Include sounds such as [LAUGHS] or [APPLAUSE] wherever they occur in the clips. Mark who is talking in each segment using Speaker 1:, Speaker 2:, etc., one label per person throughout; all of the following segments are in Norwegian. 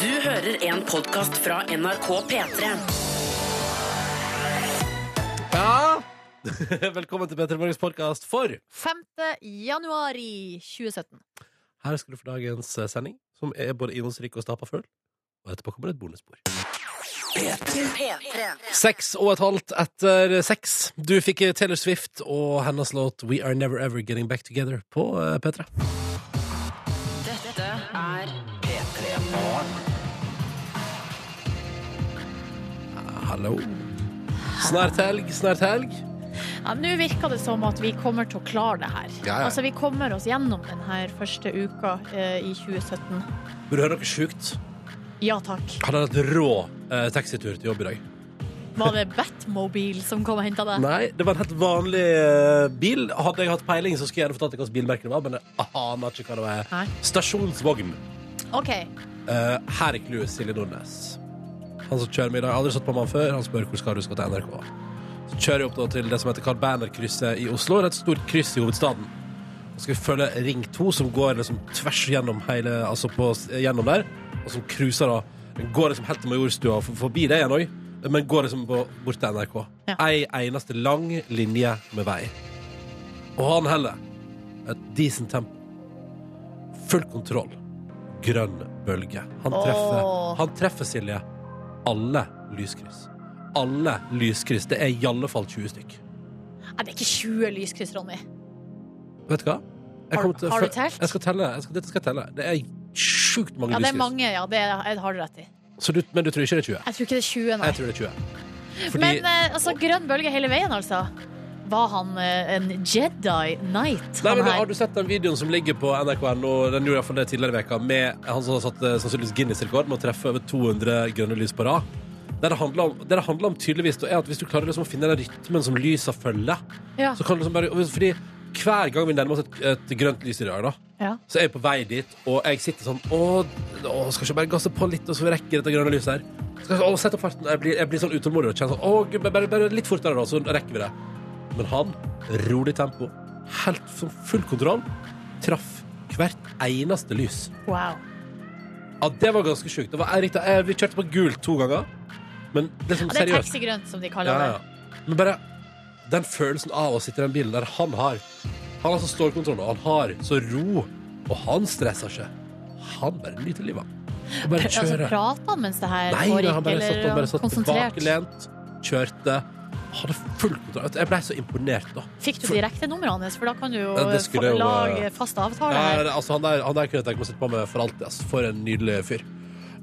Speaker 1: Du hører en podcast fra NRK P3.
Speaker 2: Ja! [LAUGHS] Velkommen til Petter Morgens podkast for
Speaker 3: 5. januar i 2017.
Speaker 2: Her skal du få dagens eh, sending, som er både innholdsrik og stapa full. Og etterpå kommer det et bonusspor.
Speaker 1: P3.
Speaker 2: Seks og et halvt etter seks. Du fikk eh, Taylor Swift og hennes låt We Are Never Ever Getting Back Together på eh, P3.
Speaker 1: Dette er
Speaker 2: Ah, Hallo. Snart helg, snart helg.
Speaker 3: Ja, Nå virker det som at vi kommer til å klare det her.
Speaker 2: Ja, ja.
Speaker 3: Altså, Vi kommer oss gjennom denne første uka eh, i 2017.
Speaker 2: Vil du høre noe sjukt?
Speaker 3: Ja takk.
Speaker 2: Hadde hatt rå eh, taxitur til jobb i dag.
Speaker 3: Var det Batmobile som kom og henta deg?
Speaker 2: Nei, det var en helt vanlig eh, bil. Hadde jeg hatt peiling, så skulle jeg gjerne fortalt deg hva slags bilmerke det var, men jeg aner ikke hva det var.
Speaker 3: Nei.
Speaker 2: Stasjonsvogn.
Speaker 3: OK.
Speaker 2: Eh, her er clouet Silje Nordnes. Han som kjører middag, aldri satt på meg før. Han spør hvor skal du skal til NRK. Så kjører jeg opp da til det som heter Carl Berner-krysset i Oslo. Det er et stort kryss i hovedstaden. Så skal vi følge Ring 2, som går liksom tvers gjennom hele Altså på, gjennom der. Og som cruiser da. Den går liksom helt til Majorstua og for- forbi det igjen òg. Men går liksom på, bort til NRK.
Speaker 3: Ja.
Speaker 2: Ei eneste lang linje med vei. Og han heller. Et decent tempo. Full kontroll. Grønn bølge. Han treffer,
Speaker 3: Åh.
Speaker 2: han treffer Silje. Alle lyskryss. Alle lyskryss. Det er i alle fall 20 stykk.
Speaker 3: Nei, det er ikke 20 lyskryss, Ronny.
Speaker 2: Vet du hva? Jeg
Speaker 3: Har-
Speaker 2: kommer til-
Speaker 3: har du telt?
Speaker 2: Jeg skal telle. Jeg skal, dette skal jeg telle. Det er sjukt mange
Speaker 3: Ja, det er
Speaker 2: lyskryss.
Speaker 3: mange, ja. Det er, det har du rett i.
Speaker 2: Så du, men du tror ikke det er 20?
Speaker 3: Jeg tror ikke det er 20, nei.
Speaker 2: Jeg tror det er 20. Fordi
Speaker 3: Men eh, altså, grønn bølge hele veien, altså. Var han eh, en Jedi Knight?
Speaker 2: Nei,
Speaker 3: Han
Speaker 2: men
Speaker 3: her?
Speaker 2: Har du sett den videoen som ligger på NRK.no Den gjorde i hvert fall det tidligere i veka med han som har satt eh, sannsynligvis Guinness-rekord med å treffe over 200 grønne lys på rad? Der det handler om, der det handler om tydeligvis da, er at hvis du klarer liksom å finne den rytmen som lysa følger
Speaker 3: Ja.
Speaker 2: så kan du liksom bare, Fordi hver gang vi nærmer oss et, et grønt lys i dag, da,
Speaker 3: ja.
Speaker 2: så er jeg på vei dit, og jeg sitter sånn Å, å skal ikke jeg bare gasse på litt, og så rekker dette grønne lyset her? Skal ikke, å, sett opp farten. Jeg blir, jeg blir sånn utålmodig og kjenner sånn Å, gud, bare, bare litt fortere, da, så rekker vi det. Men han, rolig tempo, helt som full kontroll, traff hvert eneste lys.
Speaker 3: Wow.
Speaker 2: Ja, det var ganske sjukt. Det var jeg riktig- jeg- Vi kjørte på gult to ganger, men det som
Speaker 3: Ja, det er
Speaker 2: seriøst
Speaker 3: taxigrønt, som de
Speaker 2: ja,
Speaker 3: kaller det.
Speaker 2: ja. Men bare den følelsen av å sitte i den bilen der han har Han altså har så stålkontroll, og han har så ro, og han stresser ikke. Han bare nyter livet. Og bare
Speaker 3: Altså,
Speaker 2: kjører.
Speaker 3: Prata han mens det her
Speaker 2: Nei,
Speaker 3: foregikk,
Speaker 2: han bare
Speaker 3: eller
Speaker 2: satt, han bare satt
Speaker 3: konsentrert?
Speaker 2: tilbakelent, kjørte. Hadde full kontroll. Jeg ble så imponert, da.
Speaker 3: Fikk du direkte nummeret hans, for da kan du jo
Speaker 2: Ja, det
Speaker 3: fa-
Speaker 2: skulle jo, eh,
Speaker 3: lage fast avtale
Speaker 2: Ja,
Speaker 3: her.
Speaker 2: det- altså, han, der, han der kunne jeg tenke meg å sitte på med for alltid. ass. For en nydelig fyr.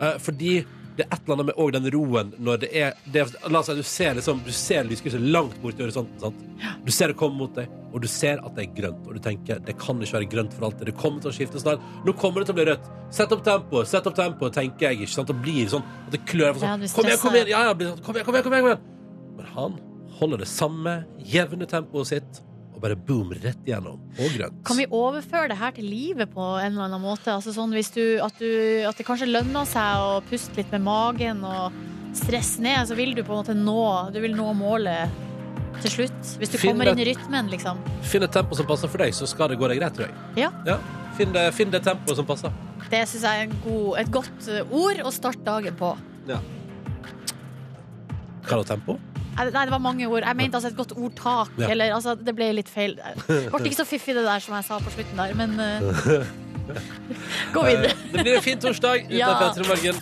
Speaker 2: Eh, fordi det er et eller annet med også den roen når det er, det er La oss si du ser, liksom, du ser lyskrysset langt bort i horisonten. Sant? Du ser det komme mot deg, og du ser at det er grønt. Og du tenker det kan ikke være grønt for alltid. Det kommer til å skifte snart. Nå kommer det til å bli rødt. Sett opp tempoet, sett opp tempoet, tenker jeg. ikke sant? Og blir sånn at det klør. For
Speaker 3: Ja,
Speaker 2: sånn,
Speaker 3: du
Speaker 2: kom igjen,
Speaker 3: stresser.
Speaker 2: kom igjen! Ja, ja, blir sånn, kom igjen, kom igjen, kom igjen, kom igjen! Men han holder det samme jevne tempoet sitt, og bare boom, rett igjennom. Og grønt.
Speaker 3: Kan vi overføre det her til livet på en eller annen måte? Altså sånn hvis du, at, du, at det kanskje lønner seg å puste litt med magen og stresse ned, så vil du på en måte nå, du vil nå målet til slutt. Hvis du
Speaker 2: Finn
Speaker 3: kommer inn
Speaker 2: det-
Speaker 3: i rytmen, liksom.
Speaker 2: Finn et tempo som passer for deg, så skal det gå deg greit, tror jeg.
Speaker 3: Ja.
Speaker 2: Finn, det, finn det tempoet som passer.
Speaker 3: Det syns jeg er en god, et godt eh, ord å starte dagen på.
Speaker 2: Hva er det tempo?
Speaker 3: Nei, det- nei, det var mange ord. Jeg mente altså et godt ordtak.
Speaker 2: Ja.
Speaker 3: Eller, altså, det ble litt feil. Det ble ikke så fiffig det der som jeg sa på slutten der, men eh, [LAUGHS] Gå videre.
Speaker 2: Eh, Det blir en fin torsdag uten
Speaker 3: Ja.
Speaker 2: Petter i morgen.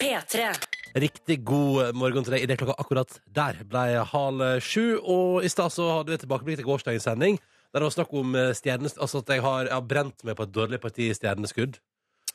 Speaker 1: P3.
Speaker 2: Riktig god morgen til deg. I det klokka akkurat der ble halv eh, sju, og i stad så hadde vi et tilbakeblikk til gårsdagens sending. Der det var snakk om eh, stjernes... Altså at jeg har, jeg har brent meg på et dårlig parti i stjerneskudd.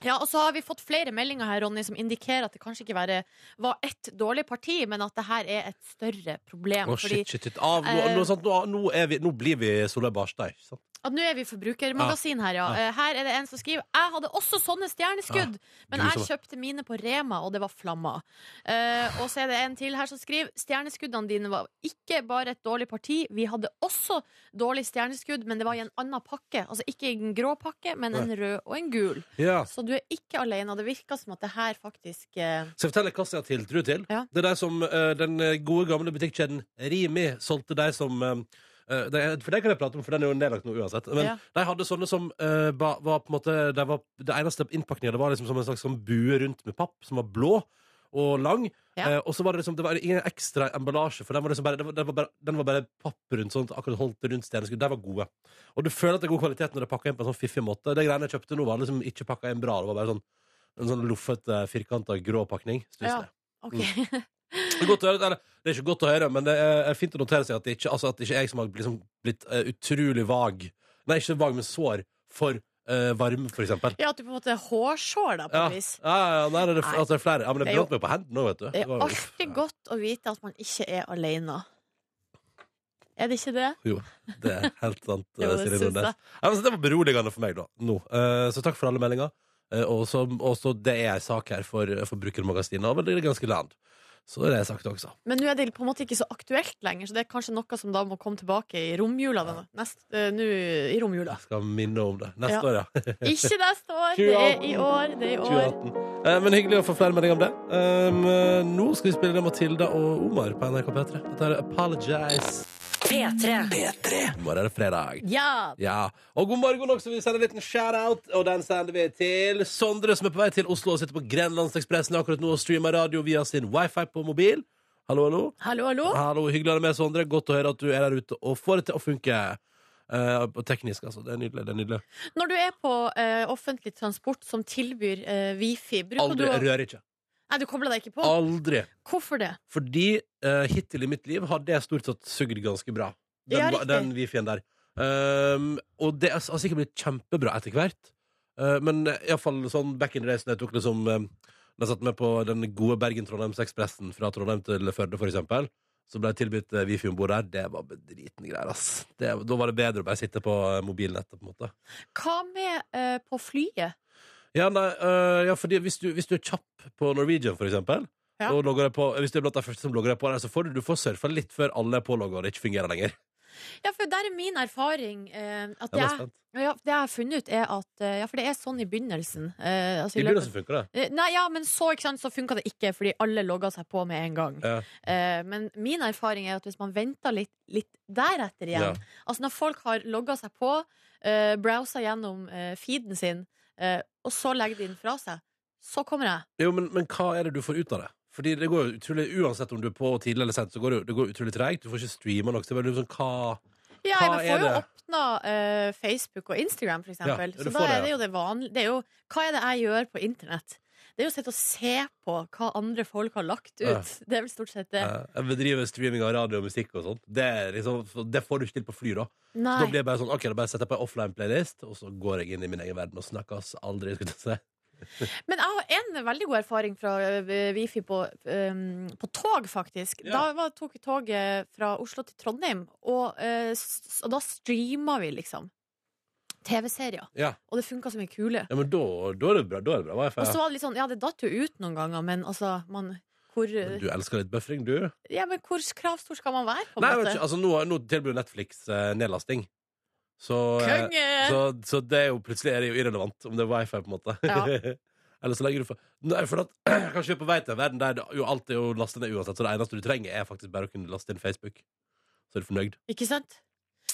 Speaker 4: Ja, og så har vi fått flere meldinger her, Ronny, som indikerer at det kanskje ikke være, var ett dårlig parti, men at det her er et større problem.
Speaker 2: Å,
Speaker 4: fordi
Speaker 2: shit, shit, shit. Av, nå,
Speaker 4: eh,
Speaker 2: nå, sant, nå, nå, er vi, nå blir vi Solveig Barstad, ikke sant?
Speaker 4: at nå er vi forbrukermagasin her, ja. Eh, Her er det en som skriver Jeg hadde også sånne stjerneskudd, men jeg
Speaker 2: grusomme.
Speaker 4: kjøpte mine på Rema, og det var flammer. Eh, og så er det en til her som skriver Stjerneskuddene dine var ikke bare et dårlig parti, vi hadde også dårlig stjerneskudd, men det var i en annen pakke. Altså ikke i en grå pakke, men en rød og en gul.
Speaker 2: Ja.
Speaker 4: Så du er ikke alene, og det virker som at det her faktisk eh,
Speaker 2: Skal jeg fortelle hva jeg har tiltro til?
Speaker 4: Ja.
Speaker 2: Det er de som eh, den gode gamle butikkjeden Rimi solgte de som eh, Eh, det, er- for den kan jeg prate om, for den er jo nedlagt nå uansett. Men
Speaker 5: Ja.
Speaker 2: de hadde sånne som eh, ba, var på en måte de var, Det eneste innpakninga var liksom som en slags sånn bue rundt med papp, som var blå og lang.
Speaker 5: Ja.
Speaker 2: Eh, og så var det liksom Det var ingen ekstra emballasje, for den var liksom bare, den var, den var bare, den var bare papp rundt sånn at akkurat holdt det rundt stjerneskuddet. De var gode. Og du føler at det er god kvalitet når det er pakka inn på en sånn fiffig måte. Det greiene jeg kjøpte nå, var liksom ikke pakka inn bra. Det var bare sånn en sånn loffete, firkanta, grå pakning. Stusende.
Speaker 3: Ja. Ok.
Speaker 4: [LAUGHS]
Speaker 2: Det er, godt å høre, eller, det er ikke godt å høre, men det er fint å notere seg at det ikke, altså, at det ikke er jeg som har liksom blitt eh, utrolig vag Nei, ikke vag, men sår for eh, varme, for eksempel.
Speaker 5: Ja, at du på en måte hårsår deg på
Speaker 2: Ja,
Speaker 5: et
Speaker 2: ja,
Speaker 5: vis.
Speaker 2: ja nei, det, er, altså, det er flere. Ja, men det
Speaker 5: Det er jo-
Speaker 2: brant meg på hendene òg, vet du.
Speaker 5: Det
Speaker 2: var
Speaker 5: er
Speaker 2: jo-
Speaker 5: alltid godt å vite at man ikke er alene. Er det ikke det?
Speaker 2: Det er helt sant. eh,
Speaker 5: Jo, [LAUGHS] det
Speaker 2: Silje
Speaker 5: syns
Speaker 2: Nordnes.
Speaker 5: jeg.
Speaker 2: Ja, men så det var beroligende for meg, da. Nå. Eh, så takk for alle meldinger. Eh, og så- og så det er ei sak her for Forbrukermagasinet, og vel, det er ganske land. Så det er sagt også.
Speaker 3: Men nå er det på en måte ikke så aktuelt lenger, så det er kanskje noe som da må komme tilbake i romjula. denne- Nest, eh, nå i romjula.
Speaker 2: Jeg skal minne om det. Neste
Speaker 3: Ja.
Speaker 2: år, ja. [LAUGHS]
Speaker 3: Ikke neste år, det er i år. Det er i år.
Speaker 2: 2018. Eh, men hyggelig å få flere meldinger om det. Um, eh, nå skal vi spille Matilda og Omar på NRK P3. Dette er Apologize.
Speaker 1: P3.
Speaker 2: I morgen er det fredag.
Speaker 3: Ja!
Speaker 2: Ja, Og god morgen også. Vi sender en liten shout-out, og den sender vi til Sondre, som er på vei til Oslo og sitter på Grenlandsekspressen akkurat nå og streamer radio via sin wifi på mobil. Hallo, hallo.
Speaker 3: Hallo, hallo.
Speaker 2: Hallo, Hyggelig å ha deg med, Sondre. Godt å høre at du er der ute og får det til å funke. Eh, og teknisk, altså. Det er nydelig. det er nydelig
Speaker 3: Når du er på eh, offentlig transport som tilbyr eh, wifi, bruker
Speaker 2: Aldri
Speaker 3: du å
Speaker 2: rør ikke.
Speaker 3: Nei, du kobler deg ikke på?
Speaker 2: Aldri.
Speaker 3: Hvorfor det?
Speaker 2: Fordi eh, hittil i mitt liv har det stort sett sugd ganske bra. Den,
Speaker 3: Ja,
Speaker 2: ja,
Speaker 3: riktig.
Speaker 2: den wifien der. Um, og det har s- har sikkert blitt kjempebra etter hvert. Uh, men iallfall sånn back in the days når jeg tok liksom um, Da jeg satt med på den gode Bergen-Trondheims-ekspressen fra Trondheim til Førde, for eksempel, så ble jeg tilbudt eh, wifi om bord der. Det var bedritne greier, ass. Det, da var det bedre å bare sitte på eh, mobilnettet, på en måte.
Speaker 3: Hva med eh, på flyet?
Speaker 2: Ja, nei, øh, ja fordi hvis du, hvis du er kjapp på Norwegian, for eksempel
Speaker 3: Ja.
Speaker 2: og logger deg på, Hvis du er blant de første som logger deg på der, så får du, du får surfa litt før alle er pålogga og det ikke fungerer lenger.
Speaker 3: Ja, for der er min erfaring eh, at
Speaker 2: Jeg ble
Speaker 3: jeg,
Speaker 2: spent.
Speaker 3: ja, Det jeg har funnet ut, er at eh, Ja, for det er sånn i begynnelsen. eh, altså i
Speaker 2: I
Speaker 3: løpet-
Speaker 2: begynnelsen funker det.
Speaker 3: Eh, Nei, ja, men så, ikke sant, så funka det ikke, fordi alle logga seg på med en gang.
Speaker 2: Ja.
Speaker 3: Eh, men min erfaring er at hvis man venter litt, litt deretter igjen
Speaker 2: Ja.
Speaker 3: Altså når folk har logga seg på, uh, browsa gjennom eh, feeden sin, eh, og så legger de den fra seg, så kommer jeg.
Speaker 2: Jo, men, men hva er det du får ut av det? Fordi det går jo utrolig, Uansett om du er på tidlig eller sent, så går det, jo- det går utrolig treigt. Du får ikke streama nok. Så det er bare liksom, hva
Speaker 3: Ja,
Speaker 2: Hva
Speaker 3: jeg får
Speaker 2: er
Speaker 3: jo
Speaker 2: det?
Speaker 3: åpna eh, Facebook og Instagram, for eksempel.
Speaker 2: Ja, du
Speaker 3: så
Speaker 2: får det,
Speaker 3: da er det
Speaker 2: ja.
Speaker 3: jo det vanlige. Det er jo, hva er det jeg gjør på internett? Det er jo å sitte og se på hva andre folk har lagt ut.
Speaker 2: Ja.
Speaker 3: Det er vel stort sett det.
Speaker 2: eh, Jeg bedriver streaming av radio og musikk og sånt. Det, er liksom, det får du ikke til på fly, da. Så da
Speaker 3: Nei.
Speaker 2: blir jeg bare sånn, ok, da bare setter jeg på en offline-playlist, og så går jeg inn i min egen verden og snakkes aldri. Skulle jeg si.
Speaker 3: Men jeg har en veldig god erfaring fra eh, Wifi på, eh, på tog, faktisk.
Speaker 2: Ja.
Speaker 3: Da var, tok vi toget fra Oslo til Trondheim, og, eh, s- og da streama vi, liksom. TV-serier.
Speaker 2: Ja.
Speaker 3: Og det funka som ei kule.
Speaker 2: Ja, men da, da er det bra. Da er det bra. Wifi,
Speaker 3: Og
Speaker 2: ja.
Speaker 3: så var det litt sånn, ja, det datt jo ut noen ganger, men altså, man hvor,
Speaker 2: Men Du elsker litt buffering, du.
Speaker 3: ja, men hvor kravstor skal man være, på en
Speaker 2: Nei, vet
Speaker 3: måte?
Speaker 2: ikke, altså, nå, nå tilbyr jo Netflix eh, nedlasting. Så, eh,
Speaker 3: Konge!
Speaker 2: så, så det er jo plutselig er det jo irrelevant om det er wifi, på en måte. [LAUGHS] Eller så lenge du får Nei, for at, [CLEARS THROAT] Kanskje vi er på vei til en verden der det jo alt er jo lastet ned uansett, så det eneste du trenger, er faktisk bare å kunne laste inn Facebook. Så er du fornøyd.
Speaker 3: Ikke sant?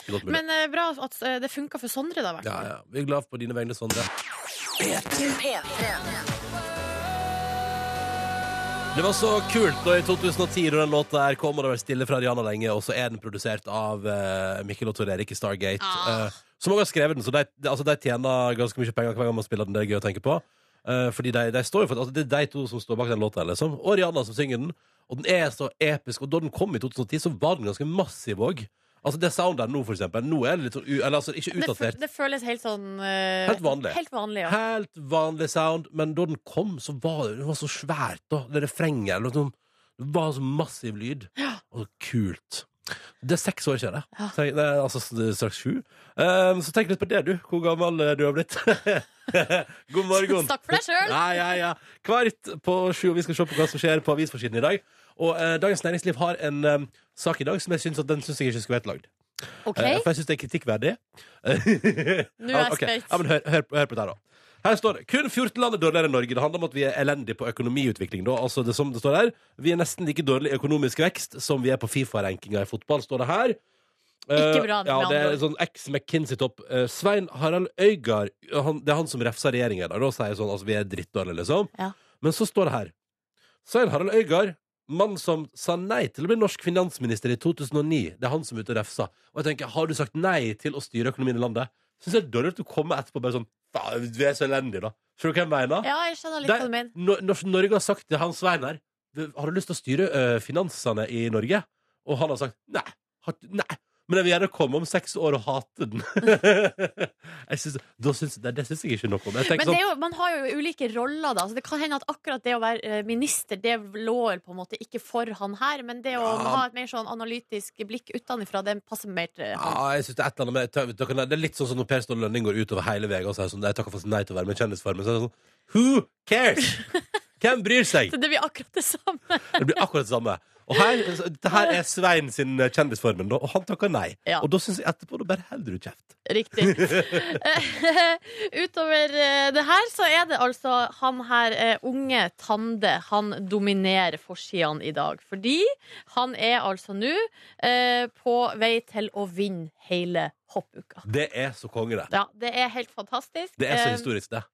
Speaker 2: Godt mulig.
Speaker 3: Men eh, bra at eh, det funka for Sondre, da, i hvert
Speaker 2: Ja,
Speaker 3: fall.
Speaker 2: ja. Vi er glad på dine vegne, Sondre. Det var så kult da i 2010 da den låta her kom, og det har vært stille fra Rihanna lenge, og så er den produsert av eh, Mikkel og Tor Erik i Stargate.
Speaker 3: Ah.
Speaker 2: Eh, så mange har skrevet den, så de, de- altså, de tjener ganske mye penger hver gang man spiller den. Det er gøy å tenke på. Eh, fordi de, de står jo for altså, Det er de to som står bak den låta, liksom. Og Rihanna som synger den. Og den er så episk. Og da den kom i 2010, så var den ganske massiv òg. Altså, det soundet her nå, for eksempel, nå er det litt sånn u- Eller altså, ikke
Speaker 3: Det, fø-
Speaker 2: utdatert.
Speaker 3: det føles helt sånn eh,
Speaker 2: Helt vanlig.
Speaker 3: Helt vanlig, ja.
Speaker 2: Helt vanlig sound, men da den kom, så var det, det var så svært. Da. Det refrenget eller noe sånt. Det var så massiv lyd. Og så kult. Det er seks år siden.
Speaker 3: Ja.
Speaker 2: Tenk- Nei, altså s- straks sju. Um, så tenk litt på det, du. Hvor gammel eh, du har blitt. [LAUGHS] God morgen.
Speaker 3: Snakk for deg selv.
Speaker 2: Ja, ja, ja. Kvart på sju, og vi skal se på hva som skjer på avisforsiden i dag. Og eh, Dagens Næringsliv har en eh, sak i dag som jeg synes at den syns jeg ikke skulle vært lagd.
Speaker 3: OK?
Speaker 2: Eh, For jeg syns det er kritikkverdig. Nå
Speaker 3: Nå er jeg spent.
Speaker 2: Ja, men hør, hør, på- hør på det her, da. Her står det kun 14 land er dårligere enn Norge. Det handler om at vi er elendige på økonomiutvikling. Da. Altså det som det står her Vi er nesten like dårlig i økonomisk vekst som vi er på Fifa-rankinga i fotball, står det her.
Speaker 6: Ikke bra,
Speaker 2: ja,
Speaker 6: med
Speaker 2: det er
Speaker 6: andre
Speaker 2: sånn eks-McKinsey-topp. Eh, Svein Harald Øygard, han, det er han som refser regjeringa i dag, og sier sånn altså vi er drittdårlige, liksom.
Speaker 6: Ja.
Speaker 2: Men så står det her. Svein Harald Øygard, mann som sa nei til å bli norsk finansminister i 2009. Det er han som er ute og refser. Og jeg tenker, har du sagt nei til å styre økonomien i landet? Syns jeg det er dårlig at du kommer etterpå bare sånn faen, vi er så elendige, da. Skjønner du hva jeg mener?
Speaker 3: Ja, jeg skjønner litt
Speaker 2: Der-
Speaker 3: hva du mener.
Speaker 2: Når, når Norge har sagt til han Svein her Har du lyst til å styre ø, finansene i Norge? Og han har sagt nei, har, nei. Men jeg vil gjerne komme om seks år og hate den. [LAUGHS] jeg synes, da synes, det, det syns jeg ikke noe om. Jeg
Speaker 3: Men
Speaker 2: tenker
Speaker 3: det
Speaker 2: sånn,
Speaker 3: er jo, man har jo ulike roller, da. Så det kan hende at akkurat det å være eh, minister, det lå vel på en måte ikke for han her. Men det å
Speaker 2: Ja.
Speaker 3: ha et mer sånn analytisk blikk utenfra, det passer mer til
Speaker 2: ja, Ah, jeg synes det, er et eller annet med, da kan jeg- det er litt sånn som når Per Ståle Lønning går utover hele veien og sier sånn Jeg takker faktisk nei til å være med i Kjendisfarmen. Så er det sånn Who
Speaker 3: [LAUGHS]
Speaker 2: cares? Hvem bryr seg?
Speaker 3: Så det blir akkurat det samme. [LAUGHS]
Speaker 2: Det blir akkurat det samme. Og her, det her er Svein sin Kjendisformen, da, og han takker nei.
Speaker 3: Ja.
Speaker 2: Og da syns jeg etterpå da bare holder du kjeft.
Speaker 3: Riktig. Eh, [LAUGHS] Utover eh, det her så er det altså han her eh, unge Tande han dominerer forsidene i dag. Fordi han er altså nå eh, på vei til å vinne hele hoppuka.
Speaker 2: Det er så konge, det.
Speaker 3: Ja, det er helt fantastisk.
Speaker 2: Det er så
Speaker 3: Eh,
Speaker 2: historisk, det.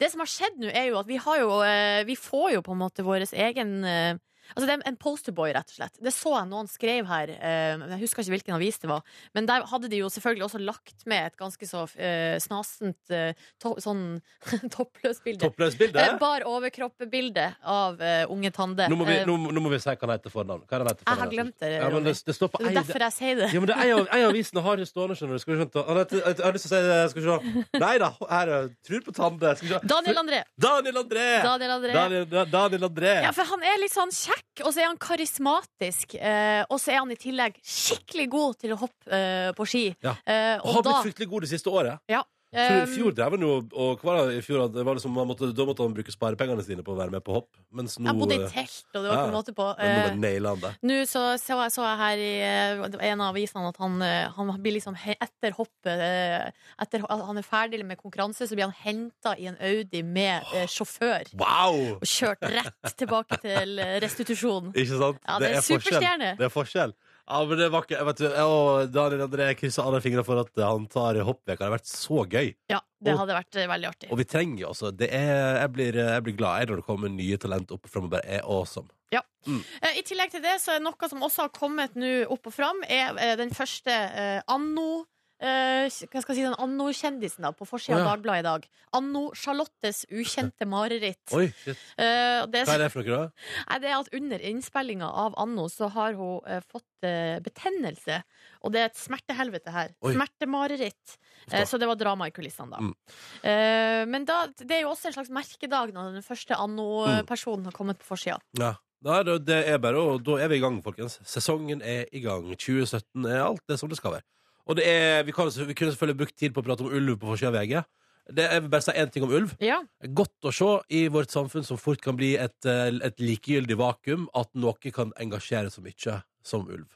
Speaker 3: det som har skjedd nå, er jo at vi har jo eh, Vi får jo på en måte vår egen eh, Altså det er En posterboy, rett og slett. Det så jeg noen skrev her. eh, men Jeg husker ikke hvilken avis det var. Men der hadde de jo selvfølgelig også lagt med et ganske så eh, snasent eh, to sånn [LAUGHS] toppløst bilde.
Speaker 2: Toppløst bilde.
Speaker 3: Eh, Bar overkropp-bilde av eh, unge Tande.
Speaker 2: Nå må, vi,
Speaker 3: Eh,
Speaker 2: nå, må- nå må vi si hva han heter fornavn. Hva er han heter
Speaker 3: jeg har
Speaker 2: fornavn?
Speaker 3: glemt det.
Speaker 2: Ja, men
Speaker 3: Ronny.
Speaker 2: det, det står på
Speaker 3: det
Speaker 2: ei
Speaker 3: er derfor jeg sier det.
Speaker 2: ja, men det er ei av, ei av avisene har det stående, skjønner du. Skal vi skjønne. Han heter, jeg, jeg har lyst til å si det. Skal vi se. Nei da, her er Trur på Tande. Skal vi se.
Speaker 3: Daniel André.
Speaker 2: Daniel André!
Speaker 3: Daniel André.
Speaker 2: Daniel, Da- Daniel André.
Speaker 3: Ja, for han er litt sånn kjekk, og så er han karismatisk. eh, og så er han i tillegg skikkelig god til å hoppe eh, på ski.
Speaker 2: Ja. Han
Speaker 3: Eh, og
Speaker 2: har
Speaker 3: da
Speaker 2: blitt fryktelig god det siste året. For I
Speaker 3: eh,
Speaker 2: fjor drev han jo og hva var det i fjor, at det var liksom, han måtte, Da måtte han bruke sparepengene sine på å være med på hopp. Mens nå
Speaker 3: Jeg bodde i
Speaker 2: eh,
Speaker 3: telt, og det var ikke
Speaker 2: ja.
Speaker 3: måte på.
Speaker 2: men nå
Speaker 3: Eh,
Speaker 2: bare nailer han det.
Speaker 3: Nå så, så, jeg- så jeg her i eh, det var en av avisene at han, eh, han blir liksom he- etter hoppet eh, Etter at han er ferdig med konkurranse, så blir han henta i en Audi med eh, sjåfør.
Speaker 2: Wow!
Speaker 3: Og kjørt rett tilbake til eh, restitusjon.
Speaker 2: Ikke sant?
Speaker 3: Ja, det er
Speaker 2: forskjell.
Speaker 3: superstjerne.
Speaker 2: Det er forskjell. Ja, men det var ikke, jeg vet, du, jeg og Daniel André krysser alle fingre for at han tar hoppveka. Det har vært så gøy.
Speaker 3: Ja, det hadde vært eh, veldig artig.
Speaker 2: Og vi trenger jo altså det er, jeg, blir, jeg blir glad jeg, når det kommer nye talent opp fram og bare er awesome.
Speaker 3: Eh, I tillegg til det så er noe som også har kommet nå opp og fram, er eh, den første eh, anno eh, hva skal jeg si, den anno-kjendisen da, på forsida av
Speaker 2: Å, ja.
Speaker 3: Dagbladet i dag. Anno Charlottes ukjente mareritt.
Speaker 2: Oi, shit.
Speaker 3: Eh, og det,
Speaker 2: Hva er det for noe, da?
Speaker 3: Nei, det er at under innspillinga av Anno så har hun eh, fått eh, betennelse. Og det er et smertehelvete her.
Speaker 2: Oi.
Speaker 3: Smertemareritt. Eh, så det var drama i kulissene, da.
Speaker 2: Mm.
Speaker 3: Eh, men da, det er jo også en slags merkedag når den første
Speaker 2: Mm.
Speaker 3: Anno-personen har kommet på forsida.
Speaker 2: Ja. Nei, da- det er bare, og da er vi i gang, folkens. Sesongen er i gang. 2017 er alt det som det skal være. Og det er, vi, kan, vi kunne selvfølgelig brukt tid på å prate om ulv på forsida av VG. Det, jeg vil bare si én ting om ulv.
Speaker 3: Ja.
Speaker 2: Godt å se i vårt samfunn som fort kan bli et, eh, et likegyldig vakuum, at noe kan engasjere så mye som ulv.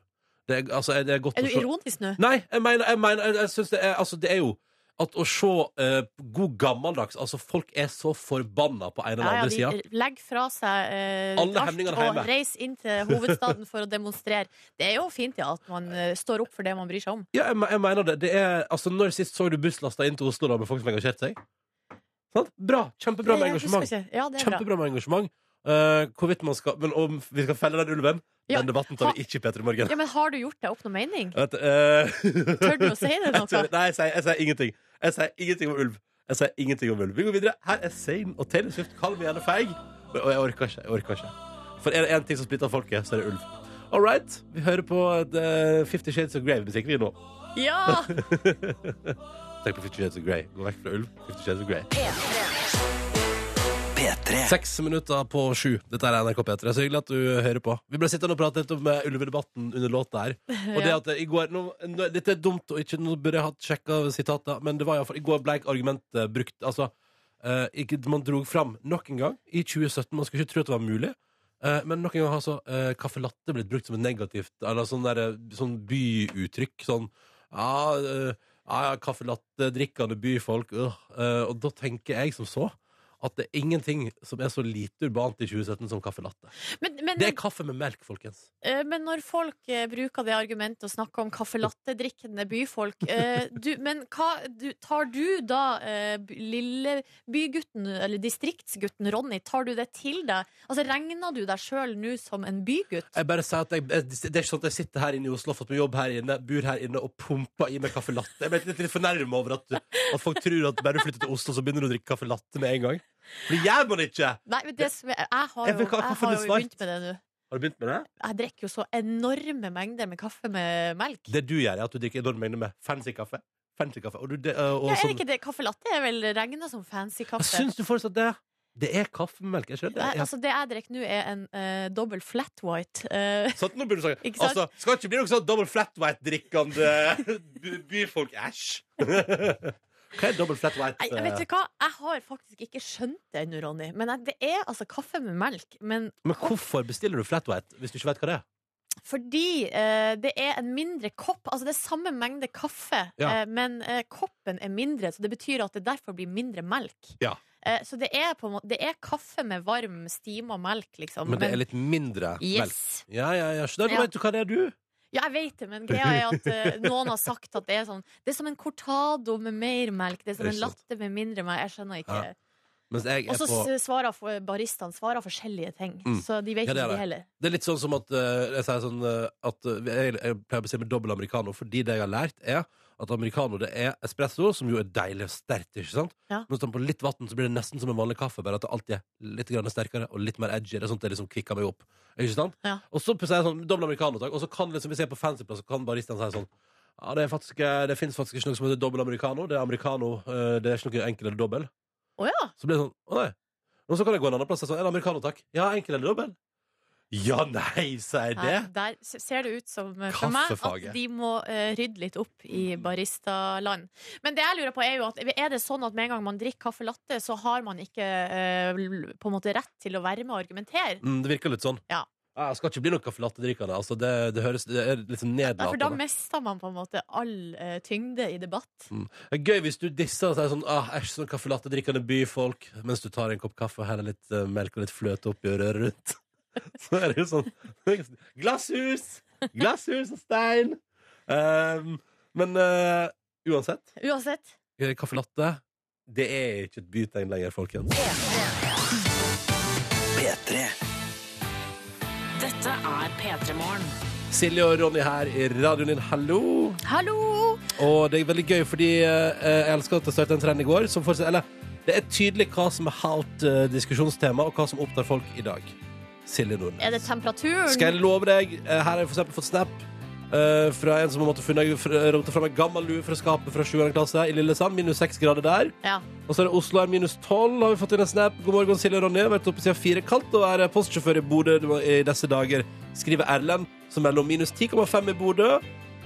Speaker 2: Det er, altså, det er godt
Speaker 3: Er du
Speaker 2: å se
Speaker 3: ironisk nå?
Speaker 2: Nei, jeg mener, jeg mener jeg, jeg synes det, er, altså, det er jo at å se eh, god gammeldags Altså, folk er så forbanna på en eller
Speaker 3: Ja,
Speaker 2: andre
Speaker 3: ja,
Speaker 2: sida.
Speaker 3: de legger fra seg eh,
Speaker 2: Alle
Speaker 3: alt
Speaker 2: hemningene
Speaker 3: og
Speaker 2: hjemme.
Speaker 3: reiser inn til hovedstaden for å demonstrere. Det er jo fint ja, at man eh, står opp for det man bryr seg om.
Speaker 2: Ja, jeg, me- jeg mener det. det er, altså, når sist så du busslasta inn til Oslo da, med folk som engasjerte seg? Sant? Bra! Kjempebra med
Speaker 3: Jeg husker
Speaker 2: engasjement.
Speaker 3: ikke. Ja, det er bra.
Speaker 2: Kjempebra med engasjement. Eh, hvorvidt man skal Men om vi skal felle den ulven?
Speaker 3: Ja.
Speaker 2: Den debatten tar vi ikke i P3 Morgen.
Speaker 3: Ja, men har du gjort deg opp noen mening?
Speaker 2: Jeg vet, eh, [LAUGHS]
Speaker 3: Tør du å si det
Speaker 2: Jeg
Speaker 3: noe?
Speaker 2: tør- Nei, jeg sier, jeg sier ingenting. Jeg sier ingenting om ulv. Jeg sier ingenting om ulv. Vi går videre. Her er Zain og Taylor Swift. Kall meg gjerne feig. Og og jeg orker ikke. jeg orker ikke For er det én ting som splitter folket, så er det ulv. All right. Vi hører på eh, Fifty Shades of Grey-musikk, vi nå.
Speaker 3: Ja!
Speaker 2: Tenk på Fifty Shades of Grey. Gå vekk fra ulv. Fifty Shades of Grey.
Speaker 7: P3.
Speaker 2: Seks minutter på sju. Dette er NRK P3. Så hyggelig at du hører på. Vi ble sittende og prate litt om eh, ulvedebatten under låta her. Og det at eh, i går nå, nå, Dette er dumt, og ikke nå burde jeg hatt sjekka sitater, men det var iallfall I går ble argumentet brukt. Altså, eh, ikke, man drog fram nok en gang i 2017. Man skulle ikke tro at det var mulig. eh, men nok en gang har altså uh, caffè latte blitt brukt som et negativt Eller sånn, der, eh, sånn byuttrykk. Sånn ja, Eh, uh, ja, kaffe latte, drikkende byfolk. øh. Eh, og da tenker jeg som så at det er ingenting som er så lite urbant i 2017 som kaffe latte.
Speaker 3: Men, men,
Speaker 2: Det er kaffe med melk, folkens.
Speaker 3: eh, men når folk eh, bruker det argumentet å snakke om kaffelatte-drikkende byfolk eh, du, Men hva du, tar du da, eh, b- lille bygutten, eller distriktsgutten Ronny, tar du det til deg? Altså, regner du deg sjøl nå som en bygutt?
Speaker 2: Jeg bare sier at jeg, Det er ikke sånn at jeg sitter her inne i Oslo og har fått meg jobb her inne, bor her inne og pumper i meg kaffe latte. Jeg ble litt, litt fornærma over at, at folk tror at bare du flytter til Oslo, så begynner du å drikke kaffe latte med en gang. For det gjør man ikke!
Speaker 3: Nei, men det, som er- jeg har
Speaker 2: Jeg
Speaker 3: jo,
Speaker 2: vet hva-
Speaker 3: jeg
Speaker 2: hvorfor
Speaker 3: har
Speaker 2: det er
Speaker 3: jo
Speaker 2: svart.
Speaker 3: begynt med det nå.
Speaker 2: Har du begynt med det?
Speaker 3: Jeg drikker jo så enorme mengder med kaffe med melk.
Speaker 2: Det du gjør, er at du drikker enorme mengder med fancy kaffe. Fancy kaffe. Og du, det, og
Speaker 3: Ja, er
Speaker 2: sånn-
Speaker 3: det ikke det? Kaffe latte er vel regna som fancy
Speaker 2: jeg
Speaker 3: kaffe?
Speaker 2: syns du fortsatt det. Det er kaffe med melk. Jeg skjønner
Speaker 3: Nei,
Speaker 2: det. Ja.
Speaker 3: altså, det jeg drikker nå, er en uh, dobbel flat white. eh,
Speaker 2: Sånn, nå burde du sagt
Speaker 3: Ikke sant?
Speaker 2: Altså, skal ikke bli noe sånn double flat white-drikkende by- byfolk. Æsj! [LAUGHS] Hva er double flat white? eh,
Speaker 3: Nei, vet du hva? Jeg har faktisk ikke skjønt det ennå, Ronny. Men jeg- det er altså kaffe med melk. Men
Speaker 2: Men hvorfor bestiller du flat white hvis du ikke vet hva det er?
Speaker 3: fordi eh, det er en mindre kopp Altså, det er samme mengde kaffe,
Speaker 2: Ja.
Speaker 3: eh, men eh, koppen er mindre, så det betyr at det derfor blir mindre melk.
Speaker 2: Ja.
Speaker 3: Eh, så det er på en måte Det er kaffe med varm, stima melk, liksom.
Speaker 2: Men det er litt mindre melk.
Speaker 3: Yes.
Speaker 2: Ja, ja, ja. Så da
Speaker 3: Ja.
Speaker 2: vet du hva det er, du.
Speaker 3: Ja, jeg vet det, men greia er at
Speaker 2: [LAUGHS]
Speaker 3: eh, noen har sagt at det er sånn Det er som en cortado med mer melk. Det er som
Speaker 2: Det er
Speaker 3: en
Speaker 2: sant.
Speaker 3: latte med mindre melk. Jeg skjønner ikke.
Speaker 2: Ja. Mens jeg
Speaker 3: Og
Speaker 2: er
Speaker 3: så
Speaker 2: på
Speaker 3: s- svarer for- baristene svarer forskjellige ting,
Speaker 2: Mm.
Speaker 3: så de vet
Speaker 2: Ja, det er
Speaker 3: ikke
Speaker 2: det.
Speaker 3: de heller.
Speaker 2: Det er litt sånn som at eh, jeg sier sånn eh, at eh, jeg, jeg pleier å bestille med dobbel americano, fordi det jeg har lært, er at americano det er espresso, som jo er deilig og sterkt, ikke sant?
Speaker 3: Ja.
Speaker 2: Men så på litt vann så blir det nesten som en vanlig kaffe, bare at det alltid er litt grann sterkere og litt mer edgy. Det er sånt det liksom kvikker meg opp. Ikke sant?
Speaker 3: Ja.
Speaker 2: Og så sier jeg sånn dobbel americano, takk. Og så kan liksom, hvis jeg er på fancyplass, så kan baristaen si sånn ja, det, er faktisk, eh, det finnes faktisk ikke noe som heter dobbel americano. Det er americano, eh, det er ikke noe enkel eller dobbel.
Speaker 3: Å ja!
Speaker 2: Så blir det sånn, å nei Og så kan jeg gå en annen plass og sånn, en americano takk Ja, enkel eller dobbel? Ja, nei, sier det
Speaker 3: Nei, Der s- ser det ut som eh, for meg
Speaker 2: Kaffefaget.
Speaker 3: at de må eh, rydde litt opp i baristaland. Men det jeg lurer på er jo at er det sånn at med en gang man drikker kaffe latte, så har man ikke eh, l- på en måte rett til å være med og argumentere?
Speaker 2: mm, Det virker litt sånn
Speaker 3: Ja.
Speaker 2: Jeg skal ikke bli noe kaffelatterikende altså, det, det høres det er litt sånn
Speaker 3: Ja, for da
Speaker 2: nedlatende
Speaker 3: mister man på en måte all eh, tyngde i debatt.
Speaker 2: Det er gøy hvis du disser og sier sånn ah, Æsj, sånn kaffelatterikende byfolk Mens du tar en kopp kaffe og heller litt eh, melk og litt fløte oppi og rører rundt [LAUGHS] Så er det jo sånn [LAUGHS] Glasshus! Glasshus og stein! Um, men eh, uansett
Speaker 3: Uansett.
Speaker 2: Kaffe latte Det er ikke et bytegn lenger, folkens
Speaker 1: Dette er P3 Morgen.
Speaker 2: Silje og Ronny her i radioen din, hallo
Speaker 3: Hallo!
Speaker 2: Og det er veldig gøy fordi eh, jeg elsker at det startet en trend i går som fortsatt, Eller, det er tydelig hva som er halvt eh, diskusjonstema Og hva som opptar folk i dag Silje Nordnes
Speaker 3: Er det temperaturen?
Speaker 2: Skal jeg love deg, eh, her har jeg for eksempel fått snap eh, Fra en som har måttet funnet Råte frem en gammel lue fra skapet fra 7. klasse I Lillesand, minus 6 grader der
Speaker 3: Ja.
Speaker 2: Og så er det Oslo er minus 12, har vi fått inn en snap. God morgen, Silje og Ronny. Vært oppe siden fire. Kaldt å være postsjåfør i Bodø i disse dager, skriver Erlend, som melder om minus 10,5 i Bodø.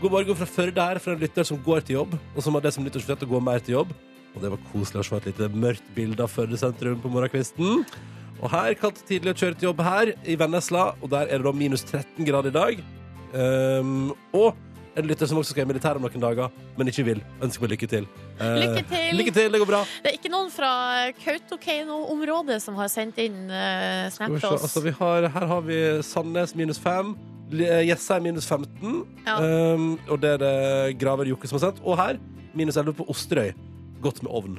Speaker 2: God morgen fra Førde her, fra en lytter som går til jobb, og som har det som nyttårsforsett å gå mer til jobb. Og det var koselig å se et lite mørkt bilde av Førde sentrum på morgenkvisten. Og her, kaldt og tidlig å kjøre til jobb her, i Vennesla, og der er det da minus 13 grader i dag. Ehm, og en lytter som også skal i militæret om noen dager, men ikke vil. Ønsker meg lykke til. Eh,
Speaker 3: Lykke til!
Speaker 2: Lykke til, det går bra.
Speaker 3: Det er ikke noen fra Kautokeino-området som har sendt inn eh,
Speaker 2: Skal
Speaker 3: snap
Speaker 2: vi se,
Speaker 3: til oss.
Speaker 2: altså, vi har, her har vi Sandnes minus 5, Jessheim minus 15,
Speaker 3: Ja.
Speaker 2: um, og det er det Graver Jokke som har sendt. Og her minus 11 på Osterøy. Godt med ovn.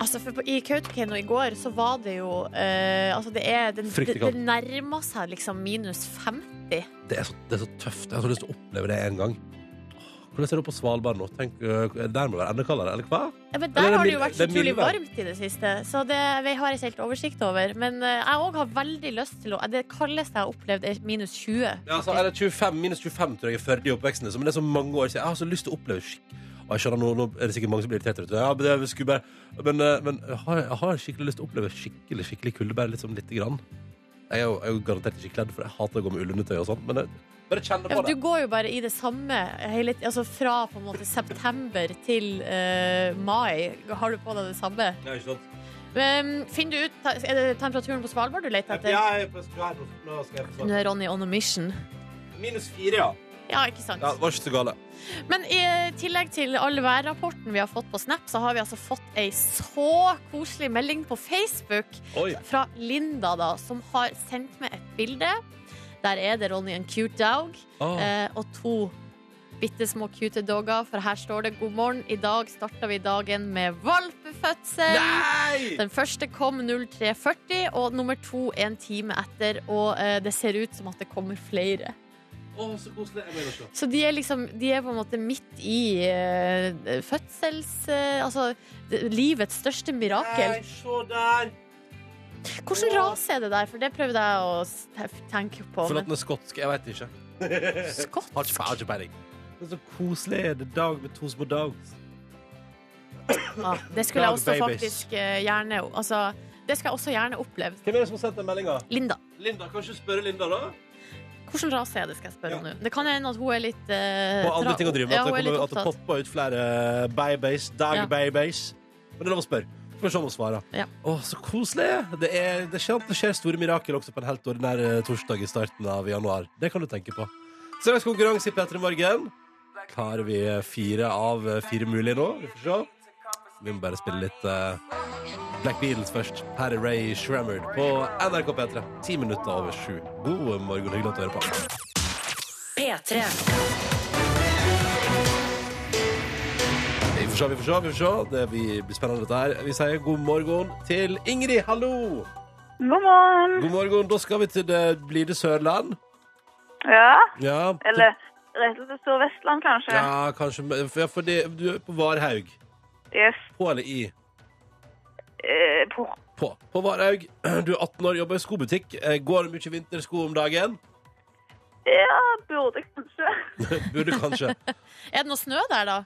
Speaker 3: Altså, for på, I Kautokeino i går så var det jo eh, Altså, det er den,
Speaker 2: Fryktelig
Speaker 3: det,
Speaker 2: kaldt.
Speaker 3: det nærma seg liksom minus 50.
Speaker 2: Det er så, det er så tøft. Jeg har så lyst til å oppleve det en gang. Åh, Hvordan er det på Svalbard nå? Tenk, øh, der må det være enda kaldere, eller hva?
Speaker 3: Ja,
Speaker 2: Eller
Speaker 3: men der
Speaker 2: det er
Speaker 3: har det jo
Speaker 2: mild-
Speaker 3: vært så
Speaker 2: det er
Speaker 3: utrolig
Speaker 2: mildvær.
Speaker 3: varmt i det siste, så det vi har ikke helt oversikt over. Men eh, jeg òg har veldig lyst til å eh, Det kaldeste jeg har opplevd, er minus 20.
Speaker 2: Ja, altså, eller 25, minus 25 tror jeg er Førde i oppveksten. liksom. Men det er så mange år siden. Jeg har så lyst til å oppleve skikk. Og jeg skjønner, nå, nå er det sikkert mange som blir irritert. vet du. Ja, men det skulle bare... Men, eh, men jeg, har, jeg har skikkelig lyst til å oppleve skikkelig skikkelig kulde, bare liksom lite grann. Jeg er jo, jeg er jo garantert ikke kledd, for jeg hater å gå med ullundertøy og sånn. Men jeg, bare kjenn
Speaker 3: Ja,
Speaker 2: på
Speaker 3: for
Speaker 2: det.
Speaker 3: du går jo bare i det samme hele, altså fra på en måte september til eh, mai. Har du på deg det samme?
Speaker 2: Ja, ikke sant?
Speaker 3: Men, finner du ut ta- Er det temperaturen på Svalbard du leter etter?
Speaker 2: Ja, jeg er på- nå skal jeg få
Speaker 3: Nå
Speaker 2: svare.
Speaker 3: er Ronny on a mission.
Speaker 2: Minus fire, ja.
Speaker 3: Ja, ikke sant?
Speaker 2: Ja, det var ikke så gale.
Speaker 3: Men i tillegg til all værrapporten vi har fått på Snap, så har vi altså fått ei så koselig melding på Facebook
Speaker 2: Oi.
Speaker 3: fra Linda, da, som har sendt meg et bilde. Der er det Ronny en cute dog
Speaker 2: Ah.
Speaker 3: eh, og to bitte små cute dogger, for her står det 'God morgen'. I dag starter vi dagen med valpefødsel.
Speaker 2: Nei!
Speaker 3: Den første kom 03.40, og nummer to en time etter. Og eh, det ser ut som at det kommer flere.
Speaker 2: Å, så koselig. Jeg må inn og se.
Speaker 3: Så de er liksom De er på en måte midt i eh, fødsels... eh, altså d- livets største mirakel.
Speaker 2: se der!
Speaker 3: Hvilken rase er det der? For det prøvde jeg å s- te- tenke på.
Speaker 2: For at
Speaker 3: Men
Speaker 2: den er skotsk. Jeg vet ikke.
Speaker 3: skott?
Speaker 2: Har ikke, har ikke peiling. Det er så koselig. Det er dag med to små dogs.
Speaker 3: Ja, det skulle jeg
Speaker 2: Dog
Speaker 3: også
Speaker 2: babies.
Speaker 3: faktisk eh, gjerne Altså, det skal jeg også gjerne oppleve.
Speaker 2: Hvem er det som har sendt den meldinga?
Speaker 3: Linda.
Speaker 2: Linda, kan ikke spørre Linda, da?
Speaker 3: Hvilken rase er det, skal jeg spørre
Speaker 2: Ja.
Speaker 3: om nå. Det kan hende at hun er litt eh,
Speaker 2: Og andre
Speaker 3: tra-
Speaker 2: ting å drive med.
Speaker 3: Ja,
Speaker 2: At
Speaker 3: hun er
Speaker 2: det,
Speaker 3: litt
Speaker 2: kommer, at det
Speaker 3: opptatt.
Speaker 2: popper ut flere babies. Dag
Speaker 3: Ja.
Speaker 2: babies. Men det er lov å spørre. Får vi se om hun svarer.
Speaker 3: Ja.
Speaker 2: Å, så koselig! Det, er, det, skjer, det skjer store mirakel også på en helt ordinær eh, torsdag i starten av januar. Det kan du tenke på. Søndags konkurranse i P3 Morgen. Klarer vi fire av eh, fire mulige nå? Vi får se. Vi må bare spille litt eh, Black Beatles først. Her er Ray Shrammered på NRK P3. Ti minutter over sju. God morgen, hyggelig at du hører på.
Speaker 1: P3.
Speaker 2: Vi får se, vi får se. vi får se. Det blir blir spennende, dette her. Vi sier god morgen til Ingrid. Hallo!
Speaker 8: God morgen.
Speaker 2: God morgen. Da skal vi til det blide Sørland.
Speaker 8: Ja,
Speaker 2: Ja, til-
Speaker 8: eller rettelse Sør-Vestland, kanskje.
Speaker 2: ja kanskje men- ja, for det, Du er på Varhaug.
Speaker 8: Yes.
Speaker 2: På eller i?
Speaker 8: Eh, på.
Speaker 2: På. På Varhaug. [CLEARS THROAT] Du er 18 år, jobber i skobutikk. Eh, Går det mye vintersko om dagen? [LAUGHS]
Speaker 8: Ja, burde kanskje.
Speaker 2: Burde kanskje.
Speaker 3: Er det noe snø der, da?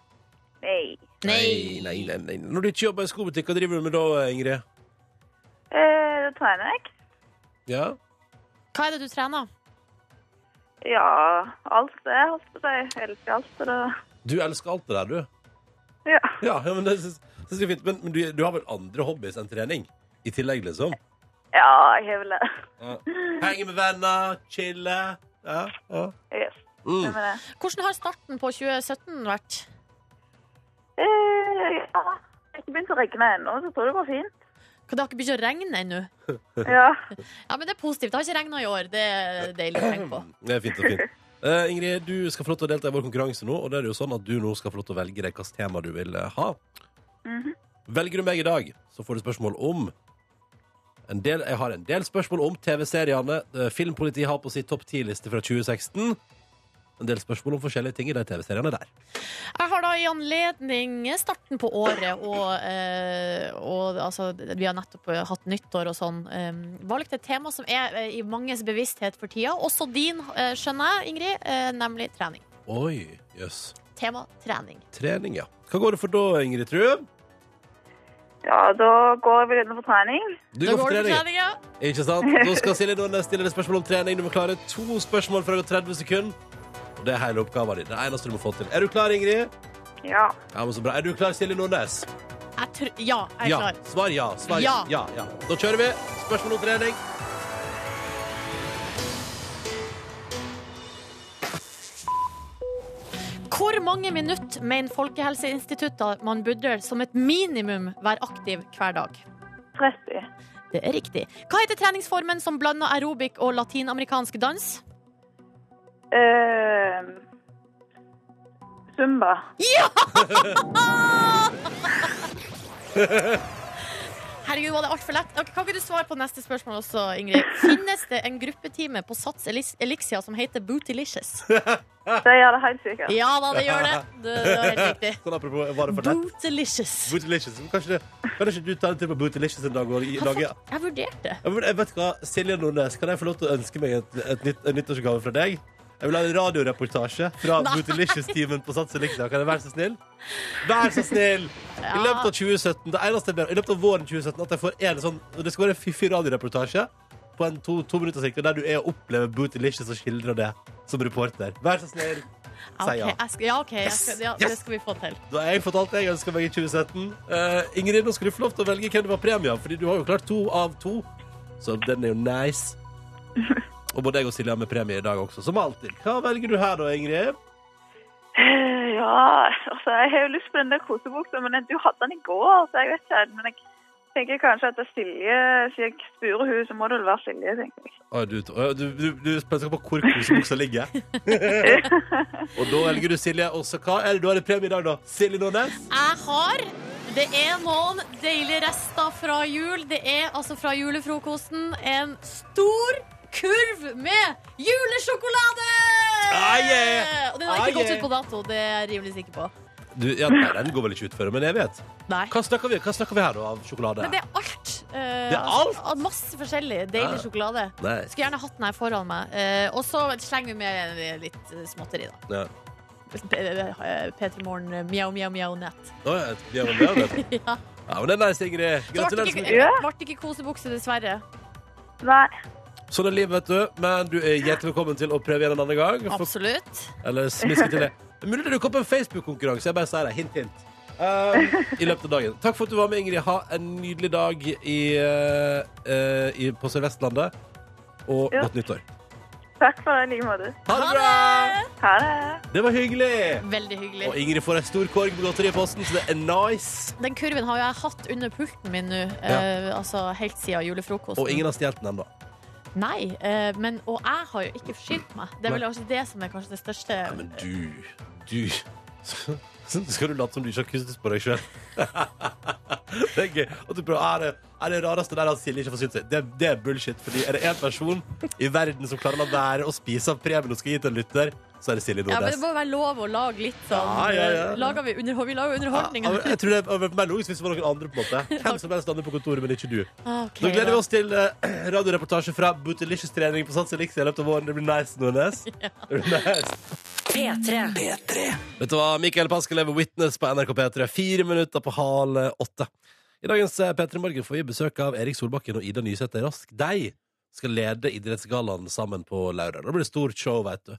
Speaker 8: Nei.
Speaker 2: Nei, nei, nei, nei. Når du ikke jobber i skobutikk, hva driver du med da, Ingrid?
Speaker 8: Eh, da trener jeg.
Speaker 2: Ja?
Speaker 3: Hva er det du trener?
Speaker 8: Ja, alt det, holdt på å si. Jeg elsker alt, så det
Speaker 2: Du elsker alt det der, du.
Speaker 8: Ja.
Speaker 2: Ja, ja men det synes synes jeg er fint. Men, men du, du har vel andre hobbies enn trening? I tillegg, liksom?
Speaker 8: Ja, jeg har vel det.
Speaker 2: Ja. Henge med venner, chille. Ja, ja.
Speaker 8: Yes.
Speaker 2: Mm.
Speaker 8: Det med det.
Speaker 3: Hvordan har starten på 2017 vært?
Speaker 8: Eh, ja. Det har ikke begynt å regne ennå, så jeg tror det går fint.
Speaker 3: Det har ikke begynt å regne ennå.
Speaker 8: Ja.
Speaker 3: Ja, men det er positivt. Det har ikke regna i år. Det er deilig å tenke på.
Speaker 2: Det er fint og fint. Eh, Ingrid, du skal få lov til å delta i vår konkurranse nå, og det er jo sånn at du nå skal få lov til å velge deg hvilket tema du vil eh, ha.
Speaker 8: Mhm.
Speaker 2: Velger du meg i dag, så får du spørsmål om en del, Jeg har en del spørsmål om TV-seriene eh, Filmpolitiet har på sin topp 10-liste fra 2016. En del spørsmål om forskjellige ting i de TV-seriene der.
Speaker 3: Jeg har da i anledning starten på året og, eh, og altså, vi har nettopp eh, hatt nyttår og sånn, eh, valgt et tema som er eh, i manges bevissthet for tida. Også din, eh, skjønner jeg, Ingrid, eh, nemlig trening.
Speaker 2: Oi, jøss.
Speaker 3: Tema trening.
Speaker 2: Trening, ja. Hva går det for da, Ingrid, tror du?
Speaker 8: ja, da går jeg vel inn for trening.
Speaker 2: Du
Speaker 3: Da går det for trening, ja.
Speaker 2: Ikke
Speaker 3: [LAUGHS]
Speaker 2: sant? Da skal Silje Nordnes stille deg spørsmål om trening. Du må klare to spørsmål fra 30 sekunder. Og det er hele oppgaven din. Det eneste du må få til. Er du klar, Ingrid?
Speaker 8: Ja.
Speaker 2: Ja, men så bra. Er du klar, Silje Nordnes?
Speaker 3: Jeg tr ja, jeg er
Speaker 2: ja.
Speaker 3: klar.
Speaker 2: Svar ja. Svar ja. ja. ja. Da kjører vi. Spørsmål om trening.
Speaker 3: Hvor mange minutter mener Folkehelseinstituttet man burde som et minimum være aktiv hver dag?
Speaker 8: 30.
Speaker 3: Det er riktig. Hva heter treningsformen som blander aerobic og latinamerikansk dans?
Speaker 8: Eh, Zumba.
Speaker 3: Herregud, var det altfor lett? Ok, kan ikke du svare på neste spørsmål også, Ingrid? Finnes det en gruppetime på Sats Elis- Elixia som heter Bootylicious?
Speaker 8: Det gjør det helt sikkert.
Speaker 3: Ja da, det gjør det. Det, det var helt riktig.
Speaker 2: Sånn apropos, var det for lett?
Speaker 3: Bootylicious.
Speaker 2: Bootylicious. Men Kanskje, det- kan ikke du ta en tur på Bootylicious en dag og gi- lage ja,
Speaker 3: Jeg vurderte.
Speaker 2: men Jeg vet hva, Silje Nordnes, kan jeg få lov til å ønske meg et, et nytt, en nyttårsgave fra deg? Jeg vil ha en radioreportasje fra
Speaker 3: Nei.
Speaker 2: Bootylicious-teamen på Sats Elixia. Kan jeg være så snill? Vær så snill! I løpet av 2017, det eneste jeg ber om, i løpet av våren 2017, at jeg får en sånn og Det skal være en fiffig radioreportasje på en to, to minutter sikt, der du er og opplever Bootylicious og skildrer det som reporter. Vær så snill.
Speaker 3: Ja,
Speaker 2: Si
Speaker 3: ok,
Speaker 2: ja.
Speaker 3: jeg skal, ja, ok, jeg skal, ja, det skal vi få til.
Speaker 2: Da har jeg fått alt jeg ønsker meg i 2017. Eh, Ingrid, nå skal du få lov til å velge hvem du har premie av, Fordi du har jo klart to av to. Så den er jo nice. Og både jeg og Silje har med premie i dag også, som alltid. Hva velger du her da, Ingrid?
Speaker 8: Eh, [LAUGHS] Ja, altså, jeg har jo lyst på den der kosebuksa, men du hadde den i går, så jeg vet ikke. Men jeg tenker kanskje at det er Silje, siden jeg spør hun, så må det vel være Silje, tenker jeg.
Speaker 2: Å, du, å, du, du, du er spent på hvor kosebuksa
Speaker 3: [LAUGHS]
Speaker 2: ligger. og da velger du Silje. Og så hva er det du har i premie i dag, da? Silje Nordnes?
Speaker 3: Jeg har Det er noen deilige rester fra jul. Det er altså fra julefrokosten en stor kurv med julesjokolade!
Speaker 2: Ah, yeah!
Speaker 3: Og den har
Speaker 2: Ah,
Speaker 3: ikke gått
Speaker 2: yeah!
Speaker 3: ut på dato, det er jeg rimelig sikker på.
Speaker 2: Du, ja, nei, den går vel ikke ut før om en evighet?
Speaker 3: Nei.
Speaker 2: Hva snakker vi, hva snakker vi her, da, av sjokolade?
Speaker 3: Men det er alt. eh,
Speaker 2: er alt?
Speaker 3: altså, Masse forskjellig. Deilig
Speaker 2: Ja.
Speaker 3: sjokolade.
Speaker 2: Nei.
Speaker 3: Skulle gjerne hatt den her foran meg. Eh, og så slenger vi med eh, litt eh, småtteri, da.
Speaker 2: Ja.
Speaker 3: P3 Morgen, eh, mjau, mjau, mjau, nett.
Speaker 2: Å, ja, vi har vel det, det.
Speaker 3: [LAUGHS] Ja.
Speaker 2: ja, men det er nice, Ingrid.
Speaker 3: Det ble
Speaker 2: Gratulerer. så
Speaker 3: ikke,
Speaker 2: mye.
Speaker 8: mye.
Speaker 3: ble ikke kosebukse, dessverre.
Speaker 8: Nei.
Speaker 2: Sånn er livet, vet du. Men du er hjertelig velkommen til å prøve igjen en annen gang. For
Speaker 3: Absolutt.
Speaker 2: Eller smiske til det. Det er Mulig det dukker opp en Facebook-konkurranse. Jeg bare sier det. Hint, hint. Um, I løpet av dagen. Takk for at du var med, Ingrid. Ha en nydelig dag i, eh, eh, i, på Sør-Vestlandet. Og
Speaker 8: Ja.
Speaker 2: godt nyttår.
Speaker 8: Takk for det i like måte.
Speaker 2: Ha det bra!
Speaker 8: Ha det.
Speaker 2: Det var hyggelig.
Speaker 3: Veldig hyggelig.
Speaker 2: Og Ingrid får ei stor korg med godteri i posten, så det er nice.
Speaker 3: Den kurven har jo jeg hatt under pulten min nå, eh, altså helt siden julefrokosten.
Speaker 2: Og ingen har stjålet den ennå.
Speaker 3: Nei, eh, men, og jeg har jo ikke forsynt meg. Det er vel
Speaker 2: Nei.
Speaker 3: også det som er kanskje det største.
Speaker 2: Nei, men du Du [LAUGHS] Skal du late som du ikke har kustus på deg sjøl? [LAUGHS] det er gøy. Og du prøver, er, det, er det rareste der at Silje ikke får synt seg? Det, det er bullshit. Fordi er det én person i verden som klarer å la være å spise av premien hun skal gi til en lytter, så er det Silje
Speaker 3: ja, men
Speaker 2: Nordnes.
Speaker 3: det må være lov å lage litt sånn.
Speaker 2: Ja, ja, ja.
Speaker 3: eh, Lager vi, underhold, vi lager underholdning.
Speaker 2: Ja, jeg tror det hadde vært mer logisk hvis det var noen andre. på en måte Hvem som helst andre på kontoret, men ikke du.
Speaker 3: [LAUGHS] Ah, ok,
Speaker 2: Da gleder
Speaker 3: da.
Speaker 2: vi oss til eh, [CLEARS THROAT] radioreportasje fra Bootylicious-trening på Sats Elixir i løpet av våren. Det blir nice,
Speaker 3: [LAUGHS]
Speaker 2: Nordnes. Det blir nice.
Speaker 1: P3.
Speaker 2: Dette var Mikael Paskelev Witness på NRK P3, fire minutter på hal åtte. I dagens eh, P3 Morgen får vi besøk av Erik Solbakken og Ida Nysæter Rask. De skal lede Idrettsgallaen sammen på lørdag. Da blir det stort show, veit du.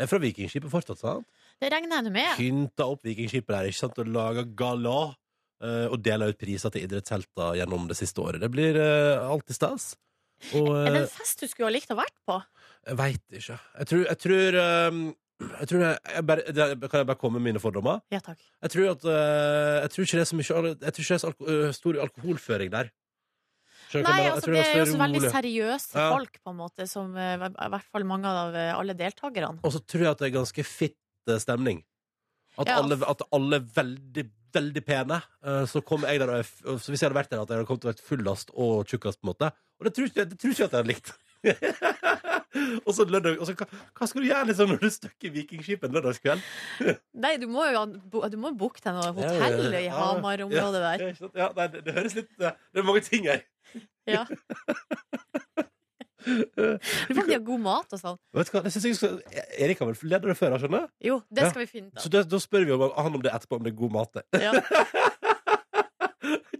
Speaker 2: Er fra Vikingskipet fortsatt, sant?
Speaker 3: Det regner jeg nå med.
Speaker 2: Pynta opp Vikingskipet der, ikke sant? Og laga galla. eh, Og dela ut priser til idrettshelter gjennom det siste året. Det blir eh, alltid stas. Og
Speaker 3: Er det
Speaker 2: eh,
Speaker 3: en fest du skulle ha likt å vært på?
Speaker 2: jeg veit ikke. Jeg tror Jeg tror, eh, jeg tror jeg, jeg bare, det- Kan jeg bare komme med mine fordommer?
Speaker 3: Ja takk.
Speaker 2: Jeg tror, at, øh, jeg tror ikke det er så, mye, al- jeg tror ikke det er så alko øh, stor alkoholføring der. Skjønner du hva
Speaker 3: Nei,
Speaker 2: jeg mener? Jeg
Speaker 3: altså,
Speaker 2: tror
Speaker 3: det er jo så
Speaker 2: større
Speaker 3: veldig
Speaker 2: rolig.
Speaker 3: seriøse
Speaker 2: Ja.
Speaker 3: folk, på en måte, som eh, i hvert fall mange av eh, alle deltakerne.
Speaker 2: Og så tror jeg at det er ganske fitt eh, stemning. At,
Speaker 3: Ja.
Speaker 2: alle, at alle er veldig, veldig pene. Eh, Så kom jeg der og jeg, f- og så Hvis jeg hadde vært der, at jeg hadde kommet til å være fullast og tjukkast, på en måte. Og det tror ikke, det tror ikke jeg at jeg hadde likt. [LAUGHS] og så lørdag og så, hva, hva skal du gjøre liksom, når du er stuck i Vikingskipet en lørdagskveld?
Speaker 3: Nei, du må jo ha- bo- du må jo booke deg noe
Speaker 2: Ja,
Speaker 3: hotell
Speaker 2: ja,
Speaker 3: i
Speaker 2: ja.
Speaker 3: Hamar-området der.
Speaker 2: Ja, ikke sant? ja, nei, det, det høres litt eh, Det er mange ting her.
Speaker 3: [LAUGHS] Ja. Du kan de ha god mat og sånn.
Speaker 2: Vet du hva, det synes jeg skal... Erik har vel leder det før, jeg skjønner
Speaker 3: Jo,
Speaker 2: Ja.
Speaker 3: det skal vi finne ut
Speaker 2: Så
Speaker 3: av.
Speaker 2: da, da spør vi om, han om det etterpå om det er god mat [LAUGHS] det.
Speaker 3: Ja.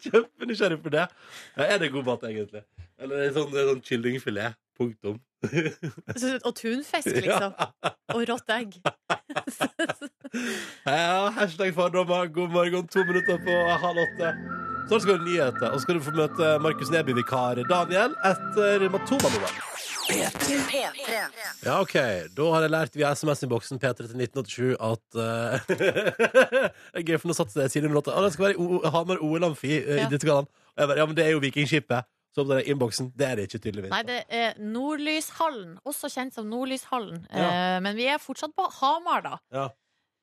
Speaker 2: Kjempenysgjerrig på det ja, Er det god mat egentlig? Eller er det sånn, det er sånn kyllingfilet, punktum
Speaker 3: Så- Og tunfisk, liksom. Og rått egg.
Speaker 2: Ja, hashtag fordommer God morgen, to minutter på halv åtte Så skal du ha nyheter Og så skal du få møte Markus Neby vikar Daniel etter Matoma nå
Speaker 1: P3.
Speaker 2: Ja, ok. Da har jeg lært via SMS-innboksen P3 til 1987 at eh, [LAUGHS] Det er gøy, for nå satte jeg Silje med låta. Å, det skal være i O- Hamar OL Amfi eh,
Speaker 3: Ja.
Speaker 2: Idrettsgallaen. Og jeg bare, Ja, men det er jo Vikingskipet. Så oppdager jeg innboksen. Det er det ikke, tydeligvis.
Speaker 3: Nei, det er Nordlyshallen. Også kjent som Nordlyshallen.
Speaker 2: Ja.
Speaker 3: Eh, Men vi er fortsatt på Hamar, da.
Speaker 2: Ja.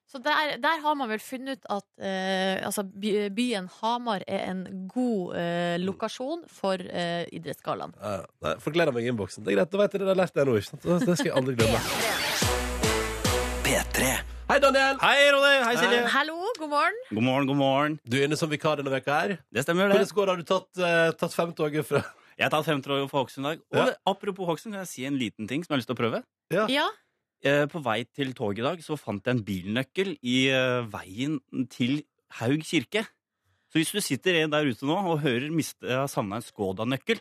Speaker 3: Så der, der har man vel funnet ut at eh, altså by- byen Hamar er en god eh, lokasjon for eh, idrettsgallaen.
Speaker 2: Ja, Nei, folk gleder meg i innboksen. Det er greit, da vet jeg det. Da har jeg lært det nå, ikke sant? Det det skal jeg aldri glemme. Hei, Daniel!
Speaker 9: Hei, Ronny. Hei, Silje.
Speaker 3: Hallo, god morgen.
Speaker 9: God morgen, god morgen.
Speaker 2: Du er inne som vikar denne veka her.
Speaker 9: Det stemmer, det.
Speaker 2: Hvordan går det? Har du tatt, eh, tatt femtoget fra
Speaker 9: Jeg har tatt femtråd for Hokksund i dag. Og
Speaker 2: Ja.
Speaker 9: det- apropos Hokksund, kan jeg si en liten ting som jeg har lyst til å prøve?
Speaker 3: Ja,
Speaker 9: Eh, På vei til toget i dag så fant jeg en bilnøkkel i eh, veien til Haug kirke. Så hvis du sitter en der ute nå og hører miste, jeg har savna en Skoda-nøkkel,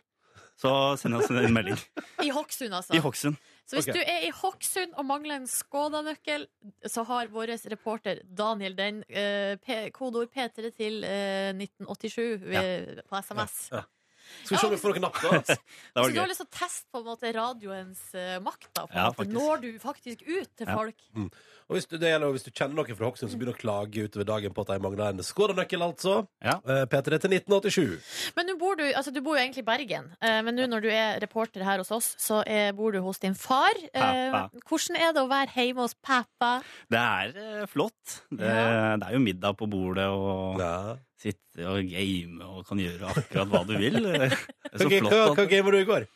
Speaker 9: så send oss en melding.
Speaker 4: [LAUGHS]
Speaker 3: I Hokksund, altså.
Speaker 9: I Hokksund.
Speaker 3: Så hvis
Speaker 2: Ok.
Speaker 3: du er i Hokksund og mangler en Skoda-nøkkel, så har vår reporter Daniel den. Eh, P- Kodeord P3 til eh, 1987 ved- på SMS.
Speaker 2: Ja, ja. Skal vi se om vi får noen napp, da.
Speaker 9: Det
Speaker 4: Så
Speaker 9: var
Speaker 4: du har
Speaker 9: gøy.
Speaker 4: lyst til å teste på en måte radioens eh, makt? da på en
Speaker 9: Ja,
Speaker 4: måte.
Speaker 9: faktisk.
Speaker 4: Når du faktisk ut til
Speaker 9: Ja. Mm.
Speaker 4: folk?
Speaker 2: Og hvis du, det gjelder, og hvis du kjenner noen fra Hokksund som begynner å klage utover dagen på at de mangler en skårenøkkel, altså.
Speaker 9: Ja.
Speaker 2: Eh, P3 til 1987.
Speaker 4: Men nå bor du, altså du bor jo egentlig i Bergen, eh, men nå når du er reporter her hos oss, så eh, bor du hos din far. Eh,
Speaker 9: Pappa.
Speaker 4: Hvordan er det å være hjemme hos pappa?
Speaker 9: Det er eh, flott. Det, det er jo middag på bordet, og
Speaker 2: Ja.
Speaker 9: sitte og game og kan gjøre akkurat hva du
Speaker 4: [LAUGHS]
Speaker 9: vil. Det er så
Speaker 2: Ok, hva,
Speaker 9: flott
Speaker 2: hva
Speaker 9: at
Speaker 2: gamer du i går?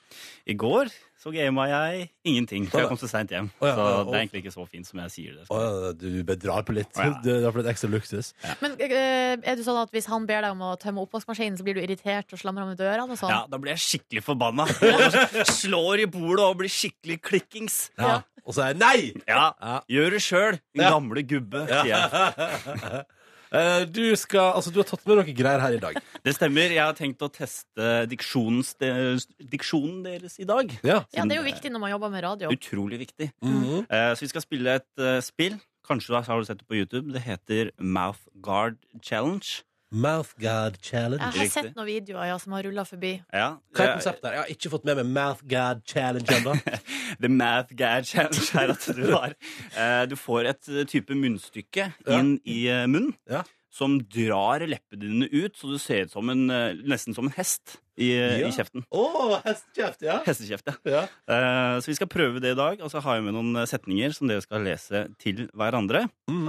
Speaker 9: I går så gama jeg ingenting, for jeg kom så seint hjem.
Speaker 2: Å, ja,
Speaker 9: Så
Speaker 2: ja,
Speaker 9: det er
Speaker 2: og-
Speaker 9: egentlig ikke så fint som jeg sier det.
Speaker 2: Å, ja, du bedrar på litt.
Speaker 9: Å, ja.
Speaker 2: Du det er for litt ekstra luksus.
Speaker 4: Men eh, er du sånn at hvis han ber deg om å tømme oppvaskmaskinen, så blir du irritert og slamrer med dørene og sånn?
Speaker 9: Ja, da blir jeg skikkelig forbanna. Jeg Slår i bordet og blir skikkelig klikkings.
Speaker 2: Ja. Og så er jeg nei!
Speaker 9: Ja,
Speaker 2: Ja.
Speaker 9: gjør det sjøl, din
Speaker 2: Ja.
Speaker 9: gamle gubbe, sier jeg.
Speaker 2: Eh, du, skal, altså, du har tatt med noen greier her i dag.
Speaker 9: Det stemmer. Jeg har tenkt å teste diksjonens, diksjonen deres i dag.
Speaker 2: Ja. Mhm.
Speaker 4: Ja, det er jo viktig når man jobber med radio.
Speaker 9: Utrolig viktig.
Speaker 2: Mm.
Speaker 9: Eh, Så vi skal spille et eh, spill. Kanskje du har du sett det på YouTube. Det heter Mouth Guard Challenge.
Speaker 2: Mouthguard challenge.
Speaker 4: Jeg har
Speaker 9: Riktig.
Speaker 4: sett noen videoer ja, som har rulla forbi.
Speaker 9: Ja,
Speaker 2: Hva er
Speaker 9: eh,
Speaker 2: konseptet her? Jeg har ikke fått med meg Mouthguard challenge
Speaker 9: [LAUGHS]
Speaker 2: ennå.
Speaker 9: The Math Guard Challenge er at du har eh, Du får et eh, type munnstykke
Speaker 2: Ja.
Speaker 9: inn i eh, munnen
Speaker 2: Ja.
Speaker 9: som drar leppene dine ut, så du ser ut som en, eh, nesten som en hest i, eh,
Speaker 2: Ja.
Speaker 9: i kjeften.
Speaker 2: Å, hestekjeft, ja.
Speaker 9: Hestekjeft, ja.
Speaker 2: ja.
Speaker 9: Eh, Så vi skal prøve det i dag, og så har jeg med noen eh, setninger som dere skal lese til hverandre.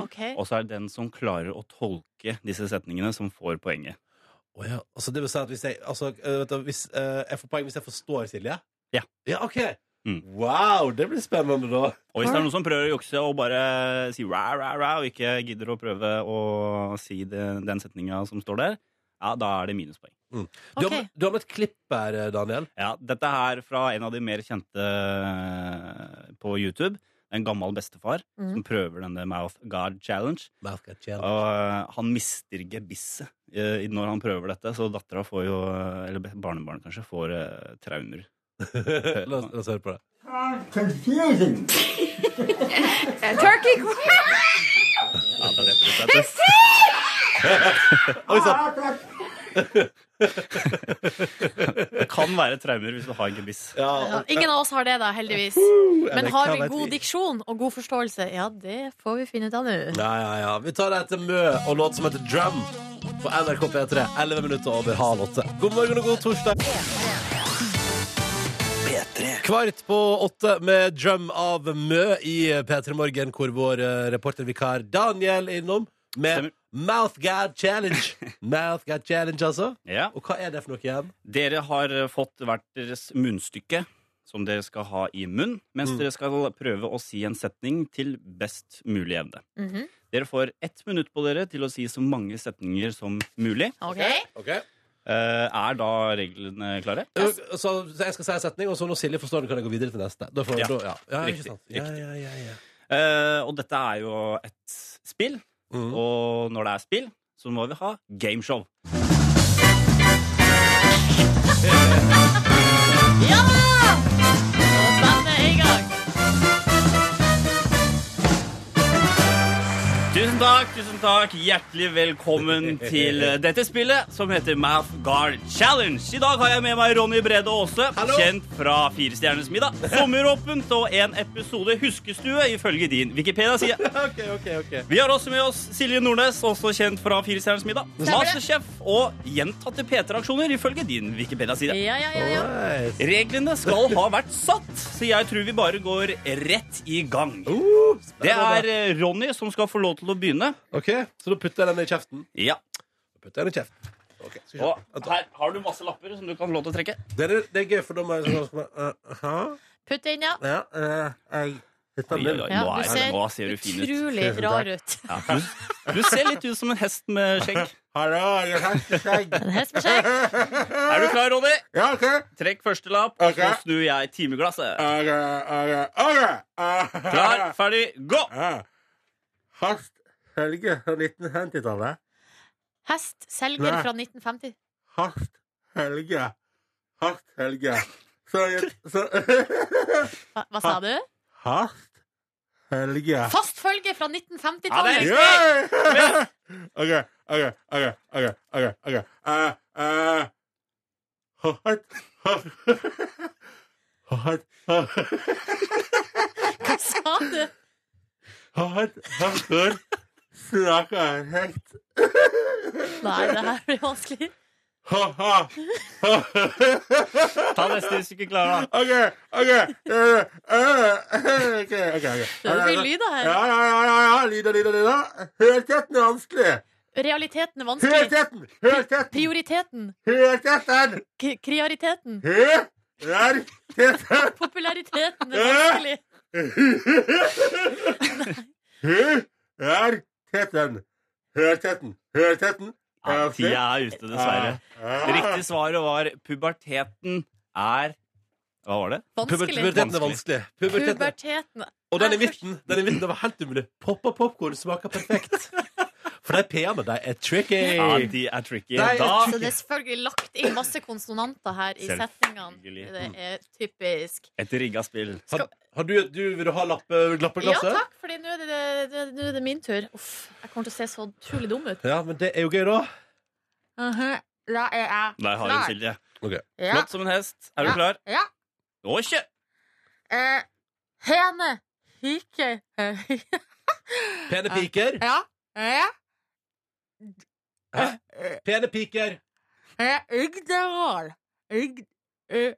Speaker 4: Ok,
Speaker 9: Og så er det den som klarer å tolke disse setningene, som får poenget.
Speaker 2: Å ja. Altså, det vil si at hvis jeg altså, eh, vet du, hvis, eh, Jeg får poeng hvis jeg forstår Silje?
Speaker 9: Ja.
Speaker 2: Ja, OK.
Speaker 9: Mm.
Speaker 2: Wow, det blir spennende, da.
Speaker 9: Og hvis det er noen som prøver å jukse og bare sier ra, ra, ra, og ikke gidder å prøve å si det, den setninga som står der, ja, da er det minuspoeng.
Speaker 2: Du,
Speaker 4: Ok.
Speaker 2: har, med- du har med et klipp her, eh, Daniel.
Speaker 9: Ja, dette er fra en av de mer kjente eh, på YouTube. En gammel bestefar
Speaker 4: Mhm.
Speaker 9: som prøver denne Mouth Guard Challenge.
Speaker 2: Mouthguard
Speaker 9: Og
Speaker 2: challenge.
Speaker 9: eh, han mister gebisset eh, når han prøver dette, så dattera får jo eh, Eller barnebarnet, kanskje, får eh, traumer.
Speaker 2: la, oss, la oss høre på det.
Speaker 10: confusing.
Speaker 9: Ja, det er rett og slett det.
Speaker 2: Oi sann!
Speaker 9: Det kan være traumer hvis du har gebiss.
Speaker 2: Ja,
Speaker 4: Ja, ingen av oss har det, da, heldigvis. Men
Speaker 2: eller
Speaker 4: har
Speaker 2: hva
Speaker 4: vi
Speaker 2: vet
Speaker 4: god
Speaker 2: vi?
Speaker 4: diksjon og god forståelse? Ja, det får vi finne ut av nå.
Speaker 2: Ja, ja, ja. Vi tar deg til Mø og låt som heter Drum på NRK P3. 11 minutter over halv åtte. God morgen og god torsdag. Kvart på åtte med Drum av Mø i P3 Morgen, hvor vår eh, reportervikar Daniel er innom med
Speaker 9: Stemmer.
Speaker 2: Mouthguard
Speaker 9: [LAUGHS]
Speaker 2: Challenge. Mouthguard Challenge, altså.
Speaker 9: Ja.
Speaker 2: Og hva er det for noe igjen?
Speaker 9: Dere har eh, fått hvert deres munnstykke som dere skal ha i munn, mens
Speaker 2: Mm.
Speaker 9: dere skal prøve å si en setning til best mulig evne.
Speaker 4: Mhm.
Speaker 9: Dere får ett minutt på dere til å si så mange setninger som mulig.
Speaker 4: Ok,
Speaker 9: Eh, er da reglene klare?
Speaker 2: Ø, Så, så jeg skal si en setning, og så når Silje forstår den, kan jeg gå videre til neste. Da får,
Speaker 9: Ja.
Speaker 2: Da, ja. Ja,
Speaker 9: Riktig,
Speaker 2: ikke sant? Ja,
Speaker 9: riktig.
Speaker 2: ja, ja, ja.
Speaker 9: Eh, og dette er jo et spill,
Speaker 2: Mhm.
Speaker 9: og når det er spill, så må vi ha gameshow.
Speaker 4: bandet er i gang.
Speaker 9: Tusen takk, tusen takk. Hjertelig velkommen til dette spillet som heter Math Guard Challenge. I dag har jeg med meg Ronny Brede Aase,
Speaker 2: Hallo.
Speaker 9: kjent fra Firestjerners middag, Sommeråpent og en episode Huskestue, ifølge din Wikipedia-side.
Speaker 2: OK, OK. ok
Speaker 9: Vi har også med oss Silje Nordnes, også kjent fra Firestjerners middag, Masterchef og gjentatte P3-aksjoner, ifølge din Wikipedia-side.
Speaker 4: Ja, ja, ja, ja.
Speaker 2: Nice.
Speaker 9: Reglene skal ha vært satt, så jeg tror vi bare går rett i gang.
Speaker 2: Uh,
Speaker 9: Det er eh, Ronny som skal få lov til å begynne.
Speaker 2: Ok, så da putter jeg den i kjeften.
Speaker 9: Ja,
Speaker 2: Da putter jeg den i kjeften. Ok, skal vi se.
Speaker 9: og her har du masse lapper som du kan få lov til å trekke.
Speaker 2: det, er, det er gøy, for da må jeg sånn sånn, uh, aha,
Speaker 4: Putt det inn, ja.
Speaker 2: ja, uh, jeg, putter den
Speaker 9: Oi, oi,
Speaker 2: inn.
Speaker 9: oi,
Speaker 4: ja
Speaker 9: nå,
Speaker 4: du
Speaker 9: er,
Speaker 4: ser
Speaker 9: nå ser du fin ut.
Speaker 4: utrolig rar ut.
Speaker 9: Ja, du, du ser litt ut som en hest med skjegg.
Speaker 2: Hallo, jeg har hesteskjegg.
Speaker 4: En hest med skjegg.
Speaker 9: Er du klar, Ronny?
Speaker 2: Ja, ok.
Speaker 9: Trekk første lapp,
Speaker 2: Ok.
Speaker 9: så snur jeg timeglasset.
Speaker 2: Ok, ok, ok.
Speaker 9: Klar, ferdig, gå!
Speaker 2: Ja. Hast Helge fra 1950-tallet.
Speaker 4: Hest selger fra 1950.
Speaker 2: Hast Helge. Hast Helge. Så, så,
Speaker 4: Hva, hva sa du?
Speaker 2: hast Helge.
Speaker 4: Fast følge fra
Speaker 9: Ja,
Speaker 4: 1950-tallet.
Speaker 9: det
Speaker 2: Yeah! OK, OK, OK. ok, ok, ok. Eh, eh, [LAUGHS]
Speaker 3: Hva sa du? Nei, det her blir vanskelig.
Speaker 9: Ta neste hvis du ikke klarer det.
Speaker 11: Eh,
Speaker 3: Det er mye lyder her.
Speaker 11: Ja, ja, ja, ja, ja. Lyder, lyder, lyder. Helheten er vanskelig.
Speaker 3: Realiteten er vanskelig.
Speaker 11: Helheten! Helheten!
Speaker 3: Prioriteten.
Speaker 11: Helheten!
Speaker 3: K kriariteten.
Speaker 11: Helheten!
Speaker 3: Populariteten er vanskelig.
Speaker 11: Helheten! Helheten! Helheten!
Speaker 9: Ja, tida er ute, dessverre. Riktig svar var puberteten er Hva var det?
Speaker 3: Vanskelig.
Speaker 2: Puberteten er vanskelig. Puberteten er.
Speaker 3: Puberteten.
Speaker 2: Og den i midten, den i midten det var helt umulig. Poppa popkorn smaker perfekt. For de p-ene, de er tricky.
Speaker 9: Ja, de er tricky.
Speaker 2: Nei,
Speaker 9: Da
Speaker 3: Så det er selvfølgelig lagt inn masse konsonanter her i setningene.
Speaker 9: Ah. Selvfølgelig. Mm.
Speaker 3: Det er typisk.
Speaker 9: et rigga spill.
Speaker 2: Har, har du, du, vil du ha lapp,
Speaker 3: Ja
Speaker 2: lappeglasset?
Speaker 3: takk, for nå er det, det, det, nå er det min tur. Uff, jeg kommer til å se så utrolig dum ut.
Speaker 2: Ja, men det er jo gøy, da.
Speaker 3: Mhm, Da er jeg
Speaker 9: Der har hun Silje.
Speaker 3: Ja.
Speaker 9: Flott som en hest. Er du klar?
Speaker 3: Ja.
Speaker 9: Å, kjø!
Speaker 3: Eh, hene. Hike. eh, [LAUGHS]
Speaker 2: Pene piker.
Speaker 3: Ja. Ja.
Speaker 2: Pene piker.
Speaker 3: Ugderal. Ugderal.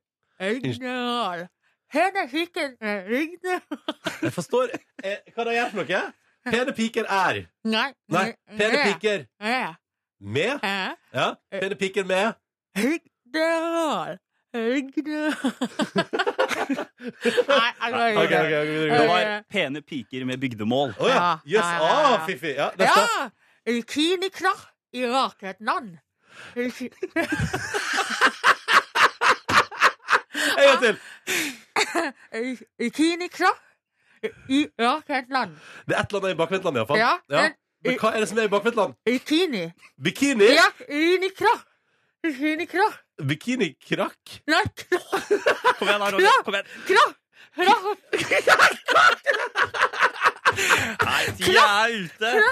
Speaker 3: Hene. Hike. Ugderal.
Speaker 2: Jeg forstår eh, hva det gjør for noe. Pene piker er
Speaker 3: Nei.
Speaker 2: Nei, pene piker med Ja, pene piker med
Speaker 3: Ugderal. Ugderal. [LAUGHS] Nei, altså, jeg går
Speaker 2: Ok, ok,
Speaker 3: videre.
Speaker 2: ok, ok,
Speaker 9: Det
Speaker 2: ok.
Speaker 9: var pene piker med bygdemål.
Speaker 2: Å ja. Jøss.
Speaker 3: Ja, ja, ja.
Speaker 2: Ah, fiffi. Ja, det
Speaker 3: Ja!
Speaker 2: står
Speaker 3: Kynikler i raketnavn.
Speaker 2: En gang til.
Speaker 3: Kynikler i raketnavn.
Speaker 2: Det er et eller annet i bakvendtland, iallfall.
Speaker 3: Ja,
Speaker 2: Ja.
Speaker 3: men-
Speaker 2: Men hva er det som er i bakvendtland?
Speaker 3: Kini.
Speaker 2: Bikini?
Speaker 3: Ja, kynikler. Kynikler.
Speaker 2: Bikinikrakk?
Speaker 3: Nei, kra,
Speaker 9: Kom igjen, da, Ronny. Kom igjen.
Speaker 3: kra, kra.
Speaker 9: Nei, tida er ute.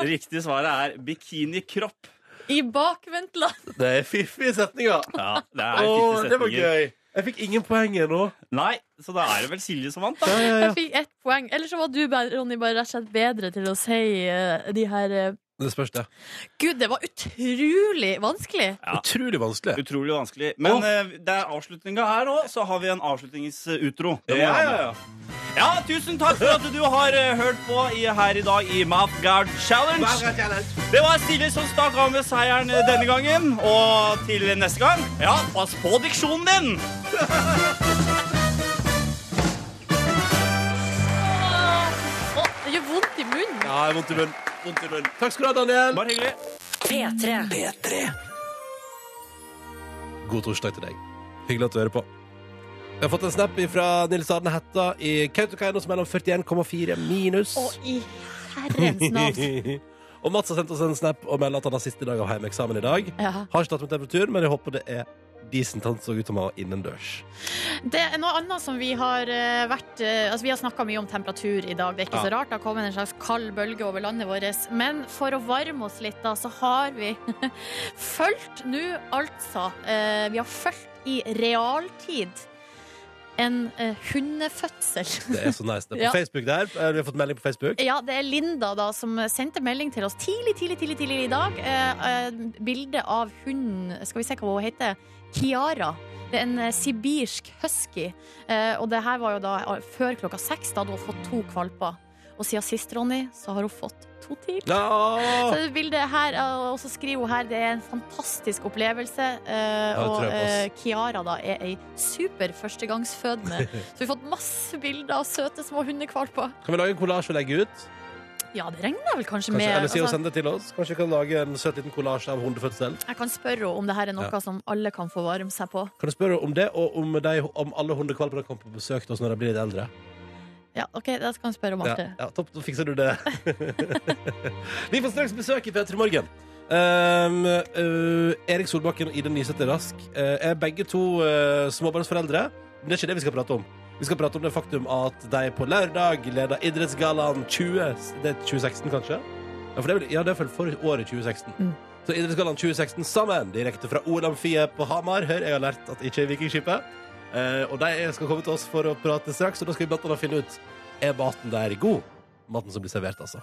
Speaker 9: Riktig svaret er bikinikropp.
Speaker 3: I bakvendtland.
Speaker 2: Det er fiffige setninger.
Speaker 9: Ja, det er
Speaker 2: Å,
Speaker 9: fitte
Speaker 2: det var
Speaker 9: setninger.
Speaker 2: gøy. Jeg fikk ingen poeng ennå.
Speaker 9: Nei, så da er det vel Silje som vant, da.
Speaker 2: Ja, ja, ja.
Speaker 3: Jeg fikk ett poeng. Eller så var du, bare, Ronny, bare rett og slett bedre til å si eh, de her eh.
Speaker 2: Det spørs, det.
Speaker 3: Gud, det var utrolig vanskelig.
Speaker 9: Ja.
Speaker 2: Utrolig vanskelig.
Speaker 9: Utrolig vanskelig. Men eh, det er avslutninga her òg, så har vi en avslutningsutro. Det må
Speaker 2: Ja,
Speaker 9: vi ha
Speaker 2: ja,
Speaker 9: med. ja, tusen takk for at du har eh, hørt på i, her i dag i Mouthguard Challenge. Det var Silje som stakk av med seieren eh, denne gangen. Og til neste gang, ja, pass på diksjonen din!
Speaker 3: Å, det gjør vondt i munnen.
Speaker 2: Ja, jeg har vondt i munnen. Vondt i munnen. Takk skal du ha, Daniel.
Speaker 9: Bare hyggelig.
Speaker 1: P3.
Speaker 2: God torsdag til deg. Hyggelig at du hører på. Jeg har fått en snap fra Nils Arne Hætta i Kautokeino som er mellom 41,4 minus.
Speaker 3: Å, i herrens navn.
Speaker 2: [LAUGHS] og Mats har sendt oss en snap og melder at han har siste dag av hjemmeeksamen i dag.
Speaker 3: Ja.
Speaker 2: Har ikke tatt med temperatur, men jeg håper det er decent. Han så ut som han var innendørs.
Speaker 3: Det er noe annet som vi har eh, vært eh, Altså Vi har snakka mye om temperatur i dag. Det er ikke så rart. Det har kommet en slags kald bølge over landet vårt. Men for å varme oss litt, da, så har vi [LAUGHS] fulgt nå, altså eh, Vi har fulgt i realtid en eh, hundefødsel.
Speaker 2: Det er så nice. Det er på
Speaker 3: [LAUGHS] Ja.
Speaker 2: Facebook der. Eh, Vi har fått melding på Facebook.
Speaker 3: Ja, det er Linda da som sendte melding til oss tidlig, tidlig, tidlig tidlig i dag. Eh, eh, bilde av hunden Skal vi se hva hun heter? Kiara. Det er en eh, sibirsk husky. Eh, og det her var jo da eh, før klokka seks. Da hadde hun fått to valper. Og siden sist, Ronny, så har hun fått to til. Så
Speaker 2: Ja!
Speaker 3: det bildet her, eh, Og så skriver hun her det er en fantastisk opplevelse. eh,
Speaker 2: det
Speaker 3: og
Speaker 2: tror jeg på,
Speaker 3: eh, Kiara da er ei super
Speaker 2: [LAUGHS]
Speaker 3: førstegangsfødende. Så vi har fått masse bilder av søte små hundekvalper.
Speaker 2: Kan vi lage en kollasj og legge ut?
Speaker 3: Ja, det regner jeg vel kanskje,
Speaker 2: Kanskje,
Speaker 3: med.
Speaker 2: eller si og
Speaker 3: altså-
Speaker 2: sende det til oss? Kanskje vi kan lage en søt liten kollasj av hundefødsel?
Speaker 3: Jeg kan spørre henne om det her er noe
Speaker 2: Ja.
Speaker 3: som alle kan få varme seg på.
Speaker 2: Kan du spørre om det, og om, de, om alle hundekvalpene kommer på besøk til oss når de blir litt eldre?
Speaker 3: Ja, ok, da skal jeg spørre om
Speaker 2: Ja,
Speaker 3: Marte.
Speaker 2: ja, topp, da fikser du det. [LAUGHS] Vi får straks besøk i P3 Morgen. Um, uh, Erik Solbakken og Ida Nysæter Rask uh, er begge to uh, småbarnsforeldre. Men det er ikke det vi skal prate om. Vi skal prate om det faktum at de på lørdag leda
Speaker 3: Mm.
Speaker 2: Idrettsgallaen 20 Det er 2016, kanskje? Ja, for det er, vel- ja, det er vel for året 2016. Så Idrettsgallaen 2016 sammen, direkte fra OL-amfiet på Hamar. Hør, jeg har lært at det ikke er Vikingskipet. Eh, og de skal komme til oss for å prate straks, og da skal vi blant annet finne ut er maten der god. Maten som blir servert, altså.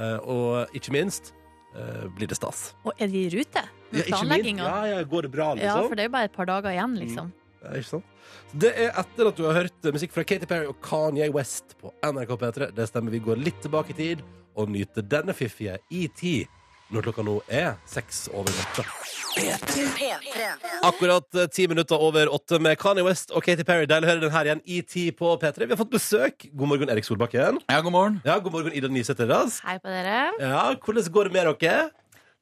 Speaker 2: Eh, og ikke minst eh, blir det stas.
Speaker 11: Og er de i rute med
Speaker 2: ikke minst.
Speaker 11: planlegginga?
Speaker 2: Ja, ja, går det bra, liksom?
Speaker 11: Ja, for det er jo bare et par dager igjen, liksom.
Speaker 2: Ja, ikke sant? Så det er etter at du har hørt musikk fra Katy Perry og Kanye West på NRK P3. Det stemmer, vi går litt tilbake i tid og nyter denne fiffige i tid når klokka nå er seks over åtte.
Speaker 1: P3.
Speaker 2: Akkurat eh, ti minutter over åtte med Kanye West og Katy Perry. Deilig å høre den her igjen i tid på P3. Vi har fått besøk. God morgen, Erik Solbakken.
Speaker 9: Ja, god morgen.
Speaker 2: Ja, god morgen, Ida Nysæter Rask.
Speaker 11: Hei på dere.
Speaker 2: Ja, hvordan går det med dere?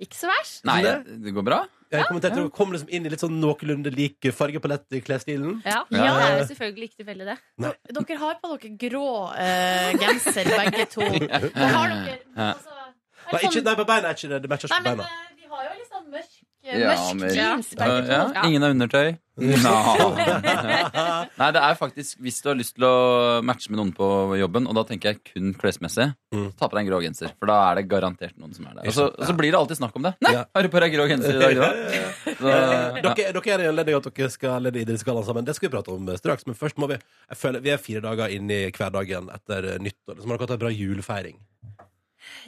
Speaker 11: Ikke så verst.
Speaker 9: Nei, det går bra.
Speaker 2: Jeg kommenterte dere kom liksom inn i litt sånn noenlunde lik fargepalett i klesstilen.
Speaker 11: Ja.
Speaker 9: Ja,
Speaker 12: det er jo selvfølgelig ikke tilfeldig, det.
Speaker 3: Dere har på dere grå eh, genser, begge to. Og har dere
Speaker 9: Ja.
Speaker 3: altså, er
Speaker 2: Nei,
Speaker 3: det
Speaker 2: ikke,
Speaker 3: sånn,
Speaker 2: nei, på beina er ikke det. Det matcher
Speaker 3: Nei,
Speaker 2: ikke på
Speaker 3: men
Speaker 2: beina.
Speaker 3: eh, de har jo litt sånn mørk,
Speaker 9: Ja,
Speaker 3: mørk
Speaker 9: men-
Speaker 3: jeans,
Speaker 9: Eh, Ja,
Speaker 3: begge to.
Speaker 9: ja, ingen har
Speaker 2: [LAUGHS]
Speaker 9: undertøy. Nei. Nei, det er faktisk hvis du har lyst til å matche med noen på jobben, og da tenker jeg kun klesmessig,
Speaker 2: Mm.
Speaker 9: så ta på deg en grå genser. For da er det garantert noen som er der. Og så, og så blir det alltid snakk om det. Nei,
Speaker 2: Ja.
Speaker 9: har du på deg grå genser i
Speaker 2: [LAUGHS]
Speaker 9: dag, da? Så, ja.
Speaker 2: Eh, Dere, dere er i anledning at dere skal lede idrettsgallaen sammen. Det skal vi prate om eh, straks. Men først må vi jeg føler, Vi er fire dager inn i hverdagen etter eh, nyttår. Så må dere ha en bra julefeiring.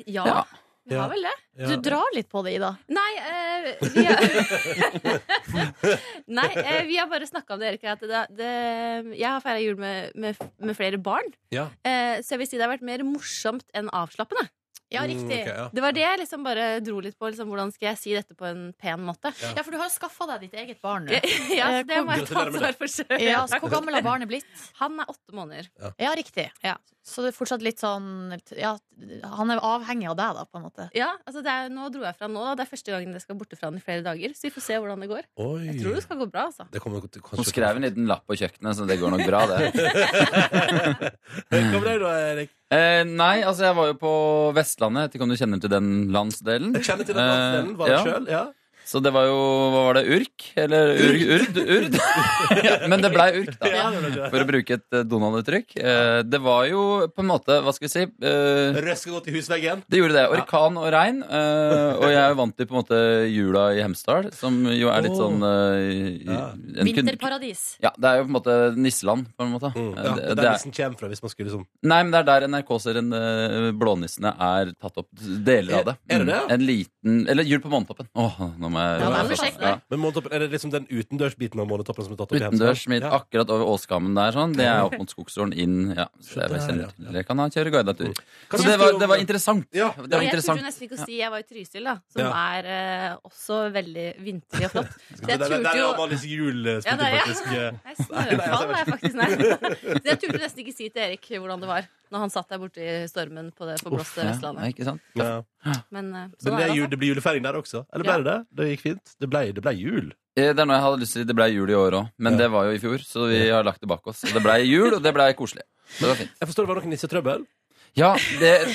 Speaker 12: Ja,
Speaker 9: Ja.
Speaker 12: vi har vel det.
Speaker 3: Du drar litt på det, Ida.
Speaker 12: Nei, eh, vi har [LAUGHS] Nei, eh, vi har bare snakka om det, Erik. At det, det, jeg har feira jul med, med, med flere barn.
Speaker 2: Ja.
Speaker 12: Eh, så jeg vil si det har vært mer morsomt enn avslappende.
Speaker 3: Ja, riktig.
Speaker 2: Mm, ok, ja.
Speaker 12: Det var det jeg liksom bare dro litt på. Liksom, hvordan skal jeg si dette på en pen måte?
Speaker 2: Ja.
Speaker 3: Ja, for du har jo skaffa deg ditt eget barn nå.
Speaker 12: Ja, så det må jeg ta
Speaker 2: Gratulerer med det.
Speaker 12: ansvar for selv.
Speaker 3: Ja, så hvor gammel har barnet blitt?
Speaker 12: Han er åtte måneder.
Speaker 3: Ja, riktig.
Speaker 12: Ja.
Speaker 3: Så det er fortsatt litt sånn ja, Han er avhengig av deg, da, på en måte.
Speaker 12: Ja, altså det er, nå dro jeg fra nå, da. Det er første gangen jeg skal borte fra han i flere dager. Så vi får se hvordan det går.
Speaker 2: Oi.
Speaker 12: Jeg tror det skal gå bra, altså.
Speaker 2: Det kommer til-
Speaker 9: Hun
Speaker 2: kanskje
Speaker 9: skrev en liten lapp på kjøkkenet, så det går nok bra, det.
Speaker 2: [LAUGHS] Hva med deg da, Erik?
Speaker 9: Eh, nei, altså jeg var jo på Vestlandet. Jeg vet ikke om du kjenner til den landsdelen?
Speaker 2: Jeg kjenner til den landsdelen. Var det
Speaker 9: Eh, ja.
Speaker 2: selv? Ja.
Speaker 9: Så det var jo Hva var det? Urk? Eller urg, Urd? Urd? ja, men det blei Urk, da.
Speaker 2: Ja, det ble det.
Speaker 9: For å bruke et eh, Donald-uttrykk. Eh, det var jo på en måte Hva skal vi si? Eh,
Speaker 2: Røska godt i husveggen.
Speaker 9: det gjorde det. Orkan og regn. eh, og jeg er jo vant til på en måte jula i Hemsedal, som jo er litt
Speaker 2: Åh.
Speaker 9: sånn eh,
Speaker 2: Ja.
Speaker 9: en kun-
Speaker 12: Vinterparadis.
Speaker 9: Ja, det er jo på en måte nisseland, på en måte.
Speaker 2: Mm. Ja,
Speaker 9: Eh, det-
Speaker 2: det er
Speaker 9: det
Speaker 2: der
Speaker 9: er-
Speaker 2: nissen kommer fra, hvis man skulle liksom
Speaker 9: Nei, men det er der NRK-serien eh, Blånissene er tatt opp. Deler av det.
Speaker 2: Er- er det det,
Speaker 9: Mm.
Speaker 2: ja?
Speaker 9: En liten Eller Jul på månetoppen. Åh, nå må jeg
Speaker 3: Ja,
Speaker 2: det må
Speaker 9: Ja.
Speaker 2: vi
Speaker 3: sjekke.
Speaker 9: Ja.
Speaker 2: Men månetoppen, er det liksom den utendørsbiten av månetoppen som er tatt opp i
Speaker 9: Utendørs, midt
Speaker 2: Ja.
Speaker 9: akkurat over Åskammen der, sånn. Det er opp mot Skogsfjorden, inn ja. Så
Speaker 2: Så
Speaker 9: det er vel
Speaker 2: der,
Speaker 9: kjent.
Speaker 2: ja.
Speaker 9: Jeg kan ha kjøre guidetur.
Speaker 2: Hva
Speaker 9: Så
Speaker 2: syns
Speaker 9: det
Speaker 2: du
Speaker 9: var,
Speaker 2: om-
Speaker 9: det var interessant.
Speaker 2: Ja.
Speaker 9: Det
Speaker 12: Ja,
Speaker 9: var
Speaker 12: jeg trodde
Speaker 9: interessant.
Speaker 12: jo nesten ikke å si jeg var i Trysil, da, som
Speaker 2: Ja.
Speaker 12: er eh, også veldig vinterlig og
Speaker 2: [LAUGHS]
Speaker 12: flott. Så
Speaker 2: Det
Speaker 12: jeg
Speaker 2: der, der,
Speaker 12: turte
Speaker 2: der
Speaker 12: jo
Speaker 2: er Amalies
Speaker 12: Ja,
Speaker 2: julespooker,
Speaker 12: det er jeg.
Speaker 2: faktisk. eh.
Speaker 12: [LAUGHS] Nei, snøfall er faktisk
Speaker 2: [LAUGHS]
Speaker 12: nei. Så jeg turte nesten ikke si til Erik hvordan det var når han satt der borte i stormen på det forblåste
Speaker 9: Ja,
Speaker 12: Vestlandet.
Speaker 9: ikke sant?
Speaker 2: Ja.
Speaker 12: Men eh,
Speaker 2: Men
Speaker 12: sånn
Speaker 2: det,
Speaker 12: er
Speaker 2: er jul,
Speaker 12: det.
Speaker 2: det blir julefeiring der også? Eller ble
Speaker 12: Ja.
Speaker 2: det det? Det gikk fint? Det ble, det ble jul.
Speaker 9: Eh, Det er noe jeg hadde lyst til. Det ble jul i år òg, men
Speaker 2: Ja.
Speaker 9: det var jo i fjor, så vi har lagt det bak oss. Og det ble jul, og det ble koselig. Så Det var fint.
Speaker 2: Jeg forstår det var noe nissetrøbbel.
Speaker 9: Ja, det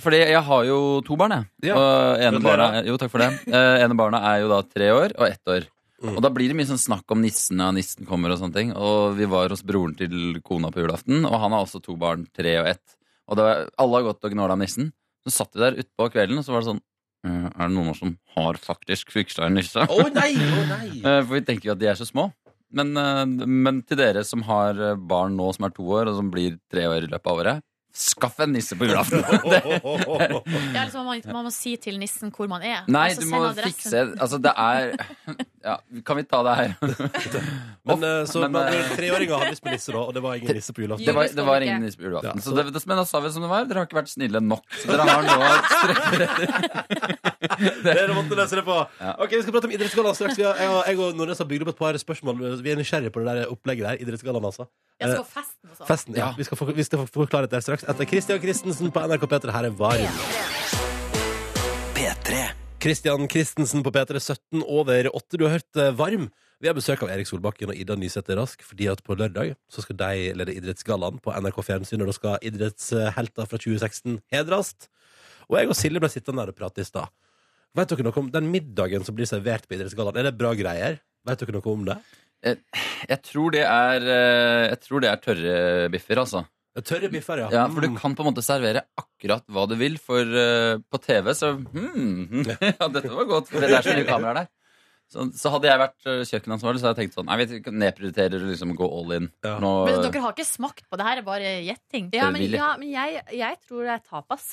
Speaker 9: Fordi jeg har jo to barn, jeg.
Speaker 2: Ja.
Speaker 9: Og ene barna,
Speaker 2: Gratulerer.
Speaker 9: jo, takk for det. Eh, ene barna er jo da tre år og ett år.
Speaker 2: Mm.
Speaker 9: Og da blir det mye sånn snakk om nissen og nissen kommer og sånne ting. Og vi var hos broren til kona på julaften, og han har også to barn, tre og ett. Og da, alle har gått og gnåla om nissen. Så satt vi der utpå kvelden, og så var det sånn eh, Er det noen som har faktisk fiksa en nisse?
Speaker 2: Å nei! å nei
Speaker 9: [LAUGHS] Eh, For vi tenker jo at de er så små. Men, eh, men til dere som har eh, barn nå som er to år, og som blir tre år i løpet av året, skaff en nisse på julaften! [LAUGHS] Det,
Speaker 3: Ja, liksom, man, man må si til nissen hvor man er.
Speaker 9: nei,
Speaker 3: og så
Speaker 9: du
Speaker 3: send
Speaker 9: må
Speaker 3: adressen.
Speaker 9: fikse Altså, det er ja, Kan vi ta det her?
Speaker 2: Men eh, så
Speaker 9: Men,
Speaker 2: men,
Speaker 9: eh,
Speaker 2: treåringer hadde lyst på nisse, da, og det var ingen nisse på
Speaker 9: Det
Speaker 2: julaften.
Speaker 9: var, det var ingen nisse på julaften.
Speaker 2: Ja,
Speaker 9: så det, det, men da sa vi som det var. Dere har ikke vært snille nok. Så dere har nå
Speaker 3: [LAUGHS]
Speaker 2: Dere måtte løse det på.
Speaker 9: Ja.
Speaker 2: Ok, Vi skal prate om idrettsgallaen straks. Vi har, jeg, og- jeg og Nordnes har bygd opp et par spørsmål. Vi er nysgjerrige på det der opplegget der. Idrettsgallaen, altså.
Speaker 3: Jeg
Speaker 2: Eh,
Speaker 3: skal på festen og sånn.
Speaker 2: Festen, ja.
Speaker 9: Ja.
Speaker 2: Vi skal, for, vi skal få forklare det straks. Etter Christian Christensen på NRK P3. Her er Varg. Christian Christensen på P3 17 over 8. Du har hørt eh, Varm. Vi har besøk av Erik Solbakken og Ida Nysæter Rask, fordi at på lørdag så skal de lede Idrettsgallaen på NRK Fjernsyn, og da skal idrettshelter fra 2016 hedres. Og jeg og Silje ble sittende der og prate i stad. Vet dere noe om den middagen som blir servert på Idrettsgallaen? Er det bra greier? Vet dere noe om det?
Speaker 9: eh, Jeg tror det er eh, Jeg tror det er tørre biffer, altså.
Speaker 13: Tørre biffer, ja.
Speaker 9: Ja, For
Speaker 2: Mm,
Speaker 9: du kan på en måte servere akkurat hva du vil, for eh, på TV så hmm, Ja, dette var godt. For det er så mye kameraer der. Så, så hadde jeg vært eh, kjøkkenansvarlig, så hadde jeg tenkt sånn Nei, vi nedprioriterer liksom å gå all in. Nå,
Speaker 3: Men dere har ikke smakt på det her, er bare gjetting.
Speaker 12: Ja, men,
Speaker 9: Frivillig.
Speaker 12: ja, men jeg, jeg tror det er tapas.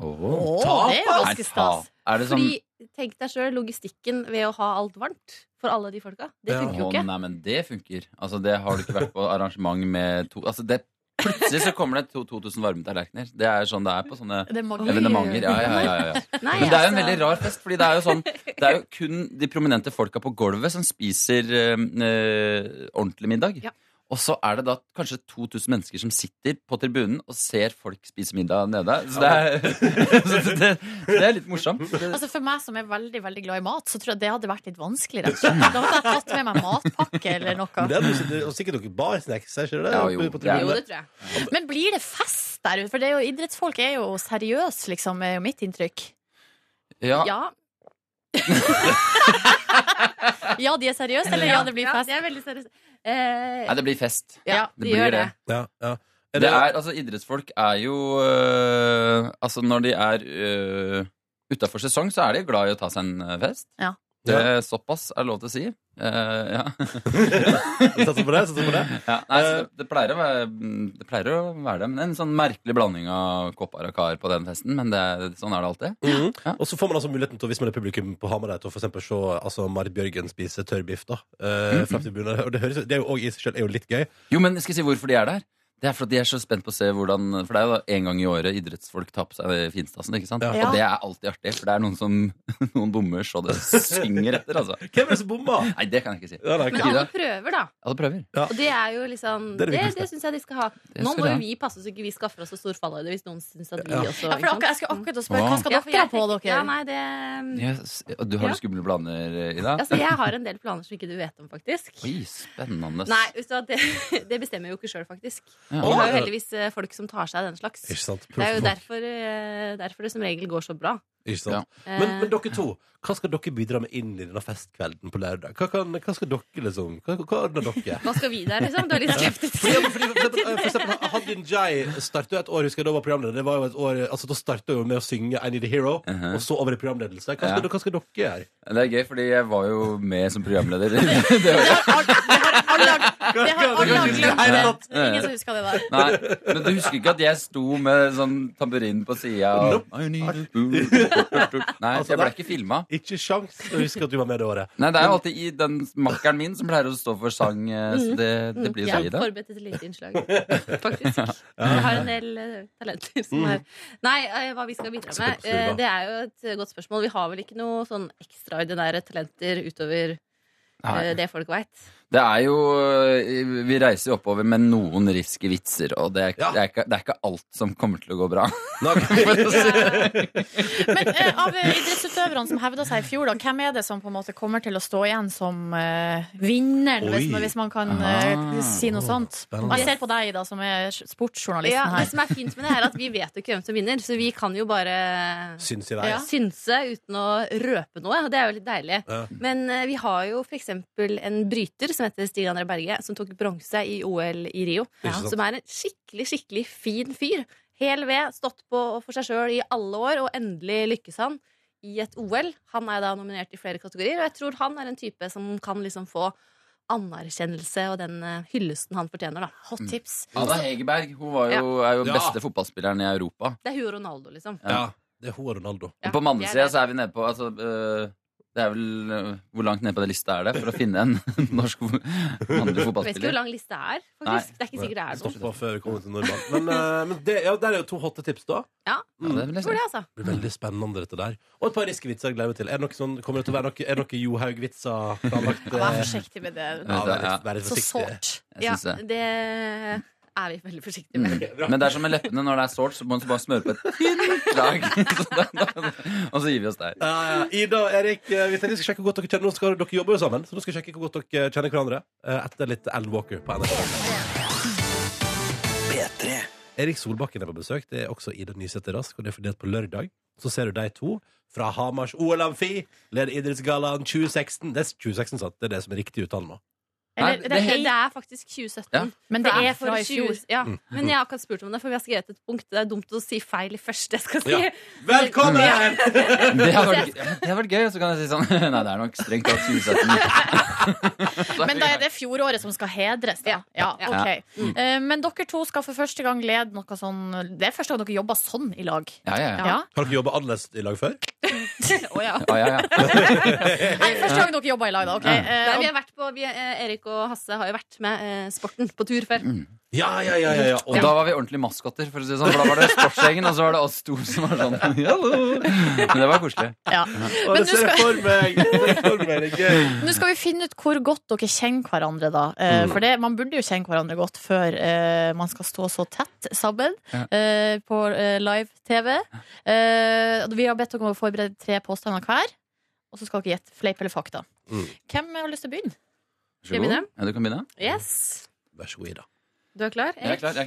Speaker 9: Åh.
Speaker 3: Åh, det er jo ganske
Speaker 9: Nei,
Speaker 3: stas.
Speaker 9: ta- Er det sånn
Speaker 12: Fordi, tenk deg sjøl logistikken ved å ha alt varmt for alle de folka. Det
Speaker 13: Ja.
Speaker 12: funker jo
Speaker 9: Å,
Speaker 12: ikke.
Speaker 9: Nei, men det funker. Altså, det har du ikke vært på arrangement med to Altså, det Plutselig så kommer det to- 2000 varmetallerkener. Det er sånn det er på sånne
Speaker 3: Det er magi.
Speaker 9: evenementer. Ja, ja, ja, ja, ja.
Speaker 12: [LAUGHS] Nei,
Speaker 9: Men det er jo en
Speaker 12: altså,
Speaker 9: veldig rar fest, fordi det er jo sånn Det er jo kun de prominente folka på gulvet som spiser eh, eh, ordentlig middag.
Speaker 12: Ja.
Speaker 9: Og så er det da kanskje 2000 mennesker som sitter på tribunen og ser folk spise middag nede. Så det er, [LAUGHS] så det, det er litt morsomt.
Speaker 3: Altså For meg som er veldig veldig glad i mat, så tror jeg det hadde vært litt vanskelig. Rett og slett. Da hadde jeg tatt med meg matpakke eller noe.
Speaker 2: Men det er noe, det- og sikkert noen barsnacks, er ikke det?
Speaker 9: Ja, jo,
Speaker 2: Oppe på
Speaker 9: det er-
Speaker 2: tribunen
Speaker 12: Jo,
Speaker 2: der.
Speaker 12: det tror jeg.
Speaker 3: Men blir det fest der ute? For det er jo, idrettsfolk er jo seriøse, liksom, er jo mitt inntrykk. Ah.
Speaker 9: Ja,
Speaker 12: Ja,
Speaker 3: [LAUGHS] Ja, de er seriøse, eller ja, det blir fest?
Speaker 12: det er veldig seriøst. Eh,
Speaker 9: Nei, det blir fest.
Speaker 12: ja,
Speaker 9: det
Speaker 12: det,
Speaker 9: blir
Speaker 12: gjør det.
Speaker 9: det.
Speaker 13: Ja, ja.
Speaker 9: Det er, altså Idrettsfolk er jo øh, Altså, når de er øh, utafor sesong, så er de glad i å ta seg en øh, fest.
Speaker 3: Ja.
Speaker 9: Det er Såpass er lov til å si. Eh, ja.
Speaker 2: [LAUGHS] Satser på det, satser på det.
Speaker 9: [LAUGHS] ja. Eh. Nei, så det, det, pleier å være, mm, det pleier å være det. Men det er en sånn merkelig blanding av kopper og kar på den festen. Men det, er- sånn er det alltid.
Speaker 2: Mhm.
Speaker 9: Ja.
Speaker 2: Og så får man altså muligheten til, hvis man er publikum på Hamar, der, til å for eksempel se altså, Marit Bjørgen spise tørrbiff. da eh,
Speaker 9: Mhm.
Speaker 2: fra tribunen. Og det, høres, det er jo også i seg selv er jo litt gøy.
Speaker 9: Jo, men skal jeg si hvorfor de er der? Det er fordi de er så spent på å se hvordan For det er jo da en gang i året idrettsfolk tar på seg finstasen. ikke sant?
Speaker 3: Ja.
Speaker 9: Og det er alltid artig, for det er noen som [LAUGHS] noen bommer så det synger etter. altså.
Speaker 2: Hvem er det som bomma?
Speaker 9: Nei, det kan jeg ikke si.
Speaker 2: Ja, nei,
Speaker 12: Men
Speaker 9: Ida?
Speaker 12: alle prøver, da.
Speaker 9: Alle prøver.
Speaker 12: Og det er jo liksom
Speaker 2: Det er
Speaker 12: Det,
Speaker 2: det
Speaker 12: det,
Speaker 2: viktigste.
Speaker 12: syns jeg de skal ha.
Speaker 9: Det
Speaker 12: Nå
Speaker 9: skal
Speaker 12: må
Speaker 9: de ha.
Speaker 12: jo vi passe oss ikke vi skaffer oss så stor fallhøyde hvis noen syns at vi
Speaker 2: Ja.
Speaker 12: også
Speaker 3: Ja, for akkurat, jeg skulle akkurat å spørre, hva skal
Speaker 12: Ja, for
Speaker 3: dere ha
Speaker 12: jeg
Speaker 3: på
Speaker 12: tenker-
Speaker 3: dere?
Speaker 12: Ja, nei, det um,
Speaker 9: Yes. Du har
Speaker 12: Ja.
Speaker 9: du skumle planer, Ida?
Speaker 12: Altså, jeg har en del planer som ikke du vet om, faktisk.
Speaker 9: Oi, spennende.
Speaker 12: Nei, vet du hva, det, [LAUGHS] det bestemmer jeg jo ikke sjøl, faktisk.
Speaker 9: Ja.
Speaker 12: Vi har jo heldigvis eh, folk som tar seg av den slags.
Speaker 2: Ikke sant?
Speaker 12: Det er jo
Speaker 2: Profffolk.
Speaker 12: derfor, eh, derfor det som regel går så bra.
Speaker 2: Ikke sant?
Speaker 9: Ja.
Speaker 2: Men, men
Speaker 12: Eh,
Speaker 2: dere to, hva skal dere bidra med inn i denne festkvelden på lørdag? Hva, kan, hva skal dere liksom Hva, hva ordner
Speaker 12: [LAUGHS]
Speaker 2: dere?
Speaker 12: hva skal vi der, liksom? Du er litt skeptisk.
Speaker 2: Fordi, fordi, for eksempel, eh, for eksempel Hadin Jai startet jo et år, husker jeg da var programleder. Det var jo et år, altså Da startet hun jo med å synge I Need a Hero,
Speaker 9: Mhm.
Speaker 2: og så over i programledelse. Hva
Speaker 9: Ja.
Speaker 2: skal, hva skal dere gjøre?
Speaker 9: Det er gøy, fordi jeg var jo med som programleder. Det var-
Speaker 3: Det har alle glemt.
Speaker 9: Nei,
Speaker 3: det. Det
Speaker 9: nei,
Speaker 3: er Ingen
Speaker 9: nei.
Speaker 3: som husker det der.
Speaker 9: Nei, men du husker ikke at jeg sto med sånn tamburin på sida og I need a food.
Speaker 2: Altså,
Speaker 9: Nei, jeg ble ikke filma.
Speaker 2: Ikke sjans å huske at du var med det året.
Speaker 9: Nei, det er jo alltid i den makkeren min som pleier å stå for sang, eh, så det, det blir
Speaker 12: Mm. Jeg
Speaker 9: jo
Speaker 12: har
Speaker 9: deg, da.
Speaker 12: forberedt et lite innslag, [LAUGHS] faktisk. Jeg har en del eh, talenter som
Speaker 9: Mm.
Speaker 12: er Nei, eh, hva vi skal bidra
Speaker 2: Så
Speaker 12: med?
Speaker 2: godt, Sylva.
Speaker 12: eh, det er jo et eh, godt spørsmål. Vi har vel ikke noe sånn ekstraordinære talenter utover eh,
Speaker 9: Nei.
Speaker 12: det folk veit.
Speaker 9: Det er jo eh, Vi reiser jo oppover med noen risky vitser, og det er,
Speaker 2: Ja.
Speaker 9: det, er ikke, det er ikke alt som kommer til å gå bra.
Speaker 3: Men eh, av idrettsutøverne som hevda seg i fjor, da, hvem er det som på en måte kommer til å stå igjen som eh, vinneren, hvis,
Speaker 2: Oi.
Speaker 3: man- hvis man kan
Speaker 9: Ah.
Speaker 3: eh, si noe sånt?
Speaker 2: spennende.
Speaker 3: Jeg ser på deg, Ida, som er
Speaker 12: Ja,
Speaker 3: sportsjournalisten
Speaker 12: det
Speaker 3: her.
Speaker 12: som er fint med det, er at vi vet jo ikke hvem som vinner, så vi kan jo bare
Speaker 2: [LAUGHS] Syns i vei.
Speaker 12: ja. synse uten å røpe noe. og Det er jo litt deilig.
Speaker 2: Ja.
Speaker 12: Men eh, vi har jo f.eks. en bryter som heter Stig André Berge, som tok bronse i OL i Rio.
Speaker 2: Ikke sant.
Speaker 12: Som er en skikkelig, skikkelig fin fyr. Hel ved, stått på for seg sjøl i alle år, og endelig lykkes han i et OL. Han er da nominert i flere kategorier, og jeg tror han er en type som kan liksom få anerkjennelse og den eh, hyllesten han fortjener, da.
Speaker 3: Hot
Speaker 9: Mm.
Speaker 3: tips.
Speaker 9: Anna Hegerberg hun var jo, er jo
Speaker 2: Ja.
Speaker 9: beste fotballspilleren i Europa.
Speaker 12: Det er hun og Ronaldo, liksom.
Speaker 2: Ja, det er hun og Ronaldo.
Speaker 12: Ja,
Speaker 9: Og på
Speaker 12: det er
Speaker 9: mannesida
Speaker 12: det.
Speaker 9: så er vi nede på altså, øh, Det er vel øh, Hvor langt nede på den lista er det for å finne en [LAUGHS] norsk fo- mannlig
Speaker 12: Jeg vet ikke hvor
Speaker 9: fotballspiller?
Speaker 12: lang liste det er,
Speaker 9: Nei.
Speaker 12: faktisk. Det er ikke sikkert det er noen.
Speaker 2: Stoppa før vi kommer til Nordmann. Men, eh, men det, ja, der er jo to hotte tips, da.
Speaker 12: Ja,
Speaker 9: Ja, det er vel
Speaker 12: jeg tror
Speaker 9: nesten.
Speaker 12: det, altså.
Speaker 2: Det blir veldig spennende, dette der. Og et par riskevitser jeg gleder meg til. Er det noe sånn, kommer det til å være noe, er det noe Johaug-vitser planlagt? eh?
Speaker 3: Vær forsiktig med det.
Speaker 2: Ja, vær litt, vær litt
Speaker 3: Så
Speaker 2: forsiktig.
Speaker 3: sårt.
Speaker 9: Jeg syns det.
Speaker 12: det er vi veldig forsiktige med.
Speaker 9: Men det er som med leppene. Når det er sårt, så må du bare smøre på et tynt
Speaker 12: [LAUGHS]
Speaker 9: lag. [LAUGHS] Så da, da, og så gir vi oss der.
Speaker 2: Ja, ja. Ida og Erik, eh, vi tenkte vi skal sjekke hvor godt dere kjenner Nå skal dere jobber jo sammen, så nå skal vi sjekke hvor godt dere kjenner hverandre eh, etter litt Alan Walker på NRK.
Speaker 14: P3.
Speaker 2: Erik Solbakken er på besøk. Det er også Ida Nysæter Rask, og det er fordi at på lørdag så ser du de to fra Hamars OL-amfi, leder idrettsgallaen 2016. Det er 2016, sant? Det er det som er riktig uttale nå.
Speaker 12: Eller,
Speaker 9: Nei,
Speaker 12: det,
Speaker 9: det-
Speaker 12: er,
Speaker 9: det-
Speaker 12: det er faktisk 2017.
Speaker 9: Ja.
Speaker 3: Men
Speaker 12: For
Speaker 3: det er
Speaker 12: for
Speaker 3: fra i fjor.
Speaker 12: 20 Ja.
Speaker 9: Mm.
Speaker 12: Men jeg har akkurat spurt om det, for vi har skrevet et punkt. Det er dumt å si feil i første jeg skal si.
Speaker 9: Ja.
Speaker 12: Velkommen!
Speaker 9: Det har vært, ja, det har vært gøy, og så kan jeg si sånn [LAUGHS] Nei, det er nok strengt tatt 2017.
Speaker 3: Men da er det fjoråret som skal hedres, da. Ja,
Speaker 9: Ja.
Speaker 3: ok.
Speaker 9: Ja. Mm.
Speaker 3: Eh, Men dere to skal for første gang lede noe sånn Det er første gang dere jobber sånn i lag. [LAUGHS] Ja.
Speaker 2: Har dere jobba annerledes i lag før?
Speaker 12: Å, ja.
Speaker 2: Ja, ja, ja.
Speaker 3: [LAUGHS] Nei, første gang dere jobber i lag, da. ok.
Speaker 2: Ja.
Speaker 3: Eh,
Speaker 12: Nei, vi har vært på, vi, eh, Erik og Hasse har jo vært med eh, sporten på tur før.
Speaker 9: Mm,
Speaker 2: Ja, ja, ja, ja, ja.
Speaker 9: Og da var vi ordentlige maskotter, for å si det sånn. For da var det sportsgjengen, og så var det oss to som var sånn Hallo! Men det var koselig.
Speaker 3: Ja.
Speaker 9: Og
Speaker 3: Men nå skal,
Speaker 2: meg! Det er gøy.
Speaker 3: nå skal vi finne ut hvor godt dere kjenner hverandre, da. Eh,
Speaker 2: Mm.
Speaker 3: For det, man burde jo kjenne hverandre godt før eh, man skal stå så tett sammen eh, på eh, live-TV. Eh, og vi har bedt dere om å forberede tre påstander hver, og så skal dere gjette fleip eller fakta.
Speaker 9: Mm.
Speaker 3: Hvem har lyst til å begynne?
Speaker 9: Vær så god. Ja, du kan begynne.
Speaker 12: Yes.
Speaker 2: Vær så god, Ida.
Speaker 12: Du er klar?
Speaker 9: Jeg er klar. jeg er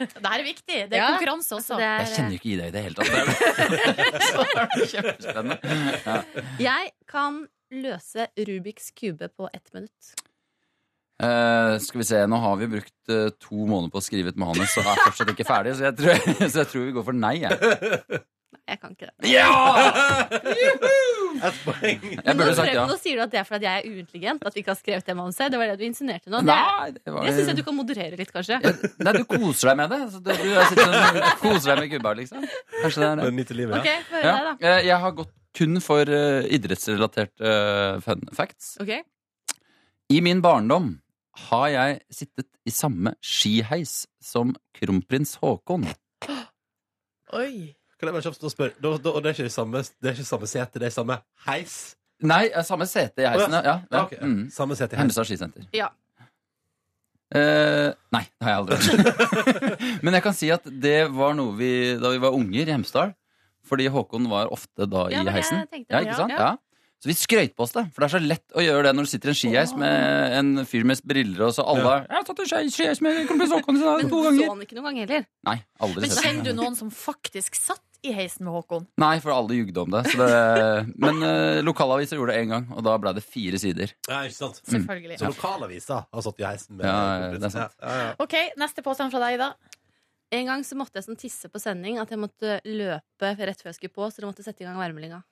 Speaker 9: klar
Speaker 3: Det her er viktig. Det er
Speaker 12: Ja.
Speaker 3: konkurranse også.
Speaker 12: Det er-
Speaker 9: Jeg kjenner jo ikke Ida i det hele tatt. [LAUGHS] Så det er kjempespennende. Ja.
Speaker 12: Jeg kan løse Rubiks kube på ett minutt.
Speaker 9: Eh, skal vi se, Nå har vi brukt eh, to måneder på å skrive et manus og er fortsatt ikke ferdig, så jeg tror, [LAUGHS] så jeg tror vi går for nei. Jeg.
Speaker 12: Jeg kan ikke det.
Speaker 9: Ja!
Speaker 12: Et
Speaker 2: poeng.
Speaker 9: Jeg burde sagt ja.
Speaker 12: Nå sier du at det er fordi jeg er uintelligent at vi ikke har skrevet det manuset. Det var det du insinuerte nå.
Speaker 9: Nei, det var-
Speaker 12: Jeg syns du kan moderere litt, kanskje.
Speaker 9: Nei, du koser deg med det. Så du, du sitter og koser deg med gubba, liksom. Kanskje det er det.
Speaker 2: livet,
Speaker 12: ja. Ok, få høre deg, da.
Speaker 9: Eh, Jeg har gått kun for eh, idrettsrelaterte eh, fun facts.
Speaker 12: Ok.
Speaker 9: I min barndom har jeg sittet i samme skiheis som kronprins Haakon.
Speaker 3: Oi.
Speaker 2: Kan jeg bare kjapt spørre? Da, da, og det er ikke det samme, det er ikke samme sete, det er samme heis?
Speaker 9: Nei, eh, samme sete i heisen, ja. ja, ja.
Speaker 2: ok.
Speaker 9: Mm.
Speaker 2: Samme sete i heisen.
Speaker 9: Hemmestad skisenter.
Speaker 12: Ja.
Speaker 9: Eh, nei, det har jeg aldri. [LAUGHS] Men jeg kan si at det var noe vi da vi var unger i Hemsedal. Fordi Håkon var ofte da i
Speaker 12: Ja, men jeg
Speaker 9: heisen.
Speaker 12: tenkte
Speaker 9: Ja,
Speaker 12: det,
Speaker 9: ikke
Speaker 12: ja.
Speaker 9: sant?
Speaker 12: Ja.
Speaker 9: Ja. Så vi skrøyt på oss det. For det er så lett å gjøre det når du sitter i en skiheis med en fyr med briller, og så alle har Jeg har tatt en ski- skiheis med kronprins Håkon i dag,
Speaker 12: Men
Speaker 9: to
Speaker 12: så
Speaker 9: ganger.
Speaker 12: han ikke noen gang heller.
Speaker 9: Nei, aldri
Speaker 3: Men
Speaker 9: sett det.
Speaker 3: kjenner du noen som faktisk satt i heisen med Håkon?
Speaker 9: Nei, for alle jugde om det. Så det men eh, lokalaviser gjorde det én gang, og da ble det fire sider.
Speaker 2: Ja, ikke sant?
Speaker 3: Selvfølgelig.
Speaker 2: Så lokalavisa har satt i heisen med
Speaker 9: Mm. Ja, det er sant.
Speaker 2: Ja, ja, ja.
Speaker 3: OK, neste påstand fra deg, Ida.
Speaker 12: En gang så måtte jeg sånn tisse på sending at jeg måtte løpe rett før jeg skulle på, så de måtte sette i gang værmeldinga.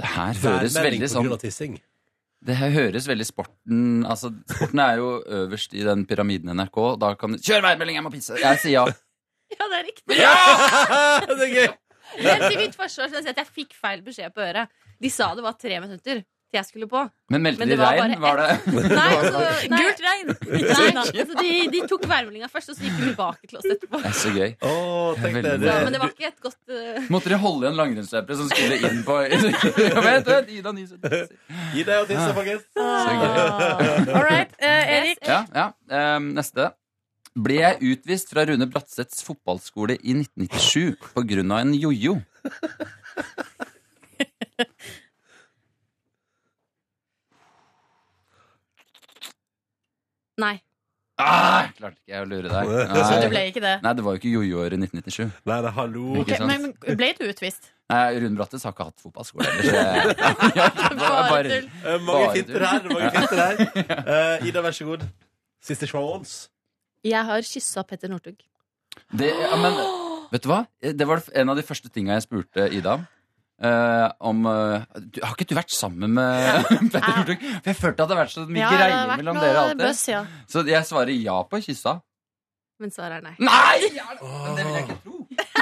Speaker 9: Det her høres
Speaker 2: Værmelding
Speaker 9: veldig
Speaker 2: på
Speaker 9: sånn
Speaker 2: grunn av tissing. [LAUGHS]
Speaker 9: Det her høres veldig sporten Altså, sporten er jo øverst i den pyramiden NRK. Da kan du Kjør værmelding, jeg må pisse! Jeg sier ja.
Speaker 12: [LAUGHS] Ja, det er riktig!
Speaker 2: det er gøy!
Speaker 12: Men til mitt forsvar skal jeg si at jeg fikk feil beskjed på øret. De sa det var tre minutter til jeg skulle på.
Speaker 9: Men meldte de
Speaker 12: det var
Speaker 9: regn?
Speaker 12: bare
Speaker 9: Var det
Speaker 12: ett. Nei, altså,
Speaker 9: [LAUGHS]
Speaker 12: nei.
Speaker 3: Gult regn!
Speaker 12: Nei, altså, de, de tok værmeldinga først, og så gikk de tilbake til oss etterpå.
Speaker 9: Det er så gøy.
Speaker 2: tenk
Speaker 9: Det er
Speaker 2: deg
Speaker 9: veldig
Speaker 12: Ja,
Speaker 9: bra.
Speaker 12: men det var ikke et godt eh,
Speaker 9: Måtte dere holde igjen langrennsløpere som skulle inn
Speaker 12: [LAUGHS]
Speaker 9: på [LAUGHS] Vent, vent, Ida Nysund.
Speaker 2: Gi deg å tisse, folkens.
Speaker 9: Så gøy.
Speaker 3: All right, eh, Erik.
Speaker 9: Ja, ja. Ehm, neste. Ble jeg utvist fra Rune Bratseths fotballskole i 1997 på grunn av en jojo?
Speaker 12: Nei.
Speaker 9: Ah, klarte ikke jeg å lure deg.
Speaker 3: Så
Speaker 9: Nei.
Speaker 3: du ble ikke det?
Speaker 9: Nei, det var jo ikke jojoer i 1997.
Speaker 2: Nei, nei, hallo.
Speaker 9: Ikke
Speaker 3: Ok,
Speaker 9: sant?
Speaker 3: men men ble du utvist?
Speaker 9: Nei, Rune Brattes har ikke hatt fotballskole ellers. [LAUGHS] Bare
Speaker 3: tull.
Speaker 2: Eh, mange
Speaker 9: Bare
Speaker 2: finter
Speaker 9: tull.
Speaker 2: her. mange finter
Speaker 9: [LAUGHS]
Speaker 2: her. Eh, Ida, vær så god. Siste chance.
Speaker 12: Jeg har kyssa Petter Northug.
Speaker 9: Det, ja, men, vet du hva? Det var en av de første tinga jeg spurte Ida om. Eh, om eh, du, Har ikke du vært sammen med [LAUGHS] Petter Northug? For jeg følte at det har vært så mye
Speaker 3: Ja, det har
Speaker 9: greier
Speaker 3: vært
Speaker 9: mellom
Speaker 3: noe
Speaker 9: dere alltid.
Speaker 3: bøss, ja.
Speaker 9: Så jeg svarer ja på kyssa.
Speaker 12: Men svaret er nei.
Speaker 9: Nei!
Speaker 2: Men
Speaker 9: det vil jeg
Speaker 2: ikke tro.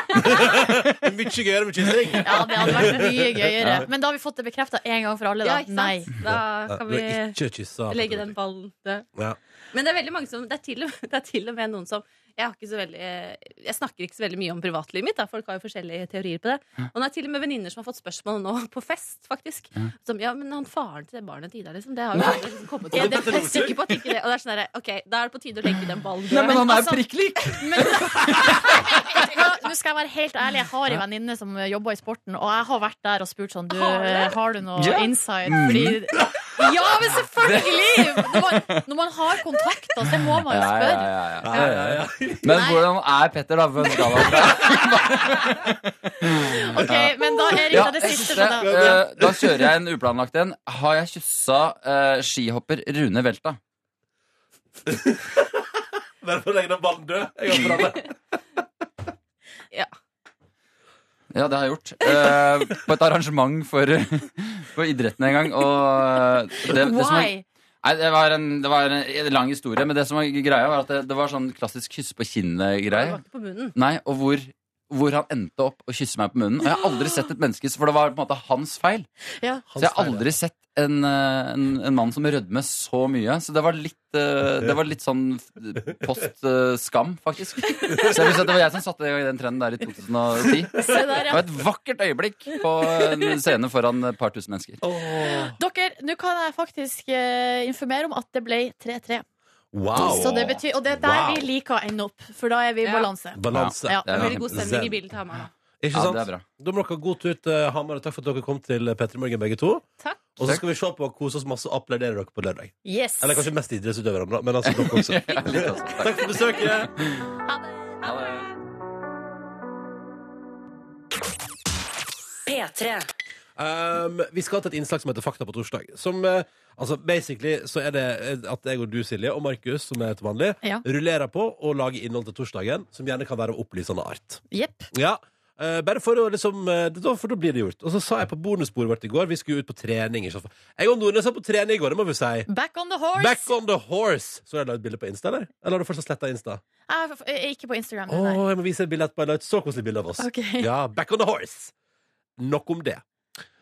Speaker 2: Mye gøyere med kyssing.
Speaker 3: Ja, det hadde vært
Speaker 9: [LAUGHS]
Speaker 3: mye gøyere.
Speaker 2: Ja.
Speaker 3: Men da har vi fått det bekrefta en gang for alle,
Speaker 12: Ja,
Speaker 3: da.
Speaker 12: ikke sant?
Speaker 3: Nei.
Speaker 12: Da kan
Speaker 2: Du
Speaker 12: vi
Speaker 2: har ikke kyssa.
Speaker 12: legge den ballen død.
Speaker 2: Ja.
Speaker 12: Men det er veldig mange som Det er til og, det er til og med [LAUGHS] noen som jeg, har ikke så veldig, eh, jeg snakker ikke så veldig mye om privatlivet mitt. Da. Folk har jo forskjellige teorier på det. Og det er til og med venninner som har fått spørsmål nå [LAUGHS] på fest, faktisk. Som ja, men han faren til det barnet til Ida, liksom. Det har jo aldri liksom kommet til.
Speaker 3: Er
Speaker 12: Jeg
Speaker 3: det
Speaker 12: er sikker på at ikke det Og det er sånn derre OK, da er det på tide å legge den ballen
Speaker 9: Nei, men han er
Speaker 3: altså-
Speaker 9: prikk lik!
Speaker 3: [LAUGHS] Ja, nå skal jeg være helt ærlig. Jeg har en venninne som eh, jobber i sporten, og jeg har vært der og spurt sånn du, eh, Har du noe
Speaker 9: Ja.
Speaker 3: insight?
Speaker 9: Mhm.
Speaker 3: Fordi Ja, men selvfølgelig! Når man, når man har kontakter, så må man jo
Speaker 9: Ja,
Speaker 3: spørre.
Speaker 9: ja, ja, ja. Men hvordan er Petter, da? på en skala fra-
Speaker 3: [LAUGHS] Ok, men da er
Speaker 9: Ja,
Speaker 3: det siste
Speaker 9: siste,
Speaker 3: for deg.
Speaker 9: eh, da kjører jeg en uplanlagt en. Har jeg kyssa eh, skihopper Rune Velta?
Speaker 2: Bare for å legge den ballen død. Jeg jobber med det.
Speaker 9: Ja, det har jeg gjort. Eh, på et arrangement for, for idretten en gang. Og det, det som var,
Speaker 15: Why?
Speaker 9: nei, det var, en, det var en lang historie, men det som var greia, var at det, det var sånn klassisk kysse på kinnet-greie.
Speaker 12: På munnen.
Speaker 9: Nei, og hvor, hvor han endte opp å kysse meg på munnen. Og jeg har aldri sett et menneske For det var på en måte hans feil.
Speaker 12: Ja.
Speaker 9: Så jeg har aldri sett en, eh, en, en mann som rødmer så mye. Så det var litt, eh, det var litt sånn post eh, skam, faktisk. Så jeg vil si at det var jeg som satte i gang den trenden der i 2010.
Speaker 12: Se der,
Speaker 9: Det
Speaker 12: ja.
Speaker 9: var et vakkert øyeblikk på en scene foran et par tusen mennesker.
Speaker 3: Dere, nå kan jeg faktisk eh, informere om at det ble 3-3.
Speaker 2: Wow.
Speaker 3: Så det betyr, og det er der
Speaker 2: Wow.
Speaker 3: vi liker å ende opp, for da er vi i
Speaker 12: Ja.
Speaker 3: balanse.
Speaker 2: Balanse.
Speaker 3: Ja.
Speaker 9: Det er
Speaker 12: Veldig god stemning
Speaker 2: Zen.
Speaker 12: i bilen til Hamar. nå.
Speaker 2: Ikke
Speaker 9: Ja,
Speaker 2: sant?
Speaker 9: det er bra.
Speaker 2: Da må dere ha god tur til Hamar, og takk for at dere kom til P3 Morgen, begge to.
Speaker 12: Takk.
Speaker 2: Og så skal vi se på og kose oss masse og applaudere dere på lørdag.
Speaker 3: Yes.
Speaker 2: Eller kanskje mest idrettsutøverne, da, men altså dere
Speaker 9: [LAUGHS]
Speaker 2: også.
Speaker 9: Litt også, takk.
Speaker 2: Takk for besøket!
Speaker 1: P3.
Speaker 2: Um, vi skal til et innslag som heter Fakta på torsdag. Som, eh, altså Basically så er det eh, at jeg og du, Silje, og Markus, som er til vanlig,
Speaker 3: Ja.
Speaker 2: rullerer på og lager innhold til torsdagen som gjerne kan være av opplysende art.
Speaker 3: Jepp.
Speaker 2: Ja, eh, bare for å liksom eh, da- For da blir det gjort. Og så sa jeg på bonusbordet vårt i går Vi skulle ut på trening. ikke sant? Jeg og Nordnes var på trening i går, det må vi si.
Speaker 3: Back on the horse.
Speaker 2: Back on the horse! Så har jeg la ut bilde på Insta, eller? Eller har du fortsatt sletta Insta?
Speaker 3: Jeg er f- jeg er ikke på Instagram.
Speaker 2: Å,
Speaker 3: nei.
Speaker 2: jeg må vise et bilde etterpå. Jeg la ut så koselig bilde av oss.
Speaker 3: Ok.
Speaker 2: Ja, back on the horse! Nok om det.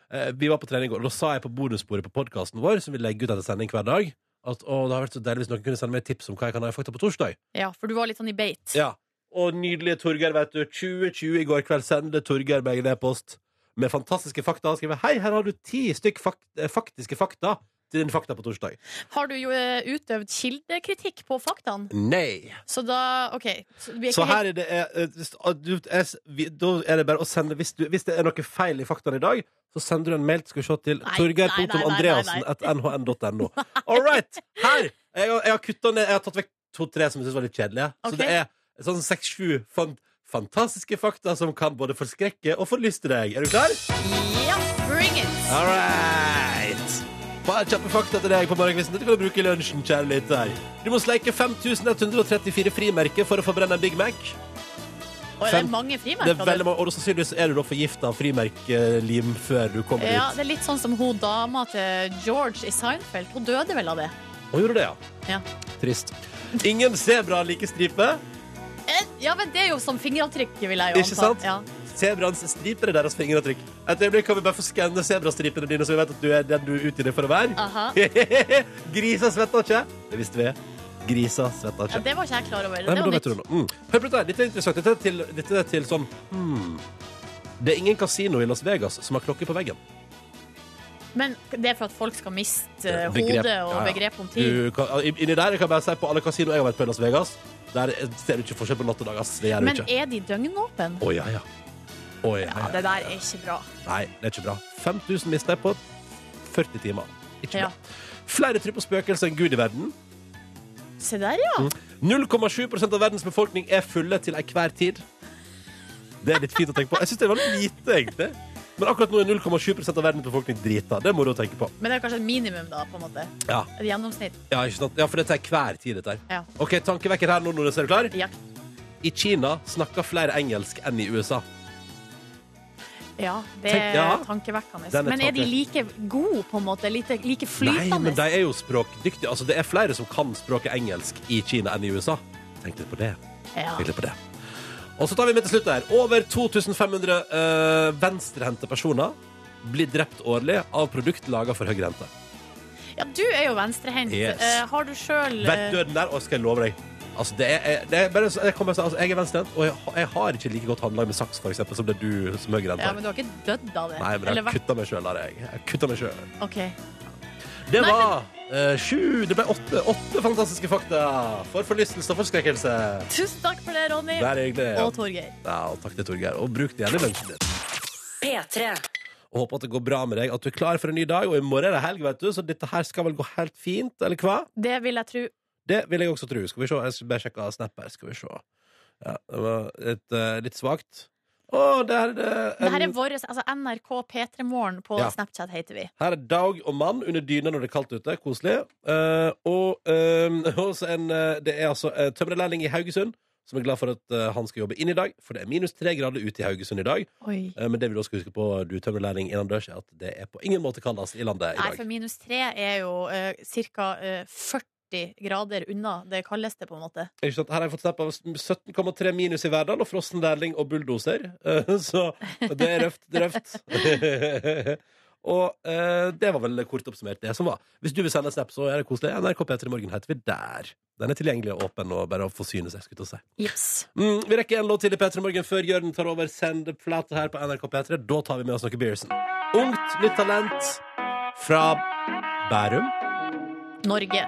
Speaker 2: Eh, Vi var på trening i går, og da sa jeg på bonussporet på podkasten vår, som vi legger ut etter sending hver dag, at å, det har vært så deilig hvis noen kunne sende meg et tips om hva jeg kan ha i fakta på torsdag.
Speaker 3: Ja, for du var litt sånn i beit.
Speaker 2: Ja. Og nydelige Torgeir, vet du. 2020 i går kveld sendte Torgeir meg en e-post med fantastiske fakta. Han skriver hei, her har du ti stykk fak eh, faktiske fakta til din fakta på torsdag.
Speaker 3: Har du jo eh, utøvd kildekritikk på faktaene?
Speaker 2: Nei.
Speaker 3: Så da, OK. Så, vi er
Speaker 2: Så
Speaker 3: ikke helt-
Speaker 2: her er det eh, eh, hvis- ah, du- jeg s- vi- Da er det bare å sende Hvis, du, hvis det er noe feil i faktaene i dag, så sender du en mail skal vi se, til
Speaker 3: Nei, nei, nei, nei, nei.
Speaker 2: torgeir.andreassen.nhn.no. All right! Her! Jeg, har- jeg har kuttet ned Jeg har tatt vekk to-tre som jeg syns var litt kjedelige. Så
Speaker 3: Ok.
Speaker 2: det er sånn seks-sju fan- fantastiske fakta som kan både forskrekke og forlyste deg. Er du klar?
Speaker 3: Ja, bring it!
Speaker 2: All right. Bare kjappe fakta til deg på morgenkvisten. Dette kan du bruke i lunsjen, kjære lytter. Du må sleike 5134 frimerker for å forbrenne en Big Mac.
Speaker 3: Oi, det er
Speaker 2: Fem-
Speaker 3: mange
Speaker 2: Det er
Speaker 3: frimerker.
Speaker 2: veldig mange, og sannsynligvis er du da forgifta av frimerkelim før du kommer
Speaker 3: Ja,
Speaker 2: ut.
Speaker 3: det er litt sånn som hun dama til George i Seinfeld. Hun døde vel av det.
Speaker 2: Og gjorde du det, ja.
Speaker 3: Ja.
Speaker 2: Trist. Ingen sebra har like stripe.
Speaker 3: En, Eh, ja, men det er jo som fingeravtrykk, vil jeg jo
Speaker 2: Ikke
Speaker 3: anta.
Speaker 2: sant?
Speaker 3: Ja.
Speaker 2: Sebraens striper er deres fingeravtrykk. Et øyeblikk kan vi bare få skanne sebrastripene dine, så vi vet at du er den du er ute i det for å være.
Speaker 3: Aha.
Speaker 2: [LAUGHS] Grisa svetter ikke. Det visste vi. Grisa svetter
Speaker 3: Ja,
Speaker 2: ikke.
Speaker 3: det var ikke jeg klar over.
Speaker 2: Nei,
Speaker 3: det
Speaker 2: men
Speaker 3: var
Speaker 2: da vet du det
Speaker 3: nytt.
Speaker 2: nå. Mm. Hør på dette, her. dette er interessant. Dette er til, dette er til sånn hmm. Det er ingen kasino i Las Vegas som har klokke på veggen.
Speaker 3: Men det er for at folk skal miste eh,
Speaker 2: Begrep.
Speaker 3: hodet og
Speaker 2: Ja, ja.
Speaker 3: begrep om tid.
Speaker 2: Du, kan, inni der jeg kan bare si på alle kasinoer jeg har vært på i Las Vegas, der ser du ikke forskjell på natt og dag. Ass. Det gjør du
Speaker 3: Men
Speaker 2: ikke.
Speaker 3: er de døgnåpne?
Speaker 2: Å ja, ja. Å, ja,
Speaker 3: Ja,
Speaker 2: ja.
Speaker 3: det der er ikke bra.
Speaker 2: Nei, det er ikke bra. 5000 mister jeg på 40 timer. Ikke
Speaker 3: Ja.
Speaker 2: bra. Flere tror på spøkelser enn Gud i verden.
Speaker 3: Se der, ja.
Speaker 2: Mm. 0,7 av verdens befolkning er fulle til enhver tid. Det er litt fint å tenke på. Jeg synes det var litt lite, egentlig. Men akkurat nå er 0,7 av verdens befolkning drita. Det er moro å tenke på.
Speaker 3: Men det er kanskje et minimum, da, på en måte.
Speaker 2: Ja,
Speaker 3: Et gjennomsnitt.
Speaker 2: ja, ikke sant? ja for dette er hver tid, dette her.
Speaker 3: Ja.
Speaker 2: OK, tankevekker her nå, Nordnes. Er du klar?
Speaker 3: Ja.
Speaker 2: I Kina snakker flere engelsk enn i USA.
Speaker 3: ja det
Speaker 2: Tenk-
Speaker 3: er
Speaker 2: ja.
Speaker 3: tankevekkende.
Speaker 2: Den er
Speaker 3: Men er de
Speaker 2: tanke-
Speaker 3: like gode, på en måte? Like, like
Speaker 2: Nei, men
Speaker 3: flytende?
Speaker 2: de er jo språkdyktige. Altså, det er flere som kan språket engelsk i Kina enn i USA. Tenk litt på det.
Speaker 3: Ja.
Speaker 2: Tenk litt på det. Og så tar vi med til slutt her. Over 2500 uh, venstrehendte personer blir drept årlig av produkt laga for høyrehendte.
Speaker 3: ja, du er jo venstrehendt.
Speaker 2: Yes.
Speaker 3: Eh, Har du sjøl
Speaker 2: Vært døden der, og skal jeg love deg. Altså, det er, det er bare, så- jeg, kommer, til å si, altså, jeg er venstrehendt, og jeg, ha- jeg har ikke like godt håndlag med saks for eksempel, som det du som høyrehendt
Speaker 3: eh, Ja,
Speaker 2: har.
Speaker 3: men du har ikke dødd av det?
Speaker 2: Nei, men
Speaker 3: Eller
Speaker 2: jeg
Speaker 3: vært
Speaker 2: kutta meg sjøl der, jeg. jeg kutta meg selv.
Speaker 3: OK.
Speaker 2: Det
Speaker 3: Nei,
Speaker 2: var eh, sju Det ble åtte, åtte fantastiske fakta for forlystelse og forskrekkelse.
Speaker 3: Tusen takk for det, Ronny.
Speaker 2: Det er hyggelig.
Speaker 3: Og Torgeir.
Speaker 2: Ja, og takk til Torgeir. Og bruk det gjerne i lunsjen din.
Speaker 1: P3.
Speaker 2: og håper at det går bra med deg, at du er klar for en ny dag. Og i morgen er det helg, vet du, så dette her skal vel gå helt fint, eller hva?
Speaker 3: Det vil jeg tro.
Speaker 2: Det vil jeg også tro. Skal vi se, jeg skal bare sjekke snap her. Skal vi se. Ja, det var et, eh, litt svakt. Å, der er det
Speaker 3: Det her
Speaker 2: en-
Speaker 3: er vår, altså NRK P3 Morgen på
Speaker 2: Um, Ja.
Speaker 3: Snapchat heter vi.
Speaker 2: Her er dag og mann under dyna når det er kaldt ute. Koselig. Eh, [LAUGHS] og eh, også en, eh, det er altså uh, tømrerlærling i Haugesund som er glad for at eh, han skal jobbe inn i dag, for det er minus tre grader ute i Haugesund i dag.
Speaker 3: Oi.
Speaker 2: Eh, men det vi da skal huske på, du tømrerlærling innendørs, er at det er på ingen måte kaldest i landet i
Speaker 3: Nei,
Speaker 2: dag.
Speaker 3: for minus tre er jo uh, ca. 40 grader unna det kaldeste, på en måte.
Speaker 2: Ikke sant? Her har jeg fått snap av 17,3 minus i Verdal og frossen lærling og bulldoser. Eh, [LAUGHS] så det er røft. Det er røft. [LAUGHS] og eh, det var vel kort oppsummert det som var. Hvis du vil sende en snap, så er det koselig. NRK P3 Morgen heter vi der. Den er tilgjengelig og åpen og bare å forsyne seg, skulle jeg til å si. Mm, vi rekker en låt til i P3 Morgen før Jørgen tar over sendeflate her på NRK P3. Da tar vi med oss noe Beersen. Ungt, nytt talent fra Bærum.
Speaker 3: Norge.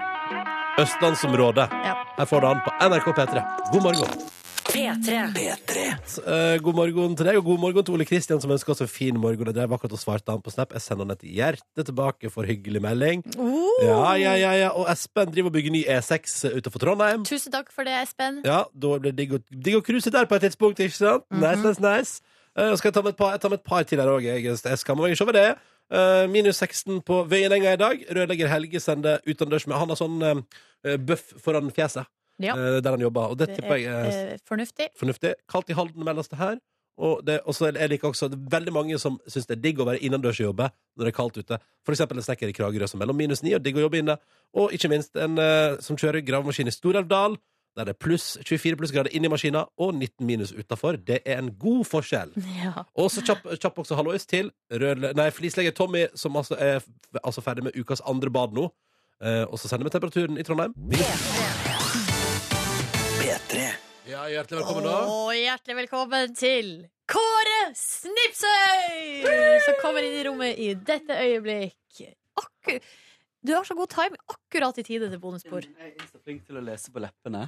Speaker 2: Østlandsområdet.
Speaker 3: Ja.
Speaker 2: Her får du han på NRK P3. God morgen.
Speaker 1: P3.
Speaker 2: Eh, god morgen til deg, og god morgen til Ole Kristian, som ønsker oss en fin morgen. Jeg drev akkurat og svarte han på Snap. Jeg sender han et hjerte tilbake for hyggelig melding.
Speaker 3: Oh.
Speaker 2: Ja, ja, ja, ja. Og Espen driver og bygger ny E6 utenfor Trondheim.
Speaker 3: Tusen takk for det, Espen.
Speaker 2: Ja, da blir det digg å- digg å cruise der på et tidspunkt, ikke sant?
Speaker 3: Mhm.
Speaker 2: Nice, nice, nice. Eh, skal jeg, ta med et par, jeg tar med et par til her òg. Jeg, jeg skammer meg ikke over det. Eh, minus 16 på Vøyenenga i dag. Rørlegger Helge sender utendørs med Han har sånn eh, bøff foran fjeset
Speaker 3: Ja.
Speaker 2: eh, der han jobber, og det, tipper jeg
Speaker 3: er
Speaker 2: er
Speaker 3: eh,
Speaker 2: [LAUGHS]
Speaker 3: fornuftig.
Speaker 2: fornuftig. Kaldt i Halden meldes det her. Og det, og så er det- jeg liker også det er veldig mange som syns det er digg å være innendørs og jobbe når det er kaldt ute. For eksempel en snekker i Kragerø som mellom minus ni og digg å jobbe inne. Og ikke minst en eh, som kjører gravemaskin i Storelvdal, der det er pluss 24 plussgrader inni maskina og 19 minus utafor. Det er en god forskjell.
Speaker 3: Ja.
Speaker 2: Og så kjapp, kjapp også hallois til rødle- nei, flislegger Tommy, som altså er f- altså ferdig med ukas andre bad nå. Eh, og så sender vi temperaturen i Trondheim. Ja, hjertelig velkommen, da.
Speaker 3: Og hjertelig velkommen til Kåre Snipsøy! Som kommer inn i rommet i dette øyeblikk. Akku du har så god time akkurat i tide til bonusbord.
Speaker 11: så flink til å lese på leppene.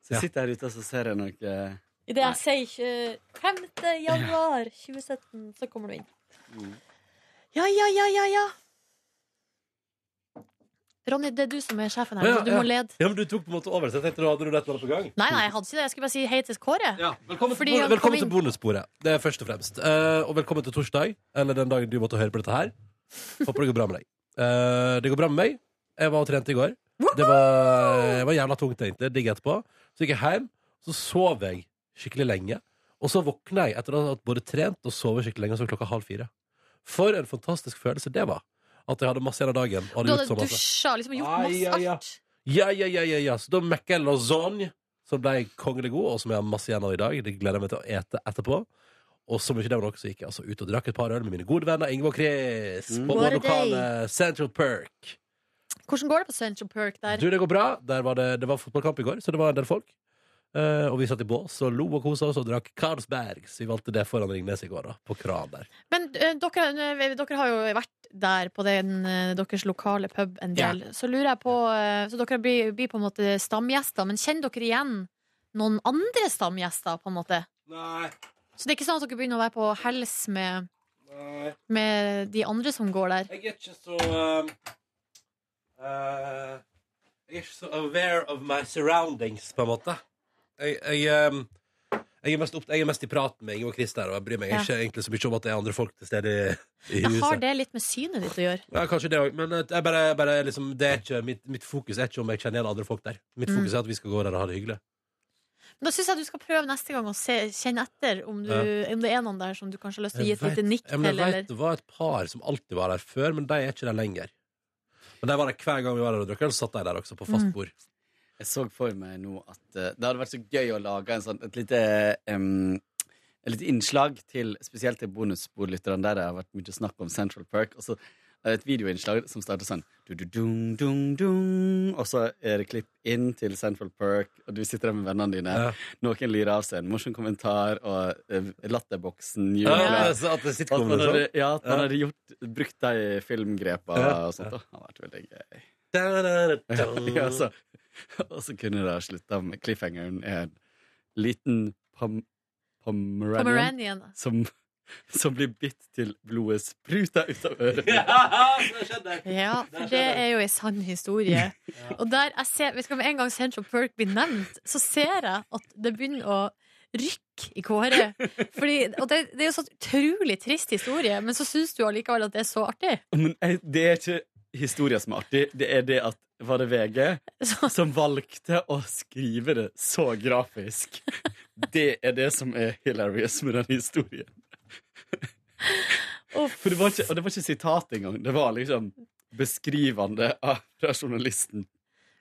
Speaker 11: Så jeg sitter her ute og så ser jeg noe eh,
Speaker 3: Idet jeg sier 5. januar 2017, så kommer du inn.
Speaker 11: Mm.
Speaker 3: Ja, ja, ja, ja, ja. Ronny, det er du som er sjefen her,
Speaker 2: Ja,
Speaker 3: så du
Speaker 2: ja.
Speaker 3: må lede.
Speaker 2: Ja, men du tok på en måte over, så jeg tenkte du hadde du et eller annet på gang.
Speaker 3: Nei, nei, jeg hadde ikke det. Jeg skulle bare si hei til Kåre.
Speaker 2: Velkommen,
Speaker 3: Fordi
Speaker 2: til, bon-
Speaker 3: han kom
Speaker 2: velkommen
Speaker 3: inn-
Speaker 2: til bonussporet. Det er først og fremst. Eh, og velkommen til torsdag, eller den dagen du måtte høre på dette her. Håper det går bra med deg. Eh, det går bra med meg. Jeg var og trente i går. Det var, det var jævla tungt, egentlig. Digg etterpå. Så gikk jeg hjem, så sov jeg skikkelig lenge. Og så våkna jeg etter å ha både trent og sovet skikkelig lenge, og så var klokka halv fire. For en fantastisk følelse det var. At jeg hadde masse igjen av dagen. og
Speaker 3: Du
Speaker 2: gjort
Speaker 3: hadde
Speaker 2: så altså. masse.
Speaker 3: dusja, liksom gjort
Speaker 2: Ai,
Speaker 3: masse
Speaker 2: ai, ai.
Speaker 3: alt.
Speaker 2: Ja, ja, ja, ja, ja. Så da mekker jeg lasagne, som ble kongelig god, og som jeg har masse igjen av i dag. Det gleder jeg meg til å ete etterpå. Og som ikke det var nok, så gikk jeg altså ut og drakk et par øl med mine gode venner Inge og Chris på
Speaker 3: Var
Speaker 2: vår
Speaker 3: det
Speaker 2: lokale Central Perk.
Speaker 3: Hvordan går det på Central Perk der?
Speaker 2: Du, det går bra. Der var det, det var fotballkamp i går, så det var en del folk. Eh, og vi satt i bås og lo og kosa oss og drakk Carlsberg. Så vi valgte det foran Ringnes i går, da. På kran der.
Speaker 3: Men eh, dere, eh, dere har jo vært der på den, eh, deres lokale pub en del. Så lurer jeg på eh, Så dere blir, blir på en måte stamgjester, men kjenner dere igjen noen andre stamgjester, på en måte?
Speaker 2: Nei.
Speaker 3: Så det er ikke sånn at dere begynner å være på hels med, med de andre som går der?
Speaker 2: Jeg er ikke så um, eh, Jeg er ikke så aware of my surroundings, på en måte. Jeg, jeg, um, jeg, er, mest opp, jeg er mest i praten med Inge og Chris der, og jeg bryr meg
Speaker 3: Ja.
Speaker 2: ikke egentlig så mye om at det er andre folk til stede i, i
Speaker 3: Jeg har
Speaker 2: huset.
Speaker 3: det litt med synet ditt å gjøre.
Speaker 2: Ja, kanskje det òg, men eh, jeg bare, bare liksom, det er ikke, mitt, mitt fokus er ikke om jeg kjenner igjen andre folk der. Mitt
Speaker 3: Mm.
Speaker 2: fokus er at vi skal gå der og ha det hyggelig.
Speaker 3: Men Da syns jeg du skal prøve neste gang å se, kjenne etter om, du,
Speaker 2: Ja.
Speaker 3: om det er noen der som du kanskje har lyst til å gi
Speaker 2: Jeg
Speaker 3: et lite
Speaker 2: vet-
Speaker 3: nikk
Speaker 2: ja,
Speaker 3: til,
Speaker 2: men jeg vet
Speaker 3: eller
Speaker 2: Det var et par som alltid var der før, men de er ikke der lenger. Men de var der hver gang vi var der og drakk øl, så satt de der også, på fast
Speaker 11: Mm.
Speaker 2: bord.
Speaker 11: Jeg så for meg nå at eh, det hadde vært så gøy å lage en sånn, et lite em, et lite innslag til spesielt til bonusbordlytterne, der det har vært mye snakk om Central Perk. Og så er det et videoinnslag som starter sånn du, du, dung, dung, [LAUGHS] dung, Og så er det klipp inn til Central Perk, og du sitter der med vennene dine.
Speaker 2: Ja.
Speaker 11: Noen lirer av seg en morsom kommentar, og eh, latterboksen
Speaker 2: Ja, [LAUGHS] altså at det er sitcom,
Speaker 11: At man hadde,
Speaker 2: liksom.
Speaker 11: ja, at man
Speaker 2: Ja.
Speaker 11: hadde gjort, brukt de filmgrepene
Speaker 2: Ja.
Speaker 11: og sånt. da. Det hadde vært veldig gøy.
Speaker 2: Ja,
Speaker 11: [LAUGHS] Ja, altså. Og så kunne det ha slutta med cliffhangeren er en liten pom pomeranian,
Speaker 3: Pomeranian.
Speaker 11: som som blir bitt til blodet spruter ut av
Speaker 2: [LAUGHS]
Speaker 11: øret. [LAUGHS]
Speaker 3: Ja, for det er jo ei sann historie. Og der jeg ser, hvis jeg med en gang Central Perk blir nevnt, så ser jeg at det begynner å rykke i kåret. Fordi, og det, det er jo så utrolig trist historie, men så syns du allikevel at det er så artig.
Speaker 11: Men jeg, det er ikke historien som er artig, det er det at var det VG som valgte å skrive det så grafisk. Det er det som er hilarious med den historien. For det var ikke, og det var ikke sitat engang. Det var liksom beskrivende av, fra journalisten.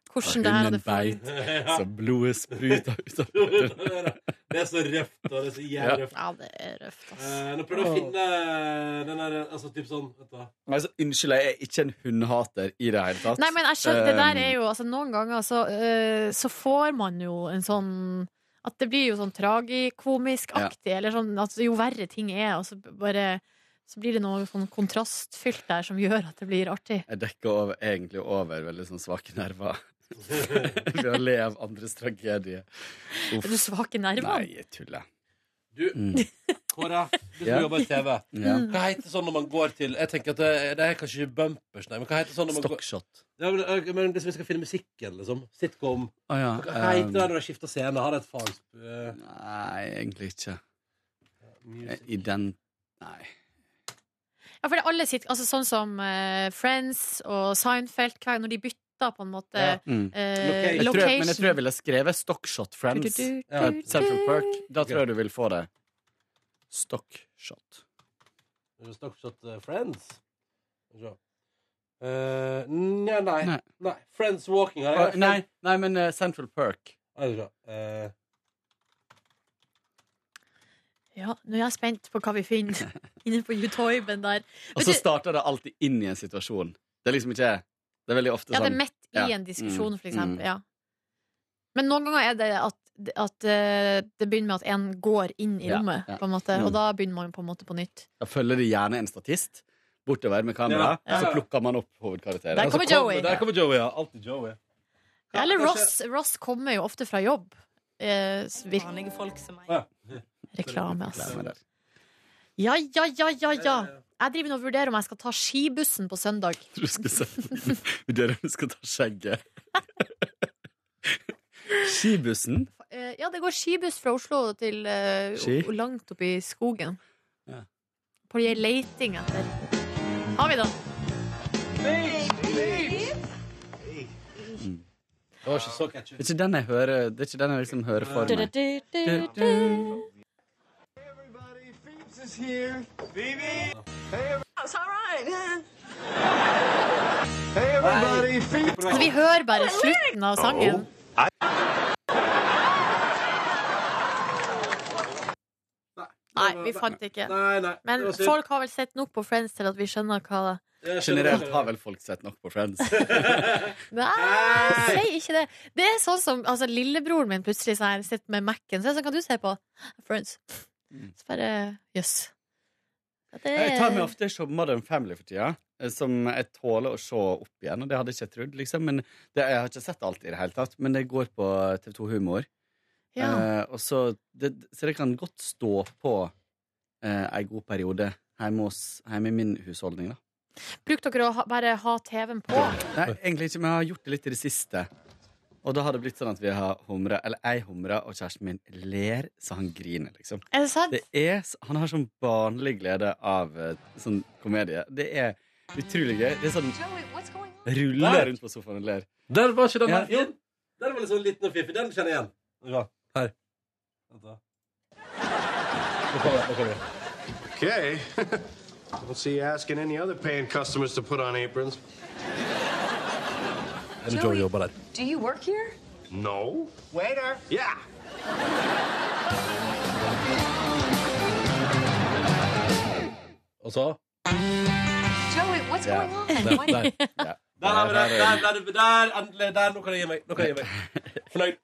Speaker 3: Hvordan
Speaker 11: Og
Speaker 3: det her hadde
Speaker 11: hunden beit, så blodet spruta
Speaker 16: [LAUGHS]
Speaker 11: ut av
Speaker 16: Det er så røft, og det er så
Speaker 11: Ja.
Speaker 16: jævlig røft.
Speaker 3: Ja, det er røft, ass.
Speaker 16: Eh, nå prøver jeg å finne den der Altså typ sånn Vent, da.
Speaker 11: Altså, Unnskyld, jeg er ikke en hundehater i det hele tatt.
Speaker 3: Nei, men jeg skjønner, det der er
Speaker 11: Um,
Speaker 3: jo altså, Noen ganger så, eh, så får man jo en sånn At det blir jo sånn tragikomisk-aktig, eller sånn at jo verre ting er, og så b- bare så blir det noe sånn kontrastfylt der som gjør at det blir artig.
Speaker 11: Jeg dekker over, egentlig over veldig sånn svake nerver.
Speaker 16: [LAUGHS]
Speaker 11: Ved å le av andres tragedie. Uff.
Speaker 3: Er du svak i nervene?
Speaker 11: Nei, jeg tuller. Mm.
Speaker 16: Du, Kåre, du som
Speaker 11: Ja.
Speaker 16: jobber i TV.
Speaker 11: Ja.
Speaker 16: Hva heter sånn når man går til Jeg tenker at det, det er kanskje ikke bumpers, nei, men hva heter sånn når man
Speaker 11: Stockshot.
Speaker 16: går ja, men, ø, men Hvis vi skal finne musikken, liksom. Sitcom.
Speaker 11: Å ja.
Speaker 16: Hva hva heter det
Speaker 11: um,
Speaker 16: når de skifter scene? Har det et fag... ø,
Speaker 11: Nei, egentlig ikke. Eh, I den Nei.
Speaker 3: Ja, for det er alle sitt, altså sånn som eh, Friends og Seinfeld, hva, når de bytter på en måte
Speaker 16: Ja.
Speaker 11: Mm.
Speaker 3: eh,
Speaker 11: Jeg tror, men jeg tror jeg
Speaker 3: location.
Speaker 11: ville skrevet Stockshot Friends.
Speaker 3: Du, du, du,
Speaker 11: Ja,
Speaker 3: du.
Speaker 11: Central Perk. Da tror jeg du vil få det. Stockshot.
Speaker 16: Stockshot eh, Friends? Skal vi se. Eh, nja, nei, nei.
Speaker 11: Nei.
Speaker 16: Friends Walking har
Speaker 11: Å,
Speaker 16: jeg.
Speaker 11: Nei, nei, men eh, Central Perk.
Speaker 16: Skal vi se. Eh,
Speaker 3: Ja, nå er jeg spent på hva vi
Speaker 11: [LAUGHS]
Speaker 3: finner inne på YouTuben der.
Speaker 11: Og
Speaker 3: Vet
Speaker 11: så
Speaker 3: du-
Speaker 11: starter det alltid inn i en situasjon. Det er liksom ikke Det er veldig ofte
Speaker 3: Ja, det
Speaker 11: sånn
Speaker 3: er midt i
Speaker 11: Ja.
Speaker 3: en diskusjon,
Speaker 11: Mm.
Speaker 3: for eksempel. Ja. Men noen ganger er det at, at eh, det begynner med at en går inn i
Speaker 11: Ja,
Speaker 3: rommet,
Speaker 11: ja.
Speaker 3: på en måte,
Speaker 11: Mm.
Speaker 3: og da begynner man på en måte på nytt.
Speaker 11: Da følger de gjerne en statist bortover med
Speaker 16: Ja,
Speaker 11: kamera,
Speaker 16: ja, ja.
Speaker 11: så plukker man opp hovedkarakteren.
Speaker 3: Der
Speaker 11: Altså,
Speaker 3: kommer
Speaker 16: kom-
Speaker 3: Joey.
Speaker 16: Der kommer Joey, ja. Alltid Joey. Ja,
Speaker 3: Eller
Speaker 16: kanskje-
Speaker 3: Ross. Ross kommer jo ofte fra jobb. Eh, s- vir-
Speaker 1: Vanlige folk som meg.
Speaker 16: Å,
Speaker 3: reklame, altså.
Speaker 11: reklame der.
Speaker 3: Ja, ja, ja, ja, ja. Jeg driver nå og vurderer om jeg skal ta skibussen på søndag.
Speaker 11: Du skal se Vurderer om du skal ta skjegget. [LAUGHS] Skibussen.
Speaker 3: Eh, Ja, det går skibuss fra Oslo til eh,
Speaker 11: Ski?
Speaker 3: o- langt opp i skogen.
Speaker 11: Ja.
Speaker 3: På de leiting etter Har vi den?
Speaker 16: Det var ikke så catchy.
Speaker 11: Det er ikke den jeg hører Det er ikke den jeg liksom hører for meg.
Speaker 3: Altså, vi hører bare slutten av sangen. Nei, vi fant det ikke.
Speaker 16: Nei, nei.
Speaker 3: Men
Speaker 16: det var synd.
Speaker 3: folk har vel sett nok på Friends til at vi skjønner hva det
Speaker 16: Jeg skjønner det.
Speaker 11: Generelt har vel folk sett nok på
Speaker 3: [LAUGHS]
Speaker 11: Friends.
Speaker 3: Nei, si ikke det. Det er sånn som altså, lillebroren min plutselig så her, sitter med Mac-en. Så er det sånn, kan du se på Friends? Så bare jøss. At det
Speaker 11: Jeg tar meg
Speaker 3: er
Speaker 11: ofte og ser Modern Family for tida, eh, som jeg tåler å se opp igjen. Og det hadde jeg ikke trodd, liksom. Men det, jeg har ikke sett alt i det hele tatt. Men det går på TV2 Humor.
Speaker 3: ja.
Speaker 11: Eh, og så, det, så det kan godt stå på eh, ei god periode hjemme, hos, hjemme i min husholdning, da.
Speaker 3: Brukte dere å ha, bare ha TV-en på?
Speaker 11: Nei, egentlig ikke, men jeg har gjort det litt i det siste. Og da har det blitt sånn at vi har humra, eller jeg humrer, og kjæresten min ler så han griner, liksom.
Speaker 3: Er det sant?
Speaker 11: Det er, s- han har sånn barnlig glede av eh, sånn komedie. Det er utrolig gøy. Det er sånn ruller rundt på sofaen og ler.
Speaker 16: Der var ikke den
Speaker 11: Ja.
Speaker 16: her fin. Den var litt sånn liten og fiffig. Den kjenner jeg igjen. Ja, Her. Vent da. Nå kommer jeg, nå kommer jeg.
Speaker 17: Okay. Don't see you asking any other paying customers to put on aprons.
Speaker 16: Er det Joey jobber der?
Speaker 18: Do you work here?
Speaker 17: No. Waiter. Yeah.
Speaker 16: Og så?
Speaker 18: Joey, what's
Speaker 16: Yeah.
Speaker 18: going on?
Speaker 16: Der,
Speaker 18: Why-
Speaker 16: der. Der har vi det. Der, der, der, der, endelig. Der, nå kan jeg gi meg. Nå kan jeg gi meg. Fornøyd.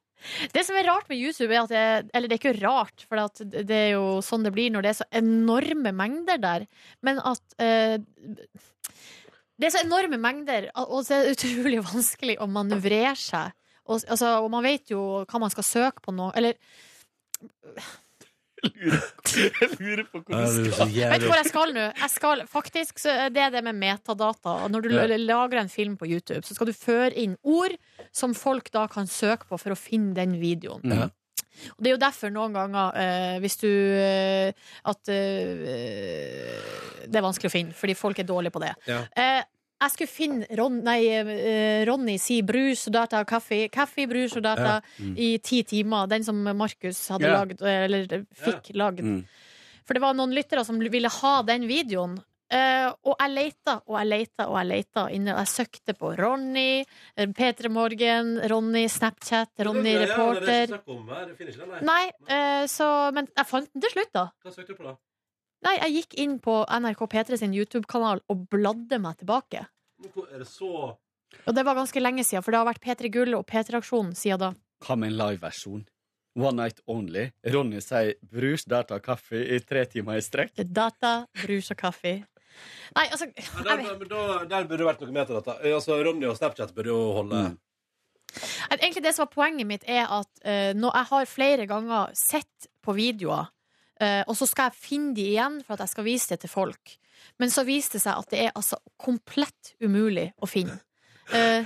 Speaker 3: Det som er rart med YouTube, er at det, eller det er ikke rart, for at det er jo sånn det blir når det er så enorme mengder der, men at eh, Det er så enorme mengder, og så er det utrolig [LAUGHS] vanskelig å manøvrere seg. Og, altså, og man vet jo hva man skal søke på nå, eller
Speaker 9: Jeg lurer på hvor
Speaker 2: det skal.
Speaker 3: Vet du hvor jeg skal nå? Jeg skal, faktisk, så er det er det med metadata. Og Når du
Speaker 2: Ja.
Speaker 3: lager en film på YouTube, så skal du føre inn ord som folk da kan søke på for å finne den videoen.
Speaker 2: Ja.
Speaker 3: Og det er jo derfor noen ganger, eh, hvis du eh, At eh, det er vanskelig å finne, fordi folk er dårlige på det.
Speaker 2: Ja.
Speaker 3: Eh, jeg skulle finne Ron, nei, eh, Ronny si brus og data og kaffe. Kaffe, brus og data
Speaker 2: Ja. Mm.
Speaker 3: i ti timer. Den som Markus hadde
Speaker 2: Ja.
Speaker 3: lagd, eller fikk lagd. For det var noen lyttere som ville ha den videoen. Eh, og jeg leita og jeg leita og jeg leita inne. Jeg søkte på Ronny, eh, P3 Morgen, Ronny Snapchat, Ronny Reporter. Nei, eh, så, men jeg fant den til slutt, da.
Speaker 2: Hva søkte du på, da?
Speaker 3: Nei, jeg gikk inn på NRK P3 sin YouTube-kanal og bladde meg tilbake.
Speaker 2: Er det så
Speaker 3: Og det var ganske lenge siden, for det har vært P3 Gull og P3-aksjonen siden da.
Speaker 11: Hva med en liveversjon? One night only. Ronny sier brus, der tar kaffe i tre timer i strekk.
Speaker 3: Data, brus og kaffe. Nei, altså
Speaker 2: Ja,
Speaker 3: jeg
Speaker 2: der,
Speaker 3: vet.
Speaker 2: men sånn- da, der burde det vært noe metadata. Eh, Altså, Ronny og Snapchat burde jo holde
Speaker 3: At Egentlig det som var poenget mitt er at eh, når jeg har flere ganger sett på videoer, eh, og så skal jeg finne de igjen for at jeg skal vise det til folk, men så viste det seg at det er altså komplett umulig å finne. Eh,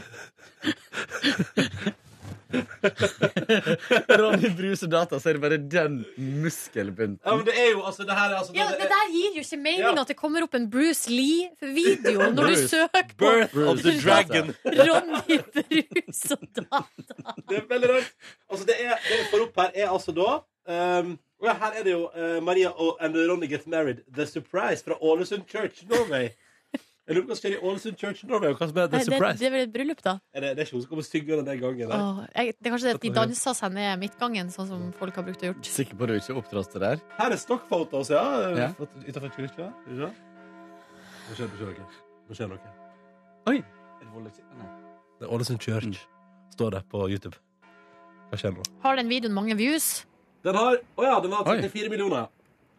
Speaker 11: Ronny brus og data, så er det bare den muskelbunten.
Speaker 2: Ja, men det er jo altså det her er altså,
Speaker 3: ja,
Speaker 2: det-
Speaker 3: det
Speaker 2: det-
Speaker 3: der gir jo ikke mening at det kommer opp en Bruce
Speaker 2: [LAUGHS]
Speaker 3: Lee-video når du
Speaker 2: Bruce.
Speaker 3: søker på
Speaker 2: Birth of the Dragon.
Speaker 3: Ronny Brus og data.
Speaker 2: [LAUGHS] Det er veldig rart. Altså, det, er, det jeg får opp her, er altså da ehm, og ja, Her er det jo eh, Maria og and Ronny Get Married, The Surprise, fra Ålesund Church Norway. Jeg lurer på hva som skjer i Ålesund Church Norway, og hva som er The
Speaker 3: Nei, det,
Speaker 2: Surprise.
Speaker 3: det er vel et bryllup, da.
Speaker 2: Er det, det er ikke hun som kommer og synger den der gangen der.
Speaker 3: Åh, jeg, det er kanskje det at de danser seg ned midtgangen, sånn som folk har brukt å gjøre.
Speaker 11: Sikker på du ikke opptrådte der?
Speaker 2: Her er stokkfotos, ja.
Speaker 11: Ja.
Speaker 2: Fått Utenfor kirka. Skal vi se. Nå skjer det noe. Nå skjer det noe.
Speaker 11: Oi.
Speaker 2: Det er Ålesund
Speaker 11: Mm.
Speaker 2: Church. Står det på YouTube. Hva skjer nå?
Speaker 3: Har den videoen mange views?
Speaker 2: Den har Å ja, den har 34 millioner.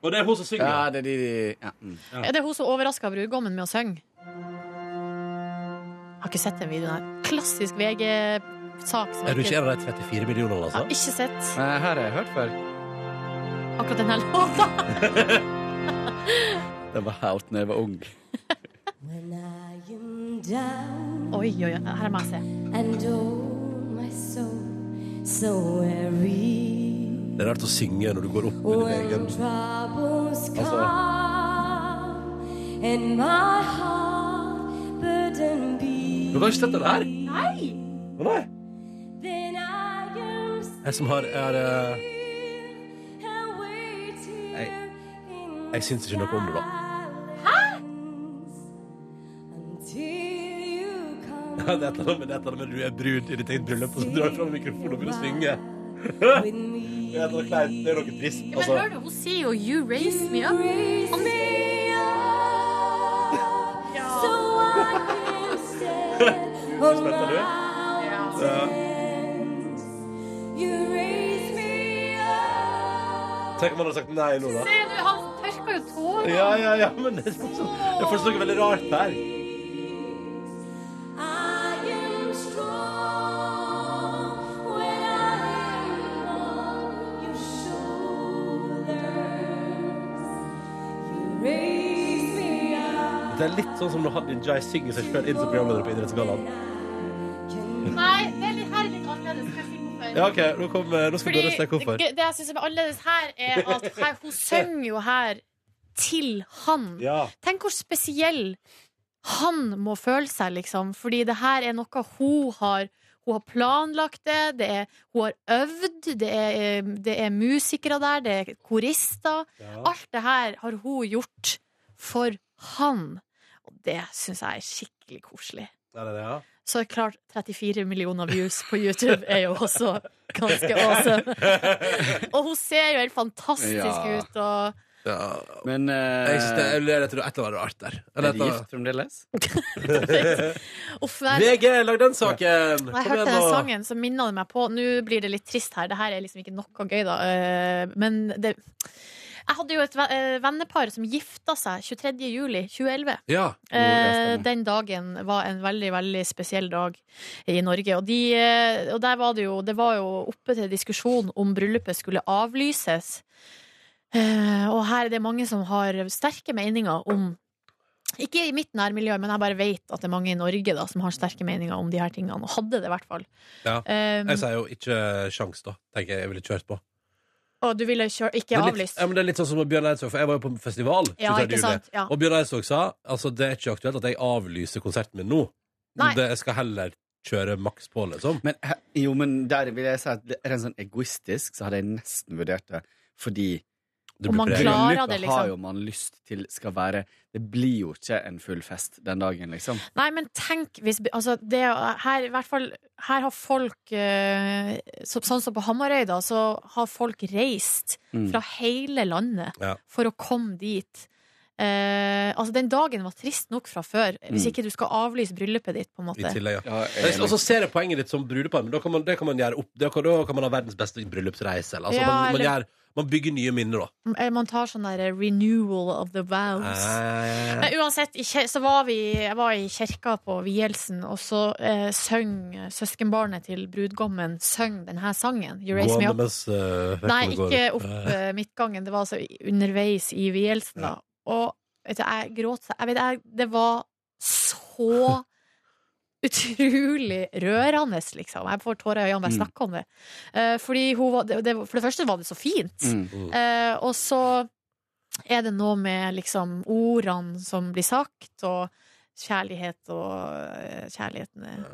Speaker 2: Og det er hun som synger.
Speaker 11: Ja, det er de, de ja. mm.
Speaker 2: Ja.
Speaker 3: Er det hun som overraska brudgommen med å synge? Jeg har ikke sett den videoen her. Klassisk VG-sak. som
Speaker 2: Er du
Speaker 3: jeg
Speaker 2: ikke en av de 34 millionene,
Speaker 3: Jeg har
Speaker 2: altså?
Speaker 3: ikke sett
Speaker 11: Nei, Her har jeg hørt før.
Speaker 3: akkurat den her låta. [LAUGHS]
Speaker 11: Den var helt når jeg var ung.
Speaker 2: Eh,
Speaker 3: Oi, oi, oi. Her må jeg se.
Speaker 19: And oh, my soul, so weary
Speaker 2: Det er rart å synge når du går opp med din egen Altså-
Speaker 19: when troubles
Speaker 2: Also.
Speaker 19: come and my heart burden be.
Speaker 2: Du har ikke sett den her?
Speaker 19: Nei!
Speaker 2: Å nei.
Speaker 19: Then I am
Speaker 2: Jeg som har er, eh,
Speaker 19: waiting
Speaker 2: Jeg, jeg syns ikke noe om det, da. [LAUGHS]
Speaker 19: till you come
Speaker 2: Det er et eller annet med det er et eller annet med du er brud i ditt eget bryllup, og så drar du fram mikrofonen og begynner å synge. [LAUGHS] Det er noe kleint. Det er noe trist.
Speaker 3: Men
Speaker 2: Altså.
Speaker 3: hør du, hun sier jo 'You raise me up'.
Speaker 19: so I can stand on mountains. You raise me up.
Speaker 2: Tenk om han hadde sagt nei nå, da.
Speaker 3: Se, du, han tørker jo tårene.
Speaker 2: Ja, ja, ja, men det er fortsatt, det er fortsatt noe veldig rart her.
Speaker 19: I am strong when I am on your shoulders. You raise me up.
Speaker 2: Det er litt sånn som når Hadia Jai synger seg selv inn som programleder på Idrettsgallaen.
Speaker 3: Nei, det er litt, her er litt annerledes. Skal jeg si hvorfor?
Speaker 2: Ja, OK, nå, kom, eh, nå skal
Speaker 3: Fordi
Speaker 2: Dønnes snakke hvorfor.
Speaker 3: det, det jeg syns er annerledes her, er
Speaker 2: [LAUGHS]
Speaker 3: at her, hun synger jo her til han.
Speaker 2: Ja.
Speaker 3: Tenk hvor spesiell han må føle seg, liksom. Fordi det her er noe hun har hun har planlagt det, det er, hun har øvd, det er, eh, det er musikere der, det er korister. Alt det her har hun gjort for han. Og det syns jeg er skikkelig koselig.
Speaker 2: Er det det, ja?
Speaker 3: Så klart 34 millioner views på YouTube er jo også ganske
Speaker 2: [LAUGHS]
Speaker 3: awesome. Og hun ser jo helt fantastisk
Speaker 11: Ja.
Speaker 3: ut. Og
Speaker 11: Men eh,
Speaker 2: Jeg synes det jeg lurer etter et eller annet rart der.
Speaker 11: Er de gift fremdeles?
Speaker 3: uff, nei,
Speaker 2: VG, lag den saken!
Speaker 3: når jeg
Speaker 2: Kom
Speaker 3: hørte
Speaker 2: igjen
Speaker 3: den
Speaker 2: nå.
Speaker 3: sangen, så minna det meg på Nå blir det litt trist her. Det her er liksom ikke noe gøy, da. Eh, Men det Jeg hadde jo et ve- eh, vennepar som gifta seg 23. juli 2011.
Speaker 2: Ja.
Speaker 11: Oh,
Speaker 3: Eh, den dagen var en veldig, veldig spesiell dag i Norge. Og, de, eh, og der var det, jo, det var jo oppe til diskusjon om bryllupet skulle avlyses. Eh, og her er det mange som har sterke meninger om Ikke i mitt nærmiljø, men jeg bare vet at det er mange i Norge da, som har sterke meninger om de her tingene. Og hadde det, i hvert fall.
Speaker 2: Ja.
Speaker 3: Um,
Speaker 2: jeg sier jo ikke sjans, da. Tenker jeg jeg ville kjørt på.
Speaker 3: Og du ville kjøre, ikke
Speaker 2: Men litt,
Speaker 3: avlyst.
Speaker 2: ja, men det er litt sånn som med Bjørn Eidsvåg, for jeg var jo på festival.
Speaker 3: Ja,
Speaker 2: 23.
Speaker 3: ikke
Speaker 2: juli.
Speaker 3: sant, ja.
Speaker 2: Og Bjørn Eidsvåg sa altså det er ikke aktuelt at jeg avlyser konserten min nå.
Speaker 3: Nei.
Speaker 2: Det, jeg skal heller kjøre maks på, liksom.
Speaker 11: Men, he- jo, men der vil jeg si at er det sånn egoistisk, så hadde jeg nesten vurdert det. Fordi
Speaker 3: blir man preget. klarer
Speaker 11: Bryllupet
Speaker 3: det, liksom.
Speaker 11: har jo man lyst til skal være Det blir jo ikke en full fest den dagen, liksom.
Speaker 3: Nei, men tenk hvis altså det, her, i hvert fall, her har folk eh, så, Sånn som på Hamarøy, da, så har folk reist
Speaker 19: Mm.
Speaker 3: fra hele landet
Speaker 19: Ja.
Speaker 3: for å komme dit. Eh, altså, den dagen var trist nok fra før, hvis
Speaker 2: Mm.
Speaker 3: ikke du skal avlyse bryllupet ditt, på en måte.
Speaker 2: I tillegg, ja.
Speaker 11: jeg er enig.
Speaker 2: og så ser jeg poenget ditt som brudepar, men da kan man, det kan man gjøre opp Da kan, da kan man ha verdens beste bryllupsreise. Eller, altså,
Speaker 3: Ja,
Speaker 2: man, man,
Speaker 3: eller-
Speaker 2: gjør, man bygger nye minner, da.
Speaker 3: Eh, Man tar sånn der eh, renewal of the vows.
Speaker 2: Eh,
Speaker 3: Men uansett, i kje- så var vi, jeg var i kirka på Vielsen, og så eh, søng søskenbarnet til brudgommen søng denne sangen, You Raise
Speaker 2: gå
Speaker 3: Me
Speaker 2: an
Speaker 3: Up.
Speaker 2: mens, eh,
Speaker 3: Nei,
Speaker 2: vekkene går
Speaker 3: ikke opp
Speaker 2: Eh,
Speaker 3: eh, midtgangen. Det var altså i- underveis i vielsen, da. Og vet du, jeg gråt seg jeg vet, jeg, Det var [LAUGHS] så utrolig rørende, liksom. Jeg får tårer i øynene bare jeg
Speaker 19: Mm.
Speaker 3: snakker om det. Eh, fordi hun var, det, det, for det første var det så fint. Eh, og så er det noe med liksom ordene som blir sagt, og kjærlighet og eh, Kjærligheten er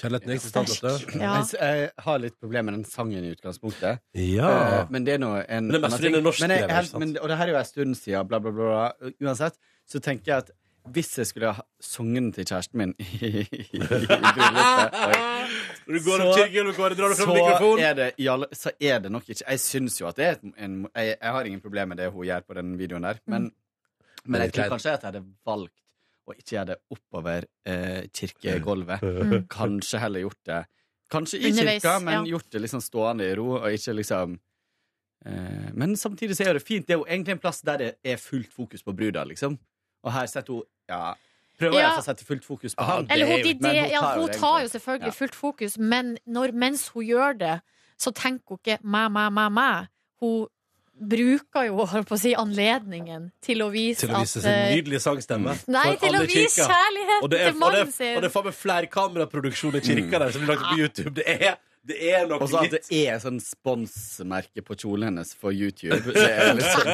Speaker 2: Kjærligheten er eksistent, vet du.
Speaker 3: Ja.
Speaker 11: Jeg, jeg har litt problemer med den sangen i utgangspunktet.
Speaker 2: Ja.
Speaker 11: Eh, Men det er nå en
Speaker 2: Men det er mest
Speaker 11: annen
Speaker 2: fordi
Speaker 11: ting.
Speaker 2: den er norsk,
Speaker 11: Men jeg,
Speaker 2: det er vel, sant?
Speaker 11: men, Og det her er jo en stund siden, bla, bla, bla. bla. Uansett, så tenker jeg at hvis jeg skulle ha sunget den til kjæresten min i, i bryllupet
Speaker 2: [LAUGHS]
Speaker 11: oi,
Speaker 2: Når du går opp
Speaker 11: så-
Speaker 2: kirkegulvet, Kåre, drar du frem
Speaker 11: så
Speaker 2: mikrofonen.
Speaker 11: Er det, i alle- så er det nok ikke Jeg syns jo at det er et- en jeg, jeg har ingen problemer med det hun gjør på den videoen der, men, men jeg tror kanskje at jeg hadde valgt å ikke gjøre det oppover eh, kirkegulvet.
Speaker 19: Mm.
Speaker 11: Kanskje heller gjort det Kanskje i
Speaker 19: Underveis,
Speaker 11: kirka, men
Speaker 19: ja.
Speaker 11: gjort det liksom stående i ro, og ikke liksom eh, Men samtidig så er det fint. Det er jo egentlig en plass der det er fullt fokus på bruda, liksom. Og her setter hun Ja. Prøver
Speaker 3: Ja.
Speaker 11: jeg å sette fullt fokus på han.
Speaker 3: Eller hun, de,
Speaker 11: Men
Speaker 3: de, ja, hun
Speaker 11: det
Speaker 3: tar jo
Speaker 11: egentlig.
Speaker 3: selvfølgelig
Speaker 11: Ja.
Speaker 3: fullt fokus, men når, mens hun gjør det, så tenker hun ikke mæ, mæ, mæ, mæ. Hun bruker jo holdt på å si, anledningen til å
Speaker 2: [LAUGHS]
Speaker 3: vise,
Speaker 2: Til å vise
Speaker 3: at
Speaker 2: sin
Speaker 3: eh,
Speaker 2: nydelige sangstemme.
Speaker 3: Nei,
Speaker 2: for
Speaker 3: til
Speaker 2: alle
Speaker 3: å vise
Speaker 2: kirka.
Speaker 3: [LAUGHS] kjærligheten
Speaker 2: Og det er-
Speaker 3: til mannen
Speaker 2: og det er-
Speaker 3: sin. Ah.
Speaker 2: Og det er faen meg flerkameraproduksjon i kirka der som blir lagt opp på YouTube. Det er, det er noe
Speaker 11: Og så at
Speaker 2: litt-
Speaker 11: det er sånn sponsmerke på kjolen hennes for YouTube. Så er det liksom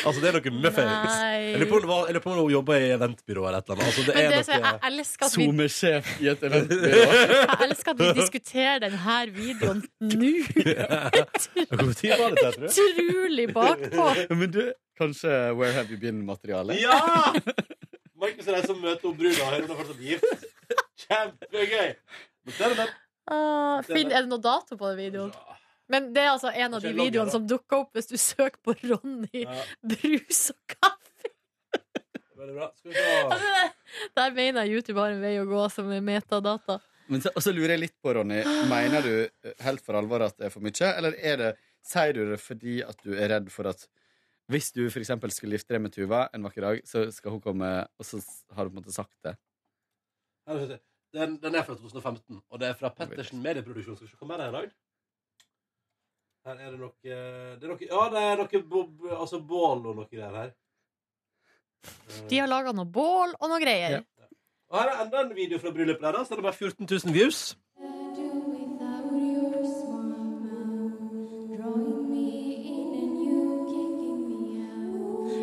Speaker 2: Altså, det er noe muffins.
Speaker 3: Nei.
Speaker 2: Jeg lutter på om det var- jeg lurer på om hun jobber i eventbyrå eller et eller annet. Altså, det
Speaker 3: Men
Speaker 2: er
Speaker 3: det som
Speaker 2: noe
Speaker 3: jeg elsker at vi-
Speaker 11: SoMe-sjef i et
Speaker 3: Jeg elsker at vi diskuterer denne
Speaker 2: [LAUGHS]
Speaker 3: videoen nå.
Speaker 11: Hvor tid var dette, tror du?
Speaker 3: Utrolig bakpå.
Speaker 11: Men du, kanskje Where Have You Been-materialet?
Speaker 2: Ja! Markus er den som møter opp bruna, og hun er fortsatt gift. Kjempegøy! Men det er det.
Speaker 3: Ah, Finn, er det noe dato på den videoen? Men det er altså en av de
Speaker 2: Ikke logg,
Speaker 3: videoene
Speaker 2: da.
Speaker 3: som dukker opp hvis du søker på Ronny Brus og
Speaker 2: Veldig bra. Skal vi se.
Speaker 3: kaffe. Der mener jeg YouTube har en vei å gå som er metadata.
Speaker 11: Men så, og så lurer jeg litt på, Ronny, mener du eh, helt for alvor at det er for mye, eller er det, sier du det fordi at du er redd for at hvis du for eksempel skulle gifte deg med Tuva en vakker dag, så skal hun komme, og så s- har du på en måte sagt det?
Speaker 2: Her er det. Den, den er fra 2015, og det er fra Pettersen Medieproduksjon. Skal vi se hva mer det er i dag? Her er det noe, eh, det er noe Ja, det er noe bob, altså bål og noe greier her.
Speaker 3: De har laga noe bål og noe greier.
Speaker 2: Og her er enda en video fra bryllupet deres. Den har bare 14 000 views.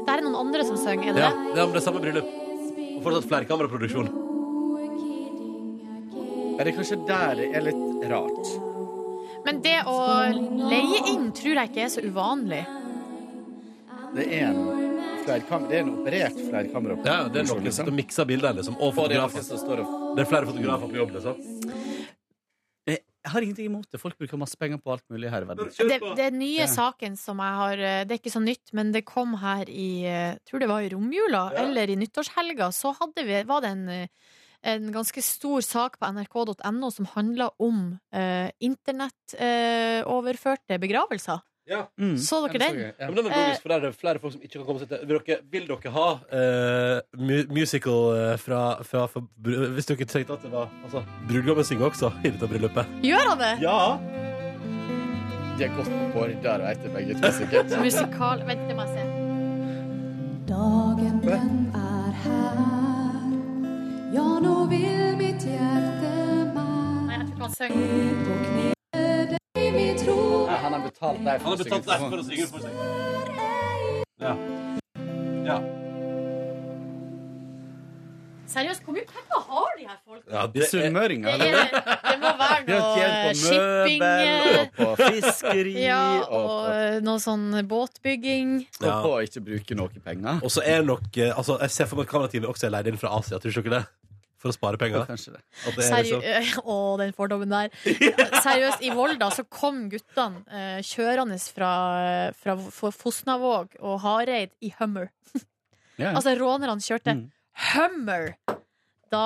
Speaker 3: Det er noen andre som synger, er det
Speaker 2: Ja,
Speaker 3: det?
Speaker 2: det er om det samme bryllup. Og fortsatt flerkameraproduksjon.
Speaker 11: Er det kanskje der det er litt rart?
Speaker 3: Men det å leie inn tror jeg ikke er så uvanlig.
Speaker 11: Det er en, flerkam- det er en operert flerkamera.
Speaker 2: Ja, det er noen som sitter og mikser bilder, liksom. Og
Speaker 11: Og det er noen
Speaker 2: fotografer.
Speaker 11: som står og-
Speaker 2: Det er flere fotografer på jobb, liksom.
Speaker 11: Jeg har ingenting imot det. Folk bruker masse penger på alt mulig her i verden.
Speaker 3: Det, det nye
Speaker 11: Ja.
Speaker 3: saken som jeg har eh, Det er ikke så nytt, men det kom her i eh, Tror det var i romjula eller i nyttårshelga. Så hadde vi, var det en, eh, en ganske stor sak på nrk.no som handla om eh, internettoverførte begravelser. Så dere den?
Speaker 2: Mm. Ja, men den er logisk, for der er det flere folk som ikke kan komme seg til. Vil dere, vil dere ha eh, mu- musical eh, fra, fra for, br- Hvis dere tenkte at det var altså, Brudgommen synger også i dette bryllupet.
Speaker 3: Gjør han det?
Speaker 2: Ja!
Speaker 11: De er godt border, veit du, begge to sikkert.
Speaker 3: Musikal Vent, det må jeg se.
Speaker 19: Dagen den er her. Ja, nå vil mitt hjerte meg
Speaker 3: Nei, jeg tror ikke han synger.
Speaker 19: på kne deg vi tror.
Speaker 11: Nei, han har betalt deg for å synge.
Speaker 2: for seg. Ja. Ja.
Speaker 3: Seriøst, hvor mye penger har de her folk?
Speaker 11: Ja, det er sunnmøringer.
Speaker 3: Det, er, det må være
Speaker 11: De har
Speaker 3: noe
Speaker 11: tjent på
Speaker 3: shipping
Speaker 11: møbel og
Speaker 3: eh,
Speaker 11: på fiskeri
Speaker 3: ja,
Speaker 11: og,
Speaker 3: og eh, noe sånn båtbygging.
Speaker 11: og på å ikke bruke noe penger.
Speaker 2: Og så er nok eh, altså, Jeg ser for meg at kamerateamet også er leid inn fra Asia, tror du ikke det? For å spare penger.
Speaker 11: Ja, kanskje det.
Speaker 2: At det er
Speaker 3: Seriø
Speaker 2: liksom,
Speaker 3: [LAUGHS] Å, den fordommen
Speaker 11: [LAUGHS]
Speaker 3: der. Seriøst, i Volda så kom guttene eh, kjørende fra, eh, fra F- Fosnavåg og Hareid i Hummer.
Speaker 11: Ja, Mm. ja.
Speaker 3: Altså, rånerne kjørte Hummer! Da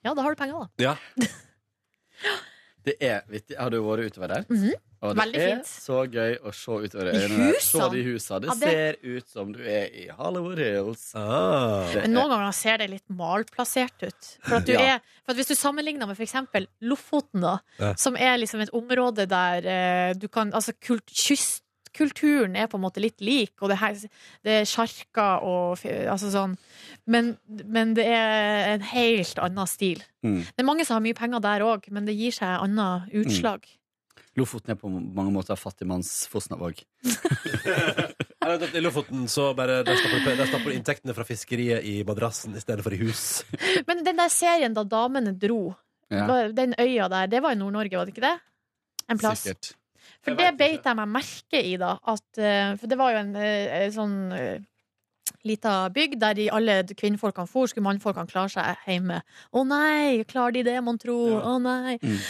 Speaker 3: Ja, da har du penger, da.
Speaker 2: ja.
Speaker 11: Det er vittig. Har du vært utover der?
Speaker 3: Mhm.
Speaker 11: Og det
Speaker 3: Veldig
Speaker 11: er
Speaker 3: fint.
Speaker 11: så gøy å se utover
Speaker 3: I
Speaker 11: øynene. der.
Speaker 3: husene?
Speaker 11: Se de husene. Det
Speaker 3: Ja, det-
Speaker 11: ser ut som du er i Hollywood Hills. Det
Speaker 2: Ah.
Speaker 3: Men
Speaker 11: er-
Speaker 3: noen ganger ser det litt malplassert ut. For, at du
Speaker 11: Ja.
Speaker 3: er, for at Hvis du sammenligner med f.eks. Lofoten, da,
Speaker 2: Ja.
Speaker 3: som er liksom et område der eh, du kan Altså kult, kystkulturen er på en måte litt lik, og det, her, det er sjarker og f- altså sånn. Men, men det er en helt annen stil.
Speaker 11: Mm.
Speaker 3: Det er mange som har mye penger der òg, men det gir seg annet utslag.
Speaker 11: Lofoten er på mange måter fattigmanns-Fosnavåg.
Speaker 2: Jeg vet at I Lofoten så bare der stapper, der stapper du inntektene fra fiskeriet i madrassen i stedet for i hus.
Speaker 3: Men den der serien da damene dro,
Speaker 2: Ja.
Speaker 3: var- den øya der, det var i Nord-Norge, var det ikke det? En plass.
Speaker 11: Sikkert.
Speaker 3: For det beit jeg meg merke i, da. At, eh, for det var jo en eh, sånn eh, lita bygd der de alle d- kvinnfolkene for, skulle mannfolkene klare seg hjemme. Å nei, klarer de det, mon tro? Å nei.
Speaker 11: Mm.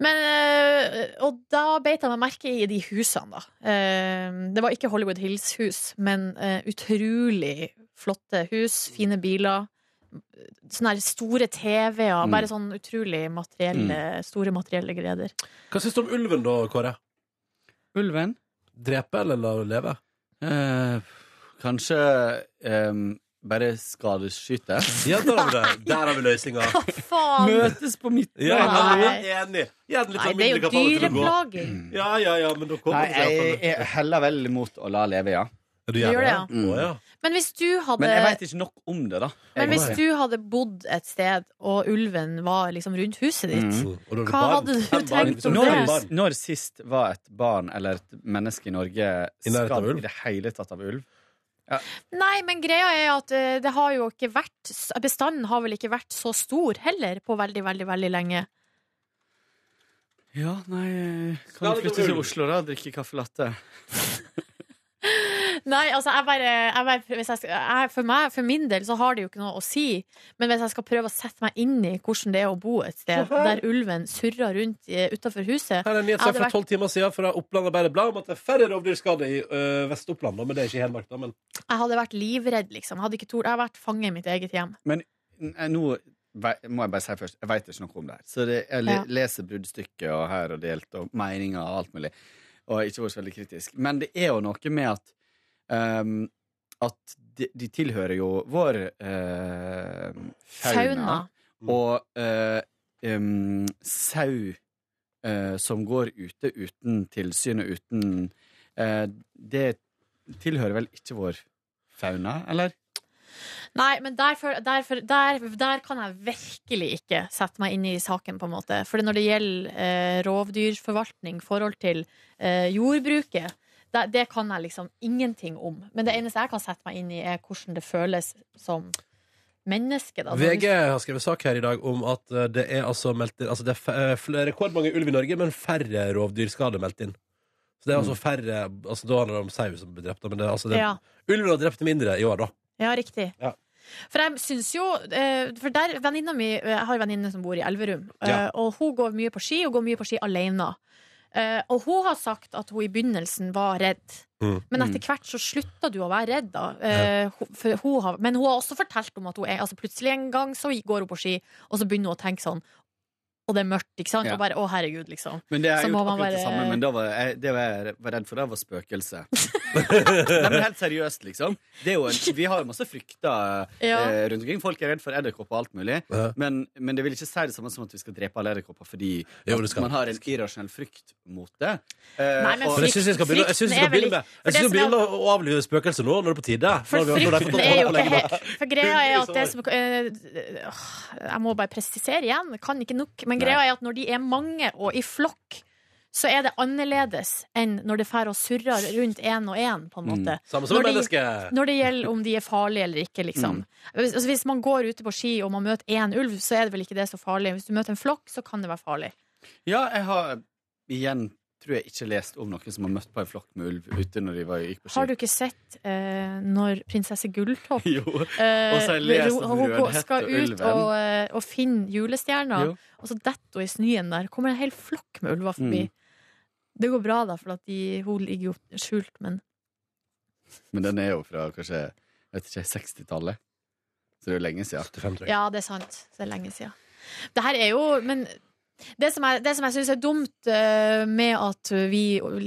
Speaker 3: Men, eh, og da beit jeg meg merke i de husene, da. Eh, det var ikke Hollywood Hills-hus, men eh, utrolig flotte hus, fine biler. Sånne her store TV-er.
Speaker 2: Mm.
Speaker 3: Bare sånn utrolig materielle, store materielle gleder.
Speaker 2: Hva syns du om ulven da, Kåre?
Speaker 11: Ulven?
Speaker 2: Drepe eller la leve?
Speaker 11: Eh, kanskje ehm, bare skadeskyte.
Speaker 2: Ja, der har vi det. Der har vi løsninga.
Speaker 3: Faen!
Speaker 11: Møtes på midten.
Speaker 2: Ja,
Speaker 11: Nei.
Speaker 2: men jeg er enig. Jeg er litt
Speaker 3: Nei,
Speaker 2: sånn
Speaker 3: det er
Speaker 2: mindre
Speaker 3: jo
Speaker 2: kapabel til å gå.
Speaker 3: dyreplaging.
Speaker 2: Ja, ja, ja, men da
Speaker 11: Nei,
Speaker 2: kommer det seg
Speaker 11: jeg,
Speaker 2: iallfall.
Speaker 11: jeg heller vel mot å la leve, ja.
Speaker 2: Du
Speaker 3: gjør det, ja.
Speaker 11: Mm.
Speaker 2: Å, ja.
Speaker 3: Men hvis du hadde
Speaker 11: Men jeg veit ikke nok om det, da.
Speaker 3: Men
Speaker 11: Jeg-
Speaker 3: hvis du hadde bodd et sted, og ulven var liksom rundt huset ditt
Speaker 11: Mm.
Speaker 3: Hva hadde du tenkt om
Speaker 11: når,
Speaker 3: det?
Speaker 11: når sist var et barn eller et menneske i Norge
Speaker 2: nærheten av
Speaker 11: skadd
Speaker 2: ulv?
Speaker 11: i det hele tatt av ulv?
Speaker 3: Nei, men greia er at eh, det har jo ikke vært Bestanden har vel ikke vært så stor heller på veldig, veldig, veldig lenge.
Speaker 11: Ja, nei eh,
Speaker 2: Skal det
Speaker 11: Kan du
Speaker 2: ikke
Speaker 11: flytte til
Speaker 2: ulv?
Speaker 11: Oslo da og drikke kaffe latte?
Speaker 3: Nei, altså, jeg bare, jeg bare hvis jeg, skal- jeg, for, meg, for min del så har det jo ikke noe å si, men hvis jeg skal prøve å sette meg inn i hvordan det er å bo et
Speaker 11: [LAUGHS]
Speaker 3: sted der ulven surrer rundt utafor huset
Speaker 2: Her er en
Speaker 3: jeg
Speaker 2: nyhetssak
Speaker 3: hadde
Speaker 2: fra
Speaker 3: vært,
Speaker 2: tolv timer siden fra Oppland Arbeiderblad om at det er færre rovdyrskader i ø, Vest-Oppland. da, Men det er ikke i Hedmark, da. Men
Speaker 3: jeg hadde vært livredd, liksom. Jeg hadde ikke tort. Jeg hadde vært fange i mitt eget hjem.
Speaker 11: Men n- nå vei- må jeg bare si først, jeg veit ikke noe om det her. Så det, jeg le-
Speaker 3: Ja.
Speaker 11: leser bruddstykker og her og delt og meninger og alt mulig, og jeg har ikke vært så veldig kritisk. Men det er jo noe med at ehm, at de, de tilhører jo vår ehm,
Speaker 3: Fauna.
Speaker 11: fauna. Og eh, em, sau eh, som går ute uten tilsyn og uten eh, Det tilhører vel ikke vår fauna, eller?
Speaker 3: Nei, men derfor, derfor, der, der kan jeg virkelig ikke sette meg inn i saken, på en måte. For når det gjelder eh, rovdyrforvaltning, forhold til eh, jordbruket, det, det kan jeg liksom ingenting om. Men det eneste jeg kan sette meg inn i, er hvordan det føles som menneske. Da.
Speaker 2: VG har skrevet sak her i dag om at ø, det er altså meldt inn Altså det er f ø, fl- rekordmange ulv i Norge, men færre rovdyrskader meldt inn. Så det er altså færre altså Da handler det om sau som blir drept, da, men det, er altså det,
Speaker 3: Mm. Ja.
Speaker 2: ulven har drept mindre i år, da.
Speaker 3: Ja, riktig.
Speaker 2: Ja.
Speaker 3: For jeg syns jo eh, For der, venninna mi eh, Jeg har en venninne som bor i Elverum, eh,
Speaker 2: Ja.
Speaker 3: og hun går mye på ski, og går mye på ski alene. Eh, Og hun har sagt at hun i begynnelsen var redd.
Speaker 2: Mm.
Speaker 3: Men etter hvert så slutta du å være redd, da. Eh, hun- for hun har, men hun har også fortalt om at hun er altså Plutselig en gang så går hun på ski, og så begynner hun å tenke sånn Og det er mørkt, ikke sant?
Speaker 11: Ja.
Speaker 3: Og bare å, herregud, liksom.
Speaker 11: Men det har
Speaker 3: Så
Speaker 11: jeg
Speaker 3: må
Speaker 11: gjort
Speaker 3: man
Speaker 11: akkurat det
Speaker 3: bare- [LAUGHS]
Speaker 11: samme, men da var jeg, det var jeg var redd for, det var spøkelse. Nei, men helt seriøst, liksom. Det er jo en, vi har jo masse frykter
Speaker 3: Ja.
Speaker 11: eh, rundt omkring. Folk er redd for edderkopper og alt mulig. Men, men det vil ikke si det samme som at vi skal drepe alle edderkopper fordi
Speaker 2: Jo, det
Speaker 11: at
Speaker 2: skal.
Speaker 11: man har en irrasjonell frykt mot det. Eh,
Speaker 3: Nei, men
Speaker 2: Men jeg syns vi skal begynne, jeg synes vi skal
Speaker 3: frykten er vel
Speaker 2: begynne med
Speaker 3: ikke- for
Speaker 2: Jeg synes vi
Speaker 3: det
Speaker 2: skal
Speaker 3: som
Speaker 2: begynne å avlive spøkelser nå, når det er på tide.
Speaker 3: For
Speaker 2: Når vi- når de har fått
Speaker 3: frykten er jo
Speaker 2: holde
Speaker 3: ikke
Speaker 2: lenge nok.
Speaker 3: helt For greia er at det som eh, åh, Jeg må bare presisere igjen, jeg kan ikke nok. Men greia er at når de er mange og i flokk, så er det annerledes enn når det fær og surrer rundt én og én, på en måte.
Speaker 2: Mm. Samme som
Speaker 3: når, de,
Speaker 2: menneske.
Speaker 3: når det gjelder om de er farlige eller ikke, liksom.
Speaker 2: Mm.
Speaker 3: Hvis- Altså, hvis man går ute på ski og man møter én ulv, så er det vel ikke det så farlig. Hvis du møter en flokk, så kan det være farlig.
Speaker 11: Ja, jeg har igjen tror jeg ikke lest om noen som har møtt på en flokk med ulv ute når de var, gikk på ski.
Speaker 3: Har du ikke sett eh, når prinsesse Gulltopp
Speaker 11: Jo.
Speaker 3: Eh,
Speaker 11: [LAUGHS] Og så har jeg lest
Speaker 3: hun-
Speaker 11: om
Speaker 3: hun
Speaker 11: Rødhette
Speaker 3: skal
Speaker 11: og
Speaker 3: ut
Speaker 11: ulven.
Speaker 3: og, eh, og finne julestjerna,
Speaker 11: Jo.
Speaker 3: og så detter hun i snøen der. Kommer en hel flokk med ulver forbi.
Speaker 11: Mm.
Speaker 3: Det går bra, da, for at de, hun ligger jo skjult, men
Speaker 11: Men den er jo fra kanskje jeg vet ikke, 60-tallet. Så det er jo lenge siden.
Speaker 3: Ja, det er sant. Så Det er lenge siden. Det her er jo Men det som jeg, det som jeg syns er dumt eh, med at vi,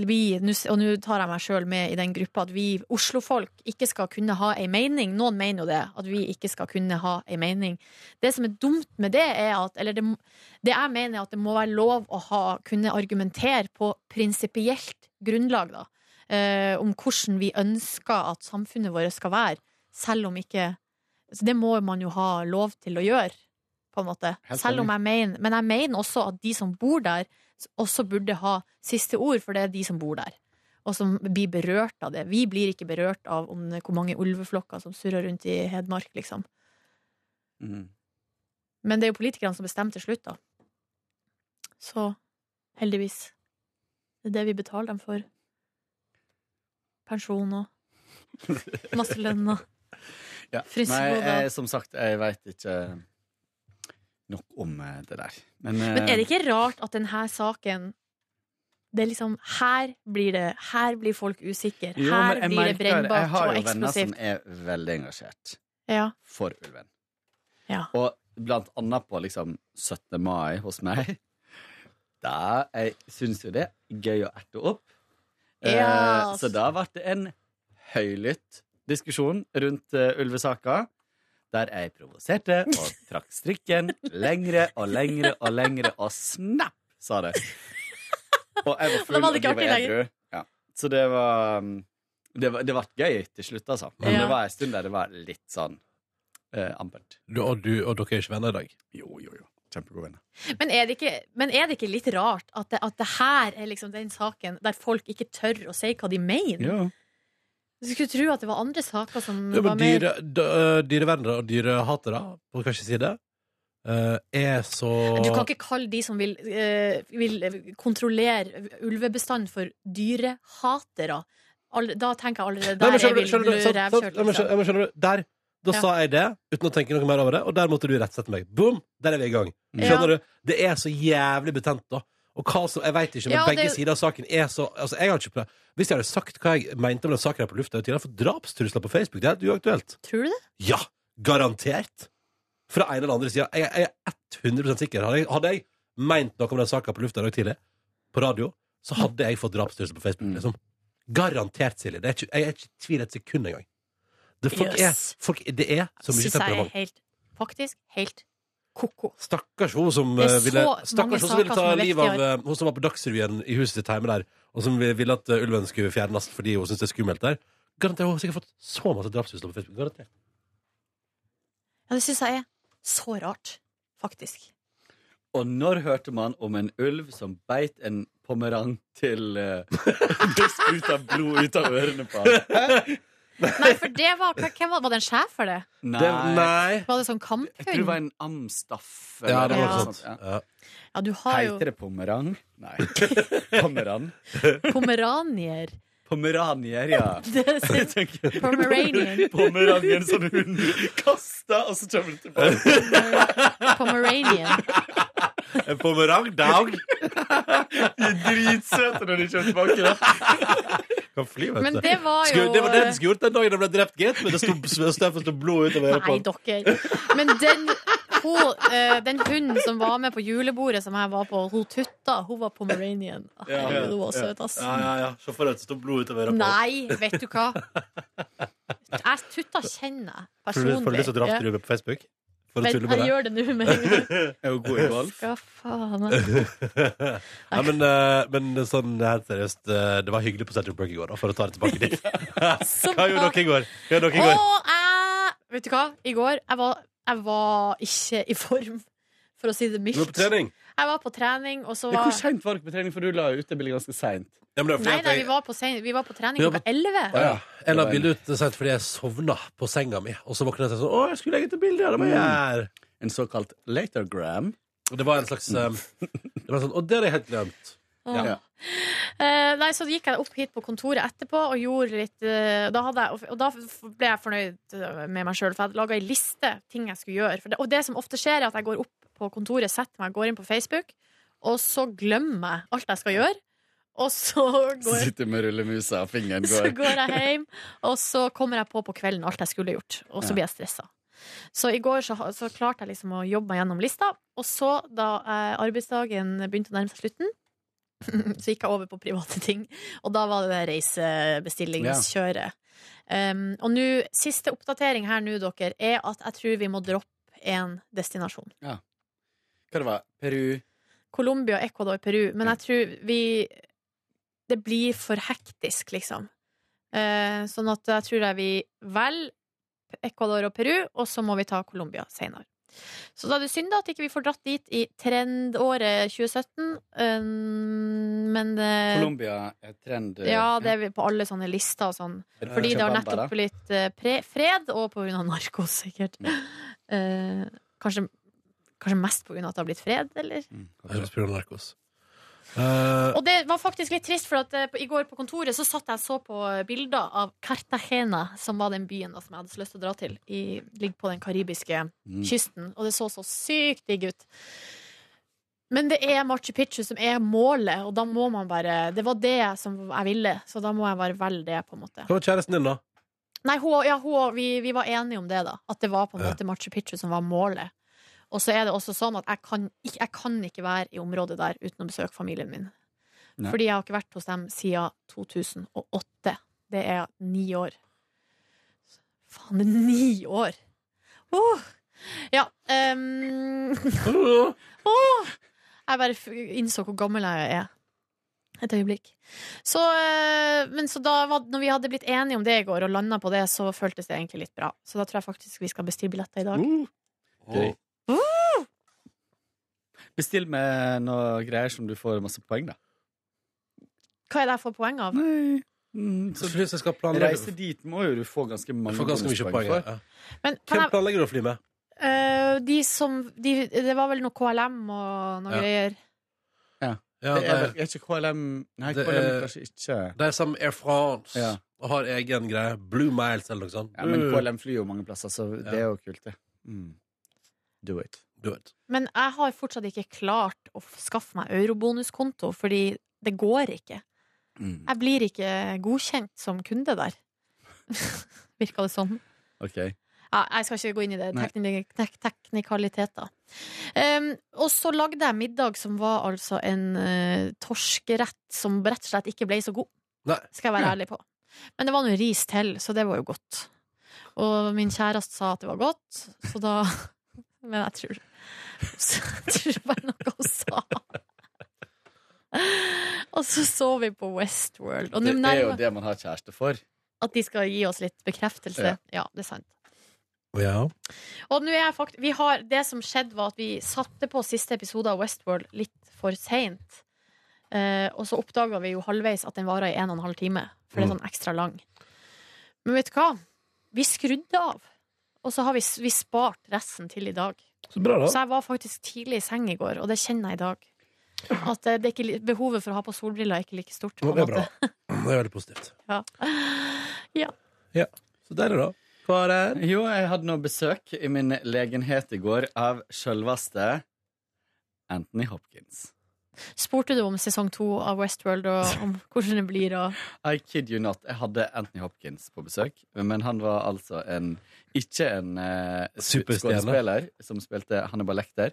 Speaker 3: vi nå s- Og nå tar jeg meg sjøl med i den gruppa at vi Oslofolk ikke skal kunne ha ei mening. Noen mener jo det, at vi ikke skal kunne ha ei mening. Det som er dumt med det, er at Eller det, m- det jeg mener, er at det må være lov å ha, kunne argumentere på prinsipielt grunnlag, da. eh, om hvordan vi ønsker at samfunnet vårt skal være, selv om ikke så det må man jo ha lov til å gjøre, på en måte.
Speaker 20: Helt
Speaker 3: Selv om
Speaker 20: enig.
Speaker 3: jeg mener Men jeg mener også at de som bor der, s- også burde ha siste ord, for det er de som bor der. Og som blir berørt av det. Vi blir ikke berørt av om hvor mange ulveflokker som surrer rundt i Hedmark, liksom.
Speaker 11: Mhm.
Speaker 3: Men det er jo politikerne som bestemmer til slutt, da. Så heldigvis. Det er det vi betaler dem for. Pensjon og
Speaker 11: [LAUGHS]
Speaker 3: masse lønn og
Speaker 11: Ja. Nei,
Speaker 3: Fryseboda.
Speaker 11: jeg, som sagt, jeg veit ikke nok om eh, det der. Men, eh,
Speaker 3: Men er det ikke rart at denne saken Det er liksom Her blir det Her blir folk usikre.
Speaker 11: Jo,
Speaker 3: Her
Speaker 11: men jeg
Speaker 3: blir det
Speaker 11: merker- Jeg
Speaker 3: brennbart
Speaker 11: har
Speaker 3: og
Speaker 11: jo venner som
Speaker 3: eksplosivt.
Speaker 11: er veldig engasjert
Speaker 3: Ja.
Speaker 11: for ulven.
Speaker 3: Ja.
Speaker 11: Og blant annet på liksom 17. mai hos meg. [LAUGHS] Da jeg syns jo det er gøy å erte opp.
Speaker 21: Ja.
Speaker 11: Eh,
Speaker 3: altså.
Speaker 11: så da ble det en høylytt diskusjon rundt eh, ulvesaka. Der jeg provoserte og trakk strikken lengre og lengre og lengre, og snap, sa det. Og jeg
Speaker 3: Og
Speaker 11: var
Speaker 3: da
Speaker 11: full,
Speaker 3: var
Speaker 11: og
Speaker 3: det
Speaker 11: de
Speaker 3: ikke
Speaker 11: var
Speaker 3: artig lenger.
Speaker 11: edru. Ja. Så det var um, Det, var, det ble gøy til slutt, altså. Men
Speaker 2: Ja.
Speaker 11: det var en stund der det var litt sånn eh, ampert.
Speaker 2: Du- Og, du, og dere er ikke venner i dag?
Speaker 11: Jo, jo, jo. Kjempegode venner.
Speaker 3: Men er, det ikke, men er det ikke litt rart at det, at det her er liksom den saken der folk ikke tør å si hva de mener? Du skulle tro at det var andre saker som
Speaker 2: Ja,
Speaker 3: var
Speaker 2: men
Speaker 3: mer
Speaker 2: dyre, d- øh, dyrevernere og dyrehatere, på hver sin side, øh, er så
Speaker 3: Du kan ikke kalle de som vil, eh, vil kontrollere ulvebestanden for dyrehatere. All, da tenker jeg allerede
Speaker 2: Nei,
Speaker 3: der
Speaker 2: men
Speaker 3: er
Speaker 2: skjønner du-
Speaker 3: vi altså.
Speaker 2: skjønner du- sant- sant-
Speaker 3: revkjørt.
Speaker 2: ja, men skjønner- ja, men skjønner du, Der, da
Speaker 3: liksom. Ja.
Speaker 2: sa jeg det, uten å tenke noe mer over det, og der måtte du rettsette meg. Boom! Der er vi i gang.
Speaker 3: Ja.
Speaker 2: Skjønner du? Det er så jævlig betent, da. Og hva som, Jeg vet ikke, men
Speaker 3: Ja,
Speaker 2: begge
Speaker 3: det-
Speaker 2: sider av saken er så Altså, jeg har ikke prøvd Hvis jeg hadde sagt hva jeg mente om den saken her på lufta, hadde jeg fått drapstrusler på Facebook. Det er helt uaktuelt.
Speaker 3: Tror du det?
Speaker 2: Ja, garantert. Fra en eller andre sida. Jeg, jeg er 100 sikker. Hadde jeg, hadde jeg meint noe om den saka på lufta i dag tidlig, på radio, så hadde jeg fått drapstrussel på Facebook.
Speaker 3: Mm.
Speaker 2: Liksom. Garantert, Silje. Det er ikke, jeg er ikke i tvil et sekund engang. Det, folk
Speaker 3: Yes.
Speaker 2: er, folk, det er så mye
Speaker 3: Synes jeg er
Speaker 2: temperament.
Speaker 3: helt, faktisk helt ko-ko.
Speaker 2: Stakkars hun som
Speaker 3: Det er
Speaker 2: eh, ville,
Speaker 3: så mange
Speaker 2: stakkars hun som ville
Speaker 3: saker
Speaker 2: ta
Speaker 3: som er
Speaker 2: livet av
Speaker 3: viktige.
Speaker 2: eh, Hun som var på Dagsrevyen i huset sitt hjemme der, og som vi- ville at eh, ulven skulle fjernes fordi hun syntes det er skummelt der. Garantert, Hun har sikkert fått så masse drapstrusler på Facebook. Garantert.
Speaker 3: Ja, det syns jeg er så rart, faktisk.
Speaker 11: Og når hørte man om en ulv som beit en pomerang til eh, [LAUGHS] busk ut av blod ut av ørene på han?
Speaker 3: Nei, for det var Hvem var, var det en sjef for det?
Speaker 11: Nei. Det- nei.
Speaker 3: Var det sånn
Speaker 11: Jeg tror det var
Speaker 3: kamphund?
Speaker 11: en amstaff.
Speaker 2: Ja,
Speaker 11: eller
Speaker 2: det var
Speaker 11: noe
Speaker 2: noe
Speaker 11: sånt,
Speaker 2: sånt.
Speaker 11: ja.
Speaker 3: Ja, du har jo
Speaker 11: Heiter det pomerang? [LAUGHS] Nei. Pomeran.
Speaker 3: pomeranier.
Speaker 11: Pomeranier, ja.
Speaker 3: [LAUGHS] Det er
Speaker 2: [LAUGHS]
Speaker 3: sikkert- Pomeranian.
Speaker 11: Pomerangen som hun kasta, og så kommer det tilbake.
Speaker 3: Pomeranian.
Speaker 2: En pomerang dag.
Speaker 11: De er dritsøte når de kommer tilbake.
Speaker 2: Kan fly, vet
Speaker 3: Men
Speaker 2: du.
Speaker 3: det var jo-
Speaker 2: Skulle- Det var det den skulle gjort den dagen den ble drept, gitt. Men det sto støv og blod utover øret på
Speaker 3: Nei,
Speaker 2: den.
Speaker 3: dere. Men den Hun, eh, den hunden som var med på julebordet som jeg var på, hun Tutta, hun var pomeranian.
Speaker 16: Ja, ja,
Speaker 3: Herregud, Hun Ah, var søt, ass.
Speaker 16: Ja, ja, ja. Se for deg at det står blod utover øret på.
Speaker 3: Nei, vet du hva? Jeg Tutta kjenner
Speaker 16: Får
Speaker 3: jeg
Speaker 16: du-
Speaker 3: personlig.
Speaker 16: Får du lyst til å dra
Speaker 3: Ja.
Speaker 16: til Rube på Facebook? For å
Speaker 3: Vent,
Speaker 16: tulle med
Speaker 3: jeg
Speaker 16: det?
Speaker 3: gjør det nå med en
Speaker 16: [LAUGHS]
Speaker 3: gang.
Speaker 16: Er hun god i golf?
Speaker 3: Ja, faen.
Speaker 16: Nei, men, eh, men sånn helt seriøst, eh, det var hyggelig på Central Perk i går, da, for å ta det tilbake
Speaker 3: [LAUGHS]
Speaker 16: dit. Hva gjorde dere i går? Hva gjorde dere i går?
Speaker 3: Og jeg Vet du hva? I går jeg var jeg var ikke i form, for å si det mildt.
Speaker 11: Du var på trening?
Speaker 3: Jeg var på trening, og så
Speaker 11: Ja,
Speaker 3: var
Speaker 11: Hvor seint var dere på trening? For du la jo ut det bildet ganske seint.
Speaker 3: Nei, nei, vi var på, sen... vi var på trening
Speaker 16: Vi var på-
Speaker 3: klokka elleve.
Speaker 16: Jeg la bildet ut sent fordi jeg sovna på senga mi, og så våkna jeg sånn Å, jeg skulle legge ut et bilde, ja, det var jeg her.
Speaker 11: En såkalt latergram.
Speaker 16: Og Det var en slags um, Det var sånn Og det hadde jeg helt glemt.
Speaker 3: Åh. Eh, nei, så gikk jeg opp hit på kontoret etterpå og gjorde litt eh, da hadde jeg, Og da ble jeg fornøyd eh, med meg sjøl, for jeg hadde laga ei liste ting jeg skulle gjøre. For det, og det som ofte skjer, er at jeg går opp på kontoret, setter meg, går inn på Facebook, og så glemmer jeg alt jeg skal gjøre. Og så [LAUGHS] går,
Speaker 11: Sitter med rullemusa, og fingeren
Speaker 3: så
Speaker 11: går.
Speaker 3: går jeg hjem, og så kommer jeg på på kvelden alt jeg skulle gjort, og så
Speaker 11: Ja.
Speaker 3: blir jeg stressa. Så i går så, ha- så klarte jeg liksom å jobbe meg gjennom lista, og så, da eh, arbeidsdagen begynte å nærme seg slutten, [LAUGHS] så gikk jeg over på private ting, og da var det det reisebestillingskjøret. Um, og nå, siste oppdatering her nå, dere, er at jeg tror vi må droppe en destinasjon.
Speaker 11: Ja. Hva det var Peru?
Speaker 3: Colombia, Ecuador, Peru. Men jeg tror vi Det blir for hektisk, liksom. Eh, sånn at jeg tror jeg vi velger Ecuador og Peru, og så må vi ta Colombia senere. Så da er det synd da at ikke vi får dratt dit i trendåret 2017, eh, men eh,
Speaker 11: Colombia er trend. eh,
Speaker 3: Ja, det er vi på alle sånne lister og sånn.
Speaker 11: Er det
Speaker 3: Fordi det har
Speaker 11: Chabamba, da?
Speaker 3: nettopp blitt eh, pre fred, og på grunn av narkos, sikkert. Eh, kanskje, kanskje mest på grunn av at det har blitt fred, eller?
Speaker 16: Høres på grunn av narkos. Eh,
Speaker 3: Og det var faktisk litt trist, for at eh, på- i går på kontoret så satt jeg og så på eh, bilder av Cartagena, som var den byen da, som jeg hadde så lyst til å dra til. I, ligger på den karibiske
Speaker 19: Mm.
Speaker 3: kysten. Og det så så sykt digg ut. Men det er Machu Picchu som er målet, og da må man bare Det var det som jeg ville, så da må jeg bare velge det, på en måte.
Speaker 16: hva var kjæresten din, da?
Speaker 3: Nei, hun, ja, hun, vi, vi var enige om det, da. At det var på en
Speaker 16: Ja.
Speaker 3: måte Machu Picchu som var målet. Og så er det også sånn at jeg kan, ikke, jeg kan ikke være i området der uten å besøke familien min.
Speaker 19: Nei.
Speaker 3: Fordi jeg har ikke vært hos dem siden 2008. Det er ni år. Faen, det er ni år! Uh, ja. Um, Åh, jeg bare f- innså hvor gammel jeg er. Et øyeblikk. Så, eh, men så da var, når vi hadde blitt enige om det i går og landa på det, så føltes det egentlig litt bra. Så da tror jeg faktisk vi skal bestille billetter i dag.
Speaker 11: Gøy. Bestill med noe greier som du får masse poeng, da.
Speaker 3: Hva er det jeg får poeng av?
Speaker 11: Mm,
Speaker 16: Så plutselig skal planlegge
Speaker 11: Reise dit må jo du få ganske mange
Speaker 16: Du får ganske mye
Speaker 11: bonuspoeng
Speaker 16: poeng,
Speaker 11: for.
Speaker 3: Men kan
Speaker 16: Hvem
Speaker 3: jeg,
Speaker 16: planlegger du å fly med?
Speaker 3: eh, de som de, Det var vel noe KLM og noe
Speaker 16: Ja.
Speaker 3: greier.
Speaker 11: Ja.
Speaker 16: Ja,
Speaker 11: det er,
Speaker 16: det-
Speaker 11: vel- er ikke KLM Nei,
Speaker 16: Det
Speaker 11: KLM
Speaker 16: er-
Speaker 11: kanskje ikke
Speaker 16: De som er France
Speaker 11: Ja.
Speaker 16: og har egen greie. Blue Miles eller noe sånt.
Speaker 11: Ja, men
Speaker 16: Uh,
Speaker 11: KLM flyr jo mange plasser, så det er jo kult, det. Mm. Do it.
Speaker 16: Do it.
Speaker 3: Men jeg har fortsatt ikke klart å f- skaffe meg eurobonuskonto, fordi det går ikke. Jeg blir ikke godkjent som kunde der. [LAUGHS] Virka det sånn?
Speaker 11: OK.
Speaker 3: Ja, jeg skal ikke gå inn i det.
Speaker 11: Nei.
Speaker 3: Tekni- tek teknikaliteter. Um, og så lagde jeg middag som var altså en eh, torskerett som rett og slett ikke ble så god.
Speaker 16: Nei.
Speaker 3: Skal jeg være ærlig på. Men det var noe ris til, så det var jo godt. Og min kjæreste sa at det var godt, så da [LAUGHS] Men jeg tror så Jeg tror det var noe hun sa. Og så så vi på Westworld. Og
Speaker 11: Det
Speaker 3: nå
Speaker 11: er jo
Speaker 3: nærmer
Speaker 11: det man har kjæreste for.
Speaker 3: at de skal gi oss litt bekreftelse.
Speaker 11: Ja.
Speaker 3: Ja, det er sant.
Speaker 16: Ja.
Speaker 3: Og nå er jeg fakt vi har, det som skjedde var at vi satte på siste episode av Westworld litt for seint. Eh, og så oppdaga vi jo halvveis at den varer i en og en halv time. For det er
Speaker 19: Mm.
Speaker 3: sånn ekstra lang. Men vet du hva? Vi skrudde av. Og så har vi, s- vi spart resten til i dag.
Speaker 16: Så bra da.
Speaker 3: Så jeg var faktisk tidlig i seng i går, og det kjenner jeg i dag. At eh, det er ikke, li- behovet for å ha på solbriller er ikke like stort. på
Speaker 16: Ja,
Speaker 3: en
Speaker 16: Det er
Speaker 3: måte.
Speaker 16: bra. [CLEARS THROAT] Det er veldig positivt.
Speaker 3: Ja. ja.
Speaker 16: Ja. Så der er det, da. Hva er det?
Speaker 11: Jo, jeg hadde noe besøk i min legenhet i går av sjølveste Anthony Hopkins.
Speaker 3: Spurte du om sesong to av Westworld, og om hvordan det blir? Og...
Speaker 11: I kid you not. Jeg hadde Anthony Hopkins på besøk, men han var altså en Ikke en eh, sp-
Speaker 16: Superstjerne.
Speaker 11: skuespiller som spilte Hannibal Lecter.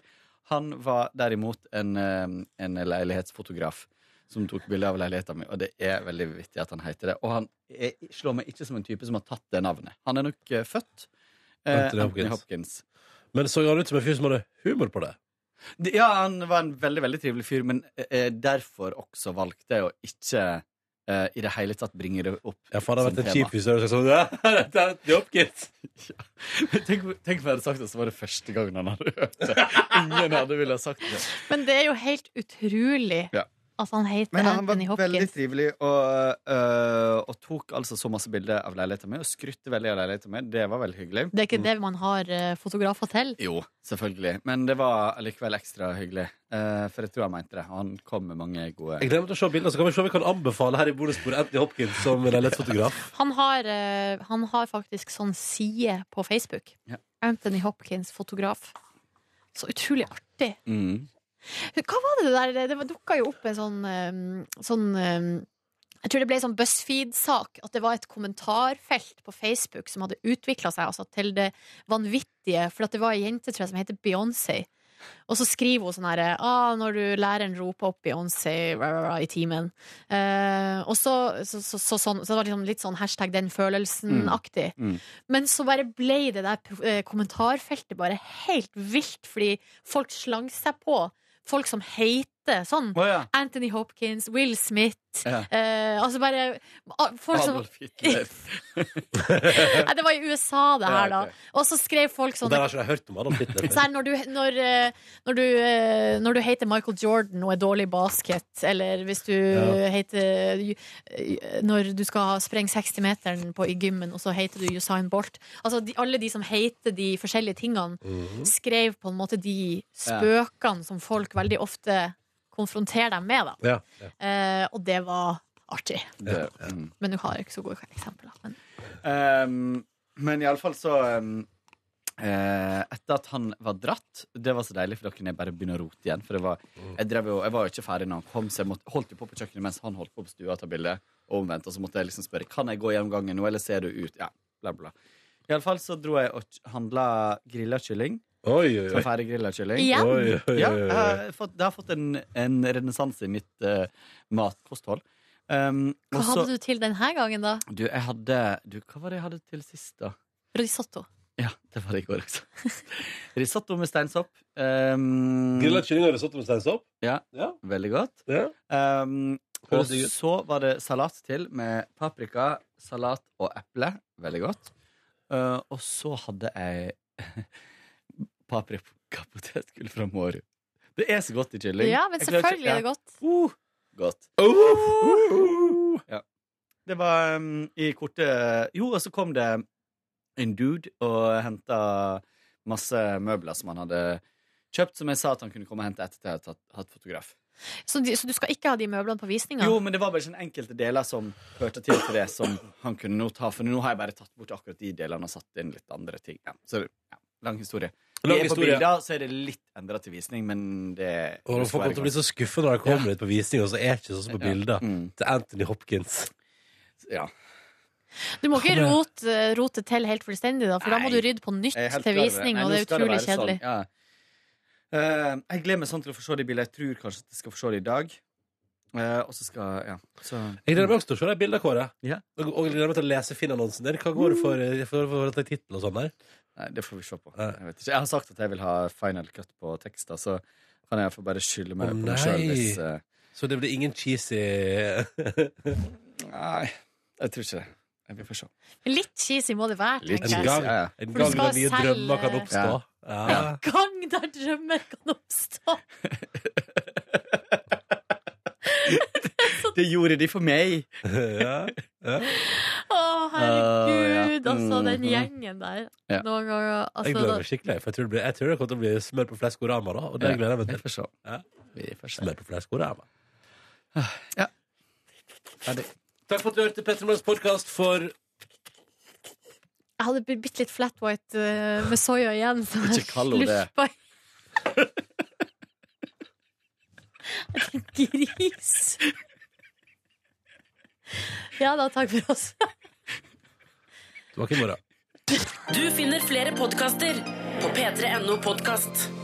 Speaker 11: Han var derimot en, eh, en leilighetsfotograf som tok bilde av leiligheten min, og det er veldig vittig at han heter det. Og han er, slår meg ikke som en type som har tatt det navnet. Han er nok eh, født eh,
Speaker 16: Anthony Hopkins.
Speaker 2: Men så han ut som en fyr som hadde humor på det?
Speaker 11: Det- Ja, han var en veldig, veldig trivelig fyr, men eh, derfor også valgte jeg å ikke eh, i det hele tatt bringe det opp.
Speaker 16: Ja, for det hadde vært en kjip hvis du hadde sagt sånn
Speaker 11: Ja,
Speaker 16: «Ja, [LAUGHS] dette er Anthony Hopkins.
Speaker 11: Tenk, tenk om jeg hadde sagt det, så var det første gangen han hadde hørt det. Ingen hadde ville ha sagt det.
Speaker 3: Men det er jo helt utrolig
Speaker 11: Ja.
Speaker 3: at han heter
Speaker 11: Men han var
Speaker 3: Anthony
Speaker 11: veldig
Speaker 3: Hopkins.
Speaker 11: trivelig og, øh, og tok altså så masse bilder av leiligheten min og skrøtte veldig av leiligheten min. Det var veldig hyggelig.
Speaker 3: Det er ikke det man har eh, fotografer til.
Speaker 11: Jo, selvfølgelig. Men det var likevel ekstra hyggelig. Eh, for jeg tror han mente det. Og han kom med mange gode
Speaker 2: Jeg glemte å se bilder, så kan vi se om vi kan anbefale her i bonusbordet Anthony Hopkins som leilighetsfotograf.
Speaker 3: Han har, eh, han har faktisk sånn side på Facebook.
Speaker 11: Ja.
Speaker 3: Anthony Hopkins, fotograf. Så utrolig artig.
Speaker 11: Mm.
Speaker 3: Hva var det der? Det- Det dukka jo opp en sånn, eh, sånn eh, Jeg tror det ble en sånn BuzzFeed-sak. At det var et kommentarfelt på Facebook som hadde utvikla seg altså, til det vanvittige. For at det var ei jente tror jeg, som heter Beyoncé. Og så skriver hun sånn herre ah, Når du læreren roper opp Beyoncé rah, rah, rah, i timen. Eh, og så, så, så, så, sånn, så det var liksom litt sånn hashtag den følelsen-aktig.
Speaker 19: Mm.
Speaker 3: Men så bare ble det der eh, kommentarfeltet bare helt vilt, fordi folk slang seg på folk som heter sånn. Anthony Hopkins, Will Smith
Speaker 19: Ja.
Speaker 3: eh, Altså bare ah, folk som,
Speaker 19: Adolf
Speaker 3: [LAUGHS]
Speaker 19: Hitler.
Speaker 3: Nei, Det var i USA, det
Speaker 2: Ja,
Speaker 3: her, da.
Speaker 2: ok.
Speaker 3: Og så skrev folk
Speaker 2: Og
Speaker 3: sånn
Speaker 2: der har ikke jeg hørt om Adolf Hitler.
Speaker 3: så her, når, du, når, eh, når, du, eh, når du heter Michael Jordan og er dårlig i basket, eller hvis du
Speaker 2: Ja.
Speaker 3: heter eh, Når du skal sprenge 60-meteren på- i gymmen, og så heter du Usain Bolt Altså de, alle de som heter de forskjellige tingene,
Speaker 19: Mhm.
Speaker 3: skrev på en måte de
Speaker 19: Ja.
Speaker 3: spøkene som folk veldig ofte konfronterer dem med, da.
Speaker 2: Ja,
Speaker 3: Eh, og det var artig.
Speaker 11: Det- mm.
Speaker 3: Men du har ikke så gode eksempler. Men.
Speaker 11: Um, men iallfall så um, eh, Etter at han var dratt Det var så deilig, for da kunne jeg bare begynne å rote igjen. For jeg var, jeg, drev jo, jeg var jo ikke ferdig når han kom, så jeg måtte, holdt jo på på kjøkkenet mens han holdt på på stua og ta bilde. Og omvendt. Og så måtte jeg liksom spørre Kan jeg gå gjennom gangen nå, eller ser du ut Ja, bla, bla. Iallfall så dro jeg og handla grilla kylling.
Speaker 2: Oi, oi, oi.
Speaker 11: Så ferdig grilla kylling.
Speaker 2: Igjen? Oi, oi, oi,
Speaker 11: Ja, eh,
Speaker 2: oi, oi.
Speaker 11: jeg har fått, det har fått en, en renessanse i mitt eh, matkosthold. Um,
Speaker 3: Hva
Speaker 11: og så-
Speaker 3: hadde du til denne gangen, da?
Speaker 11: du, jeg hadde du, Hva var det jeg hadde til sist, da?
Speaker 3: Risotto?
Speaker 11: Ja, det var det i går også. [LAUGHS] risotto med steinsopp. Um,
Speaker 2: Grilla kylling og risotto med steinsopp?
Speaker 11: Ja, Veldig godt. Um, og
Speaker 2: Høres digg ut.
Speaker 11: så var det salat til med paprika, salat og eple. Veldig godt. Uh, og så hadde jeg [LAUGHS] paprikapotetgull fra Mårud. Det er så godt i kylling.
Speaker 3: Ja, men
Speaker 11: Jeg klarer ikke-
Speaker 3: selvfølgelig er det
Speaker 11: ja. Uh,
Speaker 3: godt.
Speaker 11: Godt.
Speaker 2: Uh,
Speaker 11: Ja. Det var um, i korte Jo, og så kom det en dude og henta masse møbler som han hadde kjøpt, som jeg sa at han kunne komme og hente etter at jeg hadde tatt, hatt fotograf.
Speaker 3: Så, de, så du skal ikke ha de møblene på visninga?
Speaker 11: Jo, men det var bare sånn enkelte deler som hørte til til det som han kunne nå ta, for nå har jeg bare tatt bort akkurat de delene og satt inn litt andre ting. Ja. Så ja, lang historie.
Speaker 2: Lang
Speaker 11: det er på
Speaker 2: historie.
Speaker 11: bilder, så er det litt endra til visning, men det
Speaker 2: Og folk kommer til å bli så skuffa når de kommer ut på visning, og så er det ikke sånn som på
Speaker 11: Ja. Mm.
Speaker 2: bilder til Anthony Hopkins.
Speaker 11: Ja.
Speaker 3: Du må ikke
Speaker 2: Kan jeg-
Speaker 3: rote, rote til helt fullstendig, da, for da må du rydde på nytt
Speaker 11: Jeg er helt
Speaker 3: til
Speaker 11: klar over
Speaker 3: visning,
Speaker 11: Nei,
Speaker 3: og
Speaker 11: nå
Speaker 3: det er
Speaker 11: skal
Speaker 3: utrolig
Speaker 11: være
Speaker 3: kjedelig.
Speaker 11: Sånn, ja. Eh, jeg gleder meg sånn til å få se de bildene. Jeg tror kanskje at jeg skal få se det i dag. Eh, og så skal Ja. Så,
Speaker 2: Jeg gleder meg også til å se de bildene, Kåre.
Speaker 11: Ja. Mm.
Speaker 2: Og og jeg gleder meg til å lese Finn-annonsen din. Hva går det for, eh, for, for, for tittel og sånn der?
Speaker 11: Nei, det får vi se på. Jeg, vet ikke. jeg har sagt at jeg vil ha final cut på tekster, så kan jeg få bare skylde meg
Speaker 2: Å,
Speaker 11: på meg sjøl
Speaker 2: nei.
Speaker 11: hvis eh,
Speaker 2: Så det blir ingen cheesy [LAUGHS]
Speaker 11: Nei, jeg tror ikke det. Vi får se.
Speaker 3: Litt cheesy må det være,
Speaker 11: sånn. Litt
Speaker 3: tenker
Speaker 11: cheesy,
Speaker 3: jeg.
Speaker 11: ja, ja. En
Speaker 3: For du
Speaker 11: gang
Speaker 3: skal
Speaker 11: der nye
Speaker 3: selge-
Speaker 11: drømmer kan oppstå. Ja.
Speaker 3: Ja. En gang der drømmer kan oppstå!
Speaker 11: Det gjorde de for meg!
Speaker 2: [LAUGHS] ja.
Speaker 3: Å,
Speaker 2: Å,
Speaker 3: herregud,
Speaker 2: ja.
Speaker 3: altså,
Speaker 11: Mm,
Speaker 3: den
Speaker 2: Mhm.
Speaker 3: gjengen der.
Speaker 2: Ja.
Speaker 3: Noen ganger altså,
Speaker 2: jeg gleder meg skikkelig. For jeg tror det, blir, jeg tror det kommer til å bli smør på fleskorama, da. Og det
Speaker 11: Ja,
Speaker 2: gleder jeg meg
Speaker 11: vi
Speaker 2: til.
Speaker 11: får se.
Speaker 2: Ja. Smør på fleskorama.
Speaker 11: Ferdig.
Speaker 2: Takk for at du hørte Petter Morgens podkast for
Speaker 3: Jeg hadde blitt bitte litt flat white eh, med soya igjen. så jeg
Speaker 2: Ikke kall henne det.
Speaker 3: slurpa i- [LAUGHS] Jeg er en Gris. Ja da, takk for oss.
Speaker 2: Det var ikke i morgen.
Speaker 1: Du finner flere podkaster på p3.no podkast.